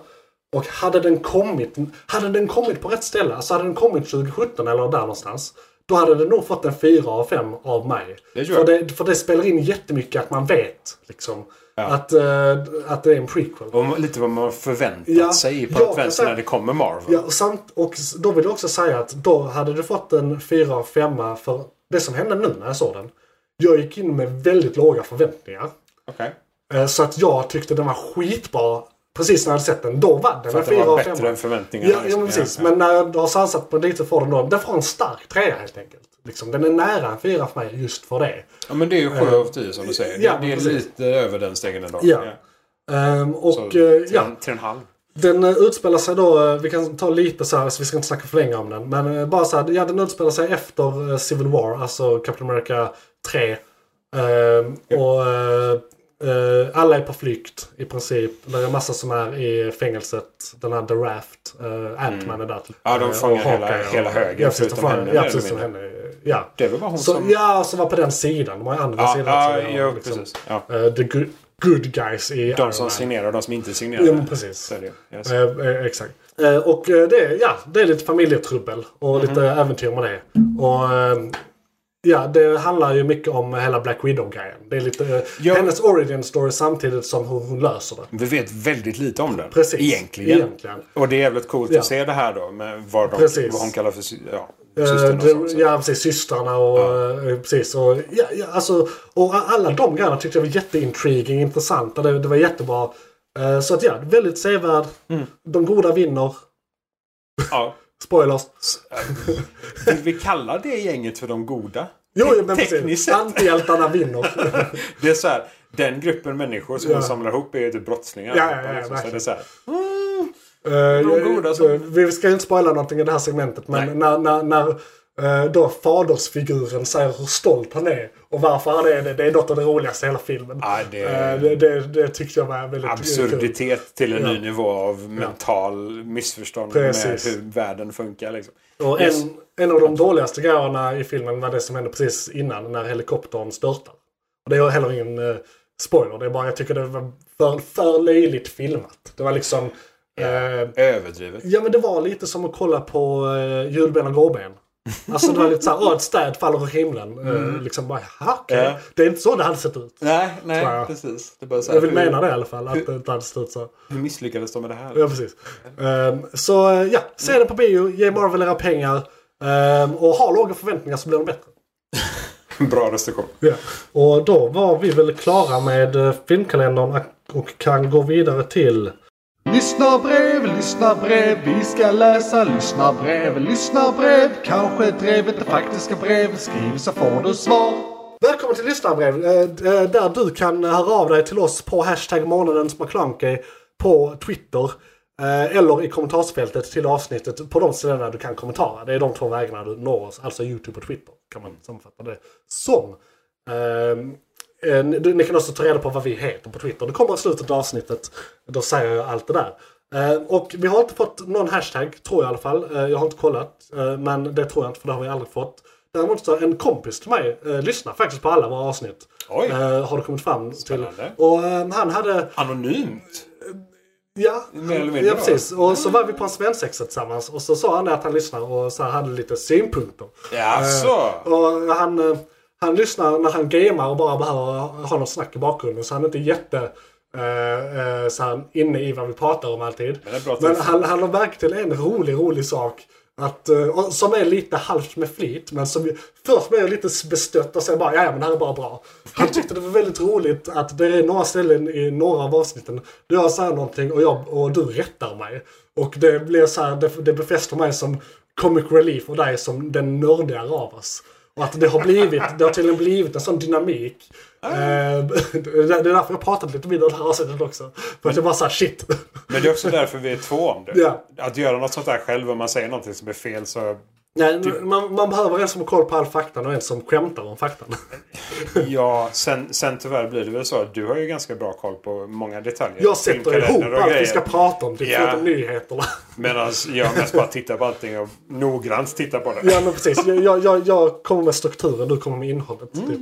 Och hade den kommit, hade den kommit på rätt ställe, alltså hade den kommit 2017 eller där någonstans. Då hade den nog fått en 4 av 5 av mig. Det tror för, jag. det, för det spelar in jättemycket att man vet liksom, att, eh, att det är en prequel. Och lite vad man har förväntat Ja, sig i ja, Paradvänsen jag- när det kommer Marvel. Ja, och, samt, och s- då vill jag också säga att då hade du fått en 4 av 5 för det som hände nu när jag såg den. Jag gick in med väldigt låga förväntningar. Okej. Eh, Så att jag tyckte den var skitbra precis när jag hade sett den. Då var den För en att det 4 av var 5. bättre än förväntningarna. Ja, ja liksom. men precis. Ja, ja. Men när du har sansat på den lite får den då, den får en stark trea helt enkelt. Liksom, den är nära en fyra för mig just för det. Ja, men det är ju 7 av 10 som du säger. Eh, ja, det, det är precis. lite över den stegen ändå. Ja. Ehm, och Så, eh, ja, 3,5. Den eh, utspelar sig då, eh, vi kan ta lite så här, så vi ska inte snacka för länge om den. Men eh, bara så här, ja den utspelar sig efter eh, Civil War, alltså Captain America 3. Ehm, Och eh, eh, alla är på flykt i princip. Det är en massa som är i fängelset. Den här The Raft, eh, Ant-Man är där. Mm. Ja, de Eh, fångar och hela- Hawkeye och- hela högen, Ja, precis, de förutom fångar- henne, ja, mer eller precis, som henne. Ja. Det är väl bara hon Så, som... Ja, som var på den sidan. De var ju andra ja, sidan. ja, så ja, det var liksom, precis. Ja. eh, the good, good guys i Iron De som Man. signerar och de som inte signerar. Ja, men precis. Så är det ju. Yes. Eh, eh, exakt. Eh, och eh, det, är- ja, det är lite familjetrubbel och Mhm. lite äventyr med det. Och, eh, ja, det handlar ju mycket om hela Black Widow-grejen. Det är lite eh, Ja. hennes origin story samtidigt som hur hon löser det. Vi vet väldigt lite om den. Precis. Egentligen. Egentligen. Och det är jävligt coolt Ja. att se det här då. Med vad, de, Precis. vad hon kallar för sy- ja, Eh, systern och det, sånt. Så. ja, precis. Systrarna och... eh, Precis. Och, ja, ja, alltså, och a- alla de grejerna tyckte jag var jätteintriguing, intressanta. Det, det var jättebra. Eh, så att ja, väldigt sevärd. Mm. De goda vinner. Ja. Spoilers. Vill vi kalla det gänget för de goda? Jo, jo, men Tekniskt precis. sett. Antihjältarna vinner. Det är så här, den gruppen människor som Ja. hon samlar ihop är ju typ brottslingar. Ja, ja, ja, liksom. så verkligen. det är så här, Eh, de eh, goda som- eh, Vi ska ju inte spoila någonting i det här segmentet men när, när, när eh, då fadersfiguren säger hur stolt han är och varför han är det. Det är något av det roligaste i hela filmen. Ja, det- Eh, det, det, det tyckte jag var väldigt kul. absurditet till en ny nivå av mental missförstånd Precis. med hur världen funkar. Liksom. Och Yes. en, en av de dåligaste grejerna i filmen var det som hände precis innan när helikoptern störtar. Och det är heller ingen eh, spoiler. Det är bara jag tycker det var för, för löjligt filmat. Det var liksom... eh, Överdrivet. Ja men det var lite som att kolla på uh, julben och gåben. Alltså det var lite såhär, åh ett städ faller ur himlen. Eh, liksom bara, "Jaha, okej. Mm. Ja. Det är inte så det hade sett ut. Nej, nej, Tror jag. precis. Det är bara så här, Jag vill hur, mena det i alla fall, att det inte hade sett ut så. hur misslyckades de med det här? Ja precis. Ehm, så eh, ja, se den på bio, ge Marvel era pengar. ehm, och ha låga förväntningar så blir de bättre. Bra restriktion. Ja. Och då var vi väl klara med eh, filmkalendern och kan gå vidare till Lyssna brev, lyssna brev, vi ska läsa lyssna brev, lyssna brev. Kanske drevet det faktiska brevet, skriv så får du svar. Välkommen till lyssnarbrev eh, d- eh, där du kan höra av dig till oss på hashtag månadens McClunky på Twitter eh, eller i kommentarsfältet till avsnittet på de ställena du kan kommentara. Det är de två vägarna du når oss, alltså Youtube och Twitter kan man sammanfatta det som. Eh, eh, ni- Ni kan också ta reda på vad vi heter på Twitter. Det kommer i slutet av avsnittet. Då säger jag allt det där. Eh, Och vi har inte fått någon hashtag, tror jag i alla fall. Eh, Jag har inte kollat, eh, men det tror jag inte för det har vi aldrig fått. Däremot så en kompis till mig eh, lyssnar faktiskt på alla våra avsnitt. Oj. Eh, har det kommit fram till. Spännande. Och eh, han hade... Anonymt? Ja, Mer eller mindre, ja precis. Och så var vi på en svensexa tillsammans och så sa han att han lyssnar och så här hade lite synpunkter. Jaså? Och han, eh, han lyssnar när han gamer och bara behöver ha något snack i bakgrunden. Så han är inte jätte eh, eh, så han är inne i vad vi pratar om alltid. Men det är bra att Men du- han, han har verkligen en rolig, rolig sak. Att, eh, och som är lite halvt med flit. Men som ju- först blev jag lite bestött och sen bara ja men det här är bara bra. Han tyckte det var väldigt roligt att det är några ställen i några av avsnitten. Du jag säger någonting och, jag, och du rättar mig. Och det blir så här, det, det befäster mig som comic relief och dig som den nördigare av oss. Och att det har blivit, det har tydligen blivit en sån dynamik. Eh, det är därför jag pratat lite mindre om det här avsnittet också. För att jag bara såhär shit. Men det är också därför vi är två om det. Ja. Att göra något sånt där själv om man säger någonting som är fel så Nej, man, man behöver en som har koll på all fakta och en som skämtar om faktan. Ja, sen, sen tyvärr blir det väl så att du har ju ganska bra koll på många detaljer. Jag sätter ihop Filmkalender och allt vi grejer. ska prata om. Det är Ja. förutom nyheterna. Medan jag mest bara tittar på allting och noggrant tittar på det. Ja, men precis. Jag- Jag, jag, jag kommer med strukturen, du kommer med innehållet. Mm. Typ.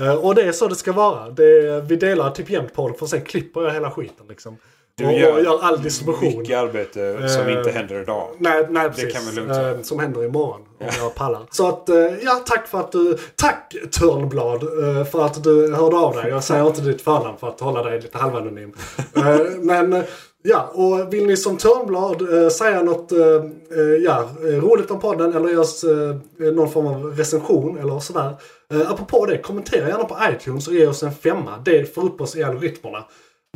Eh, Och det är så det ska vara. Det är, vi delar typ jämt på det, för sen klipper jag hela skiten. Liksom. Du och, gör och gör all distribution. Mycket arbete som Eh, inte händer idag. Nej, nej precis. kan vi lugnt säga. Eh, Som händer imorgon. Om jag pallar. Så att, eh, ja tack för att du... Tack Törnblad eh, för att du hörde av dig. Jag säger inte ditt förnamn för att hålla dig lite halvanonym. Eh, Men eh, ja, och vill ni som Törnblad eh, säga något eh, eh, ja, eh, roligt om podden eller ge oss eh, någon form av recension eller sådär. Eh, Apropå det, kommentera gärna på iTunes och ge oss en femma. Det får upp oss i algoritmerna.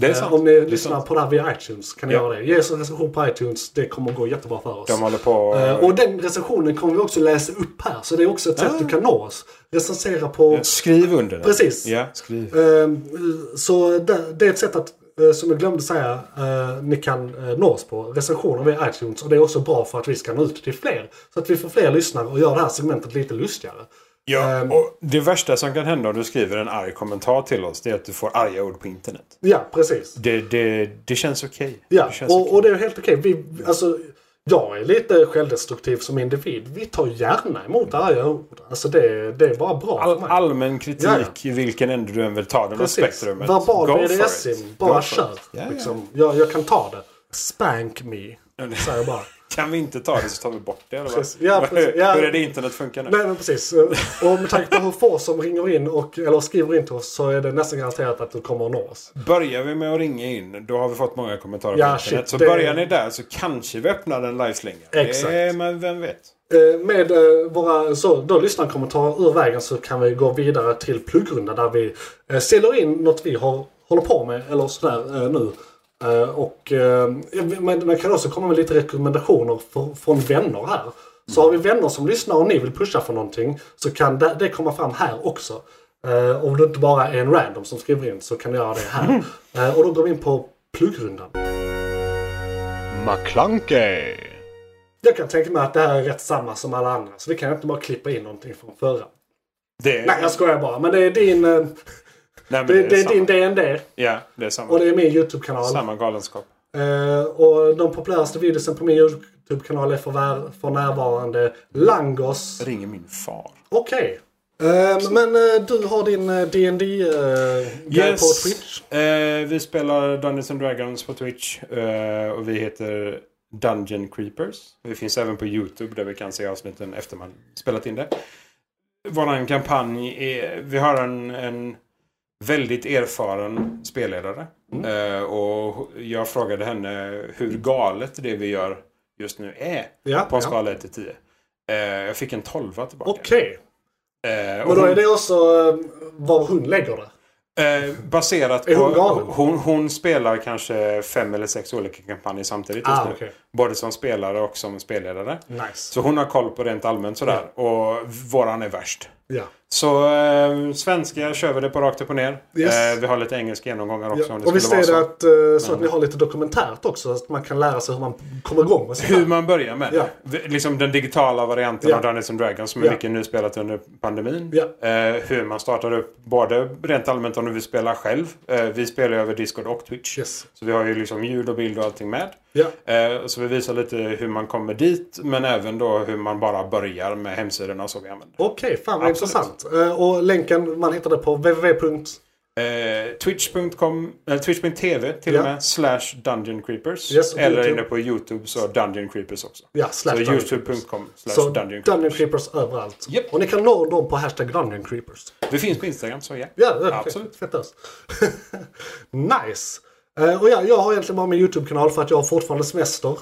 Det är Eh, sant. Om Det ni är lyssnar sant. på det här via iTunes kan ni Ja. göra det. Ge oss en recension på iTunes. Det kommer gå jättebra för oss. De håller på... Eh, Och den recensionen kommer vi också läsa upp här. Så det är också ett Ah. sätt du kan nå oss. Recensera på... Skriv under den. Precis. Ja, skriv. Eh, Så det, det är ett sätt att, eh, som jag glömde säga, eh, ni kan eh, nå oss på. Recensioner via iTunes. Och det är också bra för att vi ska nå ut till fler. Så att vi får fler lyssnare och gör det här segmentet lite lustigare. Ja, Ehm. och det värsta som kan hända om du skriver en arg kommentar till oss det är att du får arga ord på internet. Ja, precis. Det, det, det känns okej. Ja, Det känns och, okej. och det är helt okej. Vi, alltså, jag är lite självdestruktiv som individ. Vi tar gärna emot arga ord. Alltså det, det är bara bra för All, mig. allmän kritik, Ja, vilken ände du än vill ta den av spektrumet. Go Verbal for it. BDSM. Go for Bara it. kör. Ja, ja. liksom. jag, jag kan ta det. Spank me. Säger jag bara. Kan vi inte ta det så tar vi bort det. Eller vad? Precis. Ja, precis. Ja. Hur är det internet funkar nu? Nej men precis. Och med tanke på hur få som ringer in och, eller skriver in till oss så är det nästan garanterat att du kommer att nå oss. Börjar vi med att ringa in, då har vi fått många kommentarer Ja, på internet. shit, så det- börjar ni där så kanske vi öppnar en liveslinga. Exakt. Det, men vem vet? Eh, Med eh, våra så, då lyssnarkommentarer ur vägen så kan vi gå vidare till pluggrunda där vi eh, säljer in något vi har, håller på med eller sådär eh, nu. Eh, Och eh, men man kan också komma med lite rekommendationer för, från vänner här. Så har vi vänner som lyssnar och ni vill pusha för någonting så kan det, det komma fram här också. Eh, Om du inte bara är en random som skriver in så kan du göra det här. Eh, Och då går vi in på pluggrundan. McClunkey! Jag kan tänka mig att det här är rätt samma som alla andra så vi kan inte bara klippa in någonting från förra. Det, Nej, jag skojar bara. Men det är din, eh, nej, men det, det är samma. din DND Ja, det är samma. och det är min YouTube-kanal. Samma galenskap. Eh, och de populäraste videosen på min YouTube-kanal är för, vär, för närvarande Langos. Ringer min far. Okej. Eh, men eh, du har din eh, dd eh, grej på Twitch. Eh, vi spelar Dungeons and Dragons på Twitch. Eh, och vi heter Dungeon Creepers. Vi finns även på YouTube där vi kan se avsnitten efter man spelat in det. Vår kampanj är... Vi har en, en väldigt erfaren spelledare. Eh, och jag frågade henne hur galet det vi gör just nu är. Ja, På en ja. skala 1 till 10. Eh, jag fick en 12 tillbaka. Okej. Eh, och Men då hon- är det också eh, var hon lägger det. Eh, baserat Är på... hon galen? hon, hon spelar kanske fem eller sex olika kampanjer samtidigt just Ah, nu. okej. Både som spelare och som spelledare. Nice. Så hon har koll på rent allmänt sådär. Och våran är värst. Ja. Så eh, svenska kör vi det på rakt upp och ner. Yes. Eh, vi har lite engelska genomgångar också Ja. om det Och visst skulle är det vara så. att, eh, så att ni har lite dokumentärt också? Så att man kan lära sig hur man kommer igång med sånt här. Hur man börjar med Ja. det. Liksom den digitala varianten Ja. av Dungeons and Dragons som är Ja. mycket nu spelat under pandemin. Ja. Eh, hur man startar upp både rent allmänt om du vill spela själv. Eh, vi spelar ju över Discord och Twitch. Yes. Så vi har ju liksom ljud och bild och allting med. Ja. Eh, Så vi visar lite hur man kommer dit men även då hur man bara börjar med hemsidorna som vi använder. Okej, fan vad Absolut. intressant. Eh, Och länken man hittar det på www. Eh, Twitch.com, eller Twitch.tv till Ja. och med, slash Dungeon Creepers. Yes, och eller YouTube. inne på YouTube så Dungeon Creepers också. Ja, slash så Dungeon Creepers. YouTube.com slash Så Dungeon Creepers. Dungeon Creepers överallt. Japp. Och ni kan nå dem på hashtag Dungeon Creepers. Vi finns på Instagram så ja. Ja, det är Absolut. Fett ös. nice! Eh, Och ja, jag har egentligen bara min YouTube-kanal för att jag har fortfarande semester.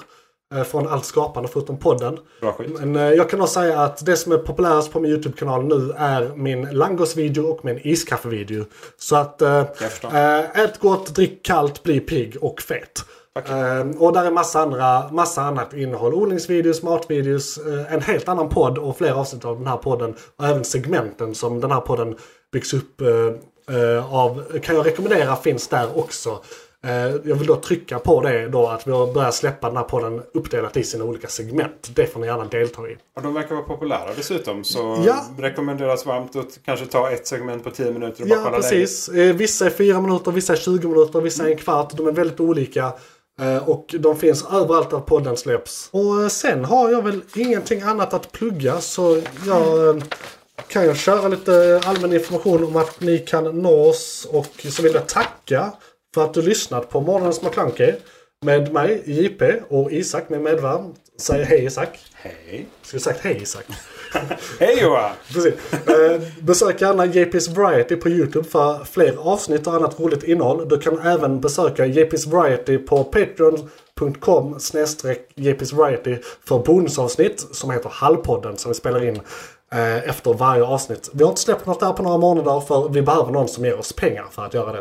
eh, Från allt skapande förutom podden. Bra skit. Men eh, jag kan nog säga att det som är populärast på min YouTube-kanal nu är min langosvideo och min iskaffevideo. Så att eh, förstår. eh, ät gott, drick kallt, bli pigg och fet. Eh, och där är massa, andra, massa annat innehåll. Odlingsvideos, matvideos, eh, en helt annan podd och fler avsnitt av den här podden. Och även segmenten som den här podden byggs upp eh, eh, av kan jag rekommendera finns där också. Eh, Jag vill då trycka på det då att vi har börjat släppa den här podden uppdelat i sina olika segment. Det får ni gärna delta i. Och de verkar vara populära dessutom. Så Ja. rekommenderas varmt att kanske ta ett segment på 10 minuter och bara Ja, kolla precis. Eh, Vissa är 4 minuter, vissa är 20 minuter, vissa är en kvart. De är väldigt olika. eh, Och de finns överallt där podden släpps. Och eh, sen har jag väl ingenting annat att plugga så jag eh, kan jag köra lite allmän information om att ni kan nå oss. Och så vill jag tacka för att du lyssnat på Morgonens McKlunky med mig, JP, och Isak, min medvärm. Säg hej Isak. Hej. Skulle sagt hej Isak. Hej Johan! Precis. Eh, Besök gärna JP's Variety på YouTube för fler avsnitt och annat roligt innehåll. Du kan även besöka JP's Variety på patreon.com JP's Variety för bonusavsnitt som heter Hallpodden som vi spelar in eh, efter varje avsnitt. Vi har inte släppt något där på några månader för vi behöver någon som ger oss pengar för att göra det.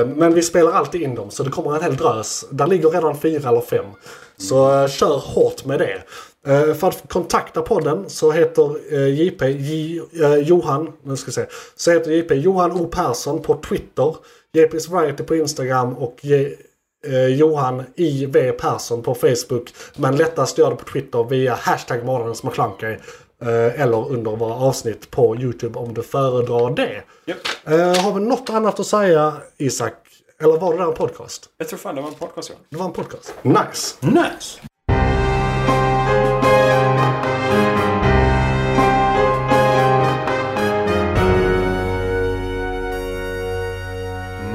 Eh, Men vi spelar alltid in dem så det kommer en hel drös. Där ligger redan fyra eller fem. Så eh, kör hårt med det. Eh, För att kontakta podden så heter eh, JP J, eh, Johan, nu ska vi se, så heter JP Johan O Persson på Twitter, JP's Variety på Instagram och J, eh, Johan IV Persson på Facebook. Men lättast gör det på Twitter via hashtag Månadens McKlunky, eh, eller under våra avsnitt på YouTube om du föredrar det. Japp. Eh, Har vi något annat att säga Isak? Eller var det där en podcast? Jag tror fan det var en podcast Johan. Det var en podcast. Nice! Nice!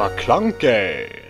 McClunkey!